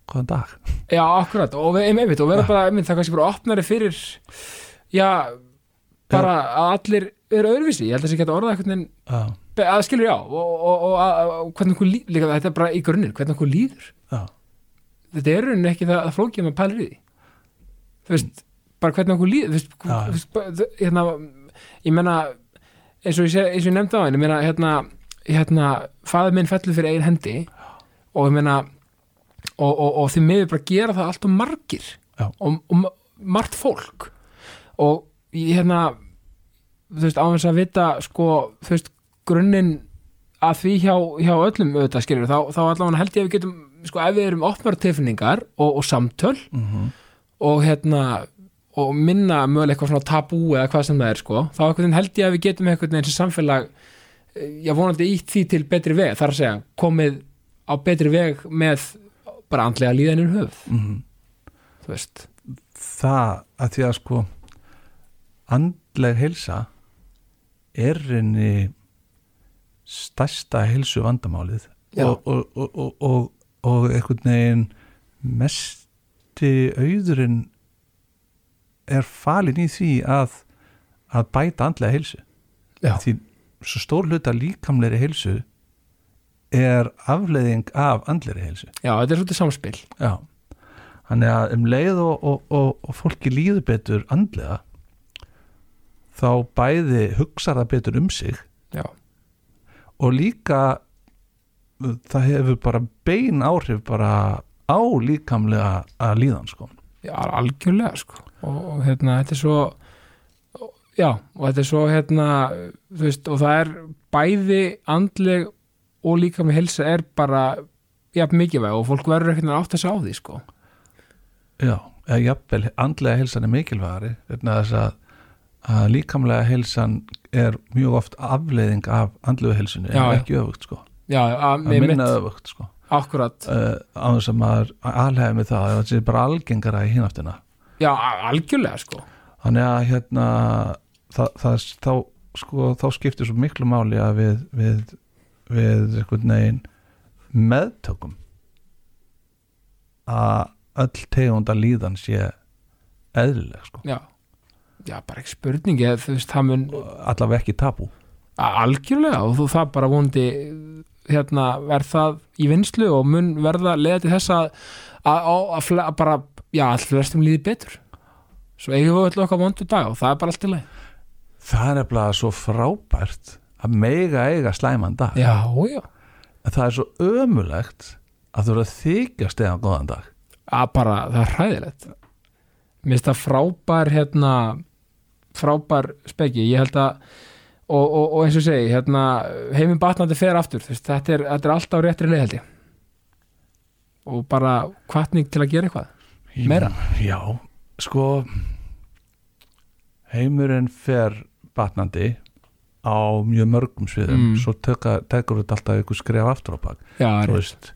Speaker 2: hvaðan dag
Speaker 1: Já, akkurat, og við, einmitt, og verða bara einmitt, það kannski bara opnari fyrir já, bara að allir eru öðruvísi, ég held að þessi geta orðað einhvern veginn,
Speaker 2: já,
Speaker 1: be- að skilur já og, og, og að, að- hvernig okkur líður, líka þetta er bara í grunnir, hvernig okkur líður
Speaker 2: já,
Speaker 1: þetta er í rauninni ekki það, það flókið með pælir í því þú veist, bara hvernig okkur líður þú veist,
Speaker 2: Já.
Speaker 1: þú veist, bara- þú- hérna ég menna, eins og ég, seg, eins og ég nefndi á henni, ég menna, hérna hérna, faðir minn fellur fyrir eigin hendi og ég menna og, og, og þið miður bara gera það allt og margir
Speaker 2: Já.
Speaker 1: og, og ma- margt fólk og ég hérna þú veist, á þess að vita sko, þú veist, grunninn að því hjá, hjá öllum auðvitað skilur þá, þá allavega held ég að við getum sko, ef við erum opnar tilfinningar og, og samtöl
Speaker 2: mhm,
Speaker 1: og hérna og minna mögulega eitthvað svona tabú eða hvað sem það er sko, þá einhvern veginn held ég að við getum einhvern veginn sem samfélag eh, ég vonandi ítt því til betri veg þar að segja, komið á betri veg með bara andlega líðanir höf
Speaker 2: mhm.
Speaker 1: þú veist,
Speaker 2: það að því að sko andleg heilsa er reyni stærsta heilsu vandamálið
Speaker 1: Já.
Speaker 2: og, og, og, og, og, og einhvern veginn mesti auðurinn er falin í því að, að bæta andlega heilsu
Speaker 1: Já.
Speaker 2: því svo stór hluta líkamleiri heilsu er afleiðing af andleiri heilsu
Speaker 1: já, þetta er svolítið samspil
Speaker 2: Já, þannig að um leið og, og, og, og fólki líður betur andlega þá bæði hugsar það betur um sig
Speaker 1: já,
Speaker 2: og líka uh, það hefur bara bein áhrif bara á líkamlega að líðan sko.
Speaker 1: já algjörlega sko. og, og hérna, þetta er svo já, og þetta er svo hérna, þú veist, og það er bæði andleg og líka með helsa er bara jafn mikilvæg og fólk verður ekkert að átta sig á því sko.
Speaker 2: Já, eða jafnvel andlega heilsan er mikilvægari vegna þess að, að líkamlega heilsan er mjög oft afleiðing af andlega heilsunni
Speaker 1: Já,
Speaker 2: en
Speaker 1: já.
Speaker 2: ekki öfugt sko.
Speaker 1: já, að,
Speaker 2: að
Speaker 1: að
Speaker 2: minna
Speaker 1: mitt,
Speaker 2: öfugt sko.
Speaker 1: akkurat
Speaker 2: uh, á þess að maður alhefði með það að það sé bara algengara í hinaftina
Speaker 1: já, a- algjörlega sko.
Speaker 2: þannig að hérna það, það, þá, sko, þá skiptir svo miklu máli að við við, við einhvern veginn meðtökum að öll tegunda líðan sé eðlileg sko
Speaker 1: já, já, bara ekki spurning eða, þú veist, það mun
Speaker 2: allavega ekki tabú
Speaker 1: A- algjörlega og þú það bara vondi hérna verð það í vinslu og mun verða leiða til þess að, að, að, að, fle- að bara, já, all flestum líði betur svo eigum við öll okkar vondu dag og það er bara allt í lagi
Speaker 2: það er nefnilega svo frábært að mega eiga slæman dag
Speaker 1: já, já,
Speaker 2: en það er svo ömulegt að þú eru að þykjast eða góðan dag
Speaker 1: að bara, það er hræðilegt mér finnst það frábær hérna, frábær speki, ég held að og, og, og eins og ég segi, hérna heiminn batnandi fer aftur, þú veist, þetta er, þetta er alltaf á réttri leið held ég og bara hvatning til að gera eitthvað Meira?
Speaker 2: Já, sko heimurinn fer batnandi á mjög mörgum sviðum
Speaker 1: Mm.
Speaker 2: svo teka, tekur þetta alltaf ykkur skref aftur á bak
Speaker 1: já, er,
Speaker 2: þú veist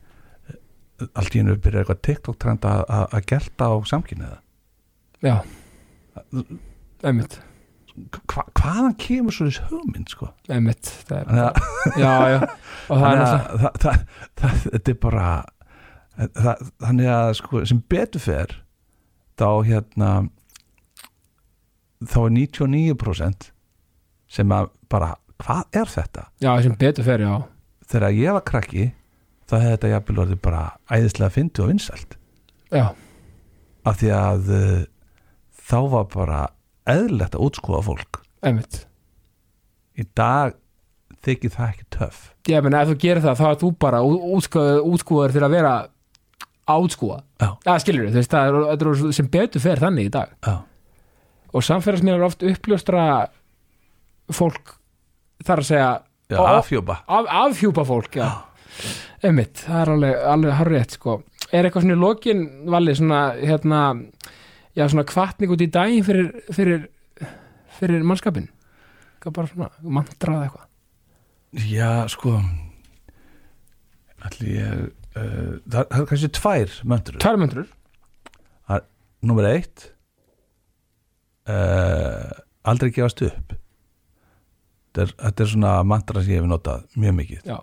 Speaker 2: allt í hennu byrja eitthvað TikTok trend að- að að gelta á samkynniða
Speaker 1: já einmitt,
Speaker 2: Hva, hvaðan kemur svo þess hugmynd sko
Speaker 1: einmitt það er,
Speaker 2: þannig að
Speaker 1: já, já, og það er
Speaker 2: þannig
Speaker 1: alltaf
Speaker 2: að það, það, það, þetta er bara það, þannig að sko, sem betur fer þá hérna þá er 99% sem að bara hvað er þetta?
Speaker 1: já, sem betur fer, já,
Speaker 2: Þegar ég var krakki þá hefði þetta jafnvel orðið bara æðislega fyndi og vinsælt
Speaker 1: já
Speaker 2: af því að uh, þá var bara eðlilegt að útskúfa fólk
Speaker 1: einmitt,
Speaker 2: í dag þykir það ekki töff
Speaker 1: ég meina, ef þú gerir það þá er þú bara útskúður fyrir að vera átskúða
Speaker 2: Já.
Speaker 1: það skilur þú veist, það er, þetta er orðið sem betur fer þannig í dag
Speaker 2: Já,
Speaker 1: og samfélagsmiðlar oft uppljóstra fólk þar að segja
Speaker 2: Já
Speaker 1: Ó, ó.
Speaker 2: afhjúpa
Speaker 1: af, afhjúpa fólk já. einmitt, það er alveg, alveg harrétt sko. er eitthvað svona í lokin valið svona hérna já svona kvartning út í daginn fyrir fyrir, fyrir mannskapin Eitthvað bara svona mantraða eitthvað
Speaker 2: Já, sko Allir ég uh, það, það er kannski tvær möntur
Speaker 1: tværmöndrur,
Speaker 2: Númer eitt uh, Aldrei gefast upp þetta er, þetta er svona mantra sem ég hef notað mjög mikið
Speaker 1: já,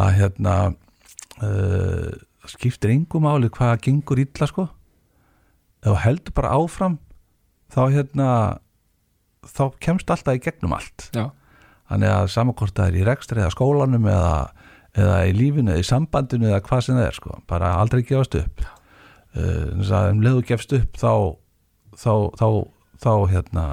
Speaker 2: að hérna uh, það skiptir engu máli hvað gengur illa sko ef þú heldur bara áfram þá hérna þá kemst alltaf í gegnum allt
Speaker 1: já,
Speaker 2: þannig að samakort það er í rekstri eða skólanum eða, eða í lífinu eða í sambandinu eða hvað sem það er sko. bara aldrei gefast upp uh, þess að um leiðu gefst upp þá þá, þá, þá hérna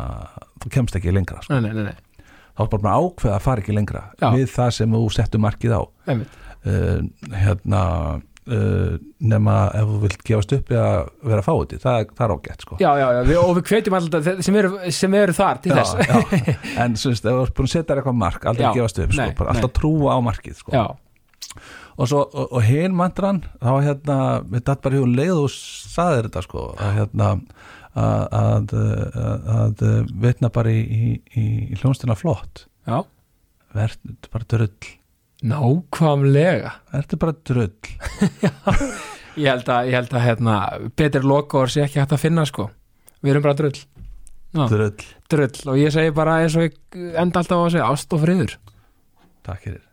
Speaker 2: þú kemst ekki lengra sko.
Speaker 1: nei, nei, nei, nei.
Speaker 2: þá er bara búin að ákveða að fara ekki lengra
Speaker 1: Já.
Speaker 2: við það sem þú settur markið á
Speaker 1: einmitt
Speaker 2: uh, hérna uh, nema ef þú vilt gefast upp eða vera fáið það, er- það er ágætt sko.
Speaker 1: já, já, já, við, og við hvetjum alltaf þeir- sem eru, sem eru þar til
Speaker 2: Já,
Speaker 1: þess
Speaker 2: já. en sem sagt, ef þú ert búin að setja þér eitthvað mark aldrei
Speaker 1: Já.
Speaker 2: gefast upp, sko,
Speaker 1: Nei,
Speaker 2: bara alltaf trúa á markið sko.
Speaker 1: já,
Speaker 2: og, svo, og, og hinn mantran þá hérna, við datt bara hjá leið og saðir þetta sko að hérna að, að, að, að vitna bara í, í, í hljónstina flott
Speaker 1: já,
Speaker 2: verður bara drull
Speaker 1: nákvæmlega
Speaker 2: verður bara drull
Speaker 1: Ég held að, ég held að hérna, betur lokaður sé ekki hægt að finna sko. Við erum bara drull, Já.
Speaker 2: drull,
Speaker 1: drull og ég segi bara eins og ég enda alltaf á að segja ást og friður.
Speaker 2: takk fyrir